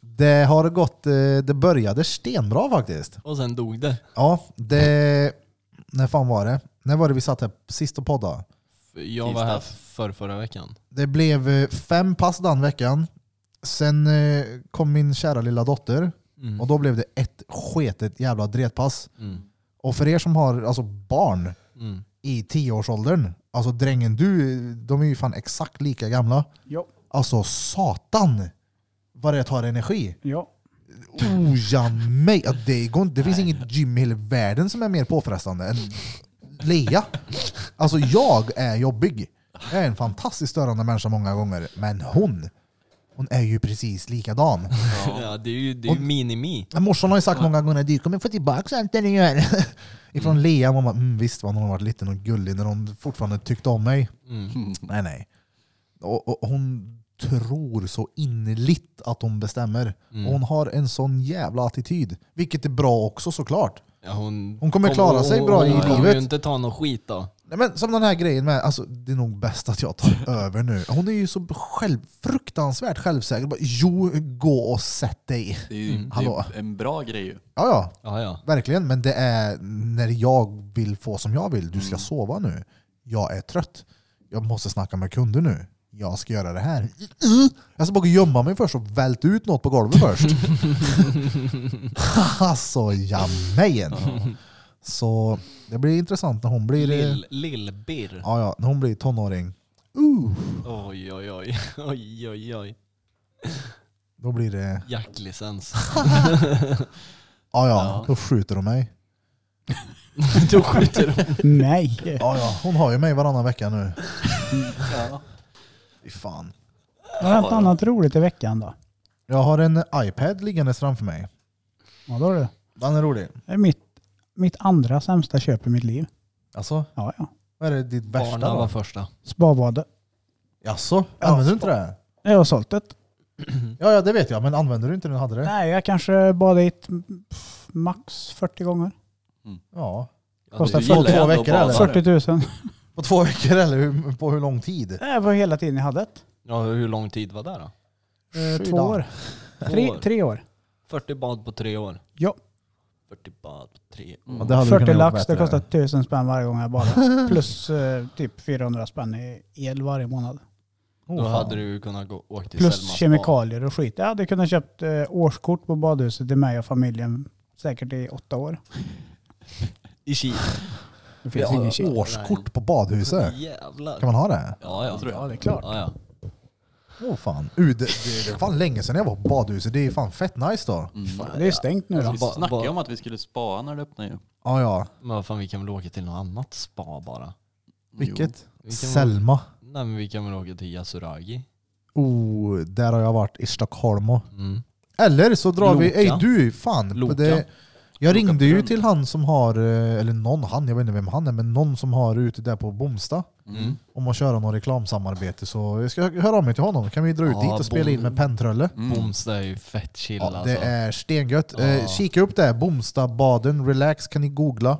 Speaker 1: Det har gått, eh, det började stenbra faktiskt.
Speaker 3: Och sen dog det.
Speaker 1: Ja, det... När fan var det? När var det vi satt här sist och poddade?
Speaker 3: Jag var här för förra veckan.
Speaker 1: Det blev eh, fem pass den veckan. Sen eh, kom min kära lilla dotter
Speaker 3: Mm.
Speaker 1: och då blev det ett sketet jävla dretpass.
Speaker 3: Mm.
Speaker 1: Och för er som har alltså barn
Speaker 3: Mm.
Speaker 1: i tioårsåldern, alltså drängen du, de är ju fan exakt lika gamla.
Speaker 4: Ja,
Speaker 1: Alltså satan vad det tar energi.
Speaker 4: ja.
Speaker 1: Oh ja, mig. Ja, det, går inte. det finns inget gym i hela världen som är mer påfrestande än Lea. Alltså jag är jobbig. Jag är en fantastiskt störande människa många gånger. Men hon, hon är ju precis likadan.
Speaker 3: Ja, det är ju, det är ju minimi.
Speaker 1: Men Morsan har ju sagt många gånger du kommer få tillbaka allt det du gör. Ifrån Lea, mamma, mm, visst var hon har varit liten och gullig när hon fortfarande tyckte om mig. Nej, nej. Och, och hon tror så innerligt att hon bestämmer. Och hon har en sån jävla attityd. Vilket är bra också såklart.
Speaker 3: Ja, hon,
Speaker 1: Hon kommer klara sig bra i
Speaker 3: hon Hon kommer
Speaker 1: livet.
Speaker 3: ju inte ta någon skit då.
Speaker 1: Nej, men som den här grejen med, alltså, det är nog bäst att jag tar över nu. Hon är ju så själv, fruktansvärt självsäker. Bara, jo, gå och sätt dig.
Speaker 5: Det är ju det är
Speaker 1: Hallå.
Speaker 5: ju en bra grej ju.
Speaker 1: Ja, ja,
Speaker 3: Ja, ja.
Speaker 1: verkligen. Men det är när jag vill få som jag vill. Du ska sova nu. Jag är trött. Jag måste snacka med kunder nu. Jag ska göra det här. Jag ska bara gå och gömma mig först och välta ut något på golvet först. alltså, jamen. Så det blir intressant när hon blir...
Speaker 3: Lill- Lill-Birr.
Speaker 1: Ja, ja, när hon blir tonåring.
Speaker 3: Oj, oj, oj. Oj, oj, oj.
Speaker 1: Då blir det...
Speaker 3: Jaktlicens.
Speaker 1: Ja, ja, då skjuter de mig.
Speaker 3: Då skjuter de.
Speaker 4: Nej.
Speaker 1: Ja, ja, hon har ju mig varannan vecka nu. Fy fan.
Speaker 4: Vad har hänt annat roligt i veckan då?
Speaker 1: Jag har en iPad liggandes framför mig.
Speaker 4: Ja, då är det.
Speaker 1: Den är rolig.
Speaker 4: det är mitt, mitt andra sämsta köp i mitt liv.
Speaker 1: Alltså,
Speaker 4: Ja, ja.
Speaker 1: vad är det ditt värsta
Speaker 3: Barnen var
Speaker 1: då?
Speaker 3: första.
Speaker 4: Spabade.
Speaker 1: Jaså, använder du inte det?
Speaker 4: Jag har sålt det.
Speaker 1: Ja, ja, det vet jag, men använder du inte den hade det?
Speaker 4: Mm. Nej, jag kanske bad dit pff, max 40 gånger.
Speaker 1: Ja.
Speaker 4: Kostar
Speaker 5: Du gillar ju
Speaker 1: två
Speaker 5: ändå att
Speaker 1: veckor,
Speaker 5: bada.
Speaker 1: eller?
Speaker 4: 40 000.
Speaker 1: På två veckor eller hur, på hur lång tid?
Speaker 4: Det var hela tiden jag hade det.
Speaker 3: Ja, hur lång tid var det då?
Speaker 4: Eh,
Speaker 1: Sju
Speaker 4: Två
Speaker 1: dagar.
Speaker 4: år. Tre, tre år.
Speaker 3: 40 bad på tre år.
Speaker 4: Ja.
Speaker 3: 40 bad på tre år.
Speaker 1: Ja, det hade du
Speaker 4: 40
Speaker 1: kunnat gjort
Speaker 4: lax, det
Speaker 1: bättre.
Speaker 4: kostar 1000 spänn varje gång jag badar. Plus eh, typ 400 spänn i el varje månad.
Speaker 1: Oh,
Speaker 3: Då
Speaker 1: fan.
Speaker 3: hade du ju kunnat gå, åka till
Speaker 4: Plus
Speaker 3: Selmas
Speaker 4: kemikalier och skit. Jag hade kunnat köpt eh, årskort på badhuset till mig och familjen säkert i åtta år.
Speaker 3: bad. I Kil.
Speaker 4: Det finns
Speaker 3: Ja,
Speaker 4: ingen kyl.
Speaker 1: Årskort på badhuset?
Speaker 3: Jävlar.
Speaker 1: Kan man ha det?
Speaker 3: Ja, ja.
Speaker 4: Ja, det är klart.
Speaker 3: Ja, ja.
Speaker 1: Åh fan. Uh, det, det, det är fan länge sedan jag var på badhuset. Det är fan fett nice då.
Speaker 4: Det är stängt nu då.
Speaker 5: Vi
Speaker 3: Ba-
Speaker 5: snackade ju
Speaker 3: ba-
Speaker 5: om att vi skulle spaa när det öppnade ju.
Speaker 1: Ja, ja.
Speaker 3: Men vad fan, vi kan väl åka till något annat spa bara?
Speaker 1: Vilket?
Speaker 3: Vi kan väl,
Speaker 1: Selma.
Speaker 3: nej, men vi kan väl åka till Yasuragi?
Speaker 1: Oh, där har jag varit i Stockholm. och-
Speaker 3: Mm.
Speaker 1: Eller så drar vi...
Speaker 3: Loka.
Speaker 1: Ej du, fan.
Speaker 3: Loka.
Speaker 1: Det, jag
Speaker 5: Loka
Speaker 1: ringde ju
Speaker 5: brunn.
Speaker 1: till han som har... eh, Eller någon han, jag vet inte vem han är, men någon som har ute där på Bomsta.
Speaker 5: Jo. Mm.
Speaker 1: Om att köra något reklamsamarbete. Så jag ska höra av mig till honom. Kan vi dra ut
Speaker 3: Ja,
Speaker 1: dit och spela
Speaker 3: Bom-
Speaker 1: in med penntrulle?
Speaker 5: Mm.
Speaker 3: Bomsta är ju fett chill
Speaker 1: Ja, det
Speaker 3: alltså.
Speaker 1: är stengött. Eh, kika upp det här, Bomstabaden relax kan ni googla.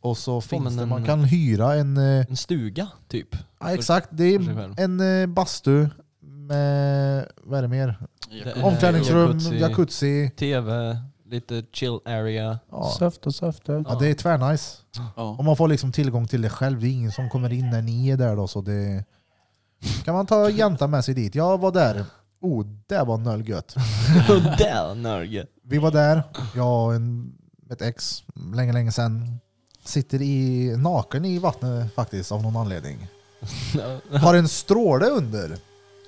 Speaker 1: Och så finns
Speaker 3: men
Speaker 1: det,
Speaker 3: en-
Speaker 1: man kan hyra en... Eh,
Speaker 3: En stuga typ.
Speaker 1: ja, exakt, det
Speaker 3: för sig
Speaker 1: är
Speaker 3: själv.
Speaker 1: en eh, bastu med... Vad är det mer?
Speaker 5: Jacuzzi.
Speaker 3: Eh,
Speaker 1: Omklädningsrum,
Speaker 3: jacuzzi.
Speaker 1: jacuzzi.
Speaker 3: Tv, lite chill area.
Speaker 1: Ja.
Speaker 4: Söft och söft. och-
Speaker 1: Ja, det är tvärnice.
Speaker 5: Ja.
Speaker 1: Om man får liksom tillgång till det själv. Det är ingen som kommer in när ni är där då. Så det... Kan man ta jänta med sig dit? Jag var där. Oh, det var nölgött.
Speaker 3: Och där Norge.
Speaker 1: Vi var där, jag och en, ett ex, länge, länge sedan. Sitter i, naken i vattnet faktiskt av någon anledning. Har en stråle under.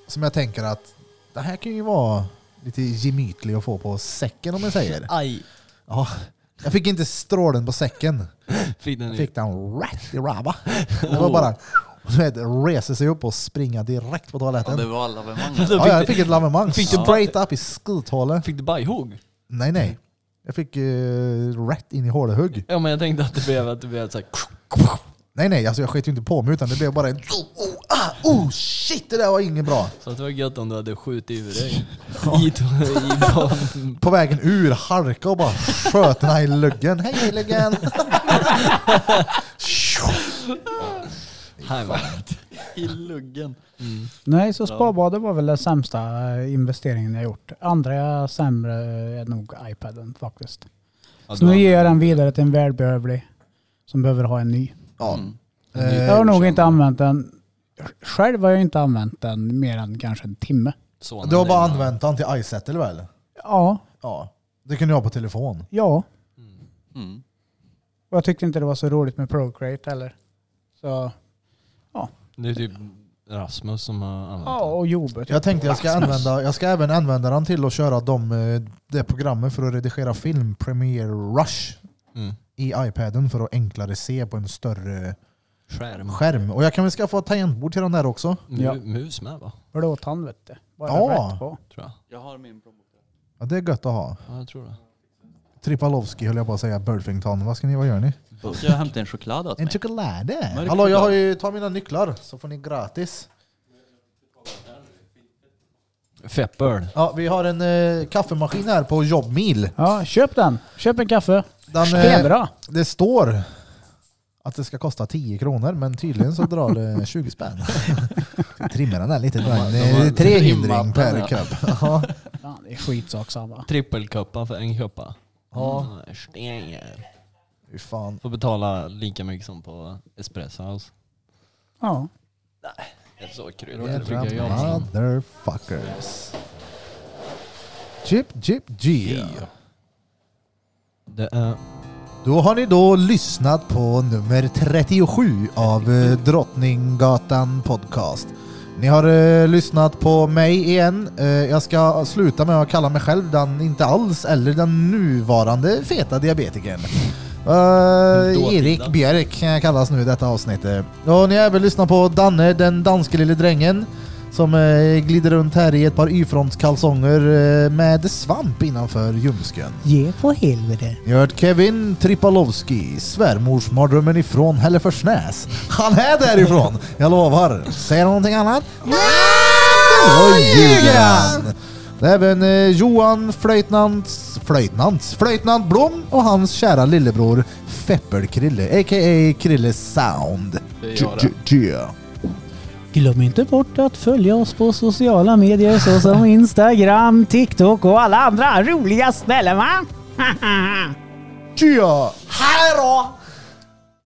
Speaker 1: Som jag tänker att det här kan ju vara lite gemytlig att få på säcken om jag säger.
Speaker 3: Aj,
Speaker 1: Ja, jag fick inte strålen på säcken.
Speaker 3: fick den
Speaker 1: Jag
Speaker 3: i-
Speaker 1: fick den rätt i rava. Det var bara du vet, resa sig upp och springa direkt på
Speaker 5: ja,
Speaker 1: toaletten.
Speaker 5: det var alla evenemanget.
Speaker 1: Ja, jag fick ett lavemang.
Speaker 3: fick du-
Speaker 1: Straight up i skuthålet.
Speaker 3: Fick du bajhugg?
Speaker 1: Nej, nej. Jag fick uh, rätt in i hålehugg.
Speaker 3: Ja men jag tänkte att det blev, att det blev såhär...
Speaker 1: Nej, nej, alltså jag sket ju inte på mig utan det blev bara en... Oh, ah, oh shit, det där var inget bra.
Speaker 3: Så att det var gött om du hade skjutit ur dig. I, to- i baden.
Speaker 1: På vägen ur, halka och bara sköt den här i luggen. Hej luggen!
Speaker 3: Här var
Speaker 5: I luggen.
Speaker 4: Nej, så spabadet var väl den sämsta eh, investeringen jag gjort. Andra sämre är nog iPaden faktiskt.
Speaker 3: Ja,
Speaker 4: Så
Speaker 3: du
Speaker 4: nu
Speaker 3: har-
Speaker 4: ger jag den vidare till en välbehövlig som behöver ha en ny.
Speaker 1: Ja.
Speaker 5: Mm.
Speaker 1: Eh,
Speaker 4: Jag har nog inte använt den. Själv har jag inte använt den mer än kanske en timme.
Speaker 3: sonen
Speaker 1: du har bara
Speaker 3: din.
Speaker 1: använt den till iSettle väl?
Speaker 4: Ja,
Speaker 1: Ja. Det kan du ha på telefon.
Speaker 4: ja.
Speaker 5: Mm.
Speaker 4: Och jag tyckte inte det var så roligt med Procreate heller. Så,
Speaker 3: Det är typ Rasmus som har använt
Speaker 4: ja, och jobbet.
Speaker 1: Jag tänkte jag ska, använda, jag ska även använda den till att köra de, eh, det programmet för att redigera film, Premiere Rush,
Speaker 3: den. Mm.
Speaker 1: i iPaden för att enklare se på en större
Speaker 3: Skärm.
Speaker 1: skärm. Och jag kan väl skaffa ett tangentbord till den där också.
Speaker 3: Mu-
Speaker 4: Ja.
Speaker 3: Mus med va?
Speaker 4: Blåtand vet du. Bara
Speaker 1: Ja.
Speaker 4: rätt på.
Speaker 3: Tror jag.
Speaker 5: Jag har min plånbok.
Speaker 1: Ja, det är gött att ha.
Speaker 3: Ja, jag tror det.
Speaker 1: Tripalowski höll jag på att säga, Burfington. Vad ska ni, vad gör ni?
Speaker 5: Då ska jag hämta en choklad åt
Speaker 1: En
Speaker 5: mig.
Speaker 1: choklad?
Speaker 5: Mörk
Speaker 1: Hallå, jag
Speaker 5: choklad.
Speaker 1: har ju, ta mina nycklar så får ni gratis.
Speaker 3: Feppöl.
Speaker 1: Ja, vi har en eh, kaffemaskin här på Jobmil.
Speaker 4: Ja, köp den. Köp en kaffe.
Speaker 1: Den, eh,
Speaker 4: Stenbra.
Speaker 1: det står att det ska kosta 10 kronor, men tydligen så drar det 20 spänn. Trimmer den där lite. Det är tre hindring per cup. Ja.
Speaker 4: Fan, det är skitsak samma.
Speaker 3: Trippelkuppa för en kuppa.
Speaker 1: Ja,
Speaker 3: Mm, Stenger.
Speaker 1: fy fan.
Speaker 3: Får betala lika mycket som på Espresso House.
Speaker 4: Ja.
Speaker 3: Jag så
Speaker 1: Jädra
Speaker 3: kryddor. Ja,
Speaker 1: motherfuckers. Chip, chip, G.
Speaker 3: det är
Speaker 1: Då har ni då lyssnat på nummer 37 av eh, Drottninggatan Podcast. Ni har eh, lyssnat på mig igen. Eh, jag ska sluta med att kalla mig själv den inte alls eller den nuvarande feta diabetikern. Eh, Erik Björk kan jag kallas nu i detta avsnittet. Och ni har även lyssnat på Danne, den danske lille drängen som eh, glider runt här i ett par Y-frontskalsonger eh, med svamp innanför ljumsken.
Speaker 8: Ge på helvete.
Speaker 1: Ni har hört Kevin Tripalowski, svärmorsmardrömmen ifrån Hälleforsnäs. Han är därifrån, jag lovar. Säger han någonting annat? Nej! Då ljuger han! Det är även eh, Johan Flöjtnants, Flöjtnants, Flöjtnant Blom och hans kära lillebror Feppel-Krille, a.k.a. Krille Sound. Ja.
Speaker 8: Glöm inte bort att följa oss på sociala medier såsom Instagram, TikTok och alla andra roliga ställen va?
Speaker 1: Ja. Hej då!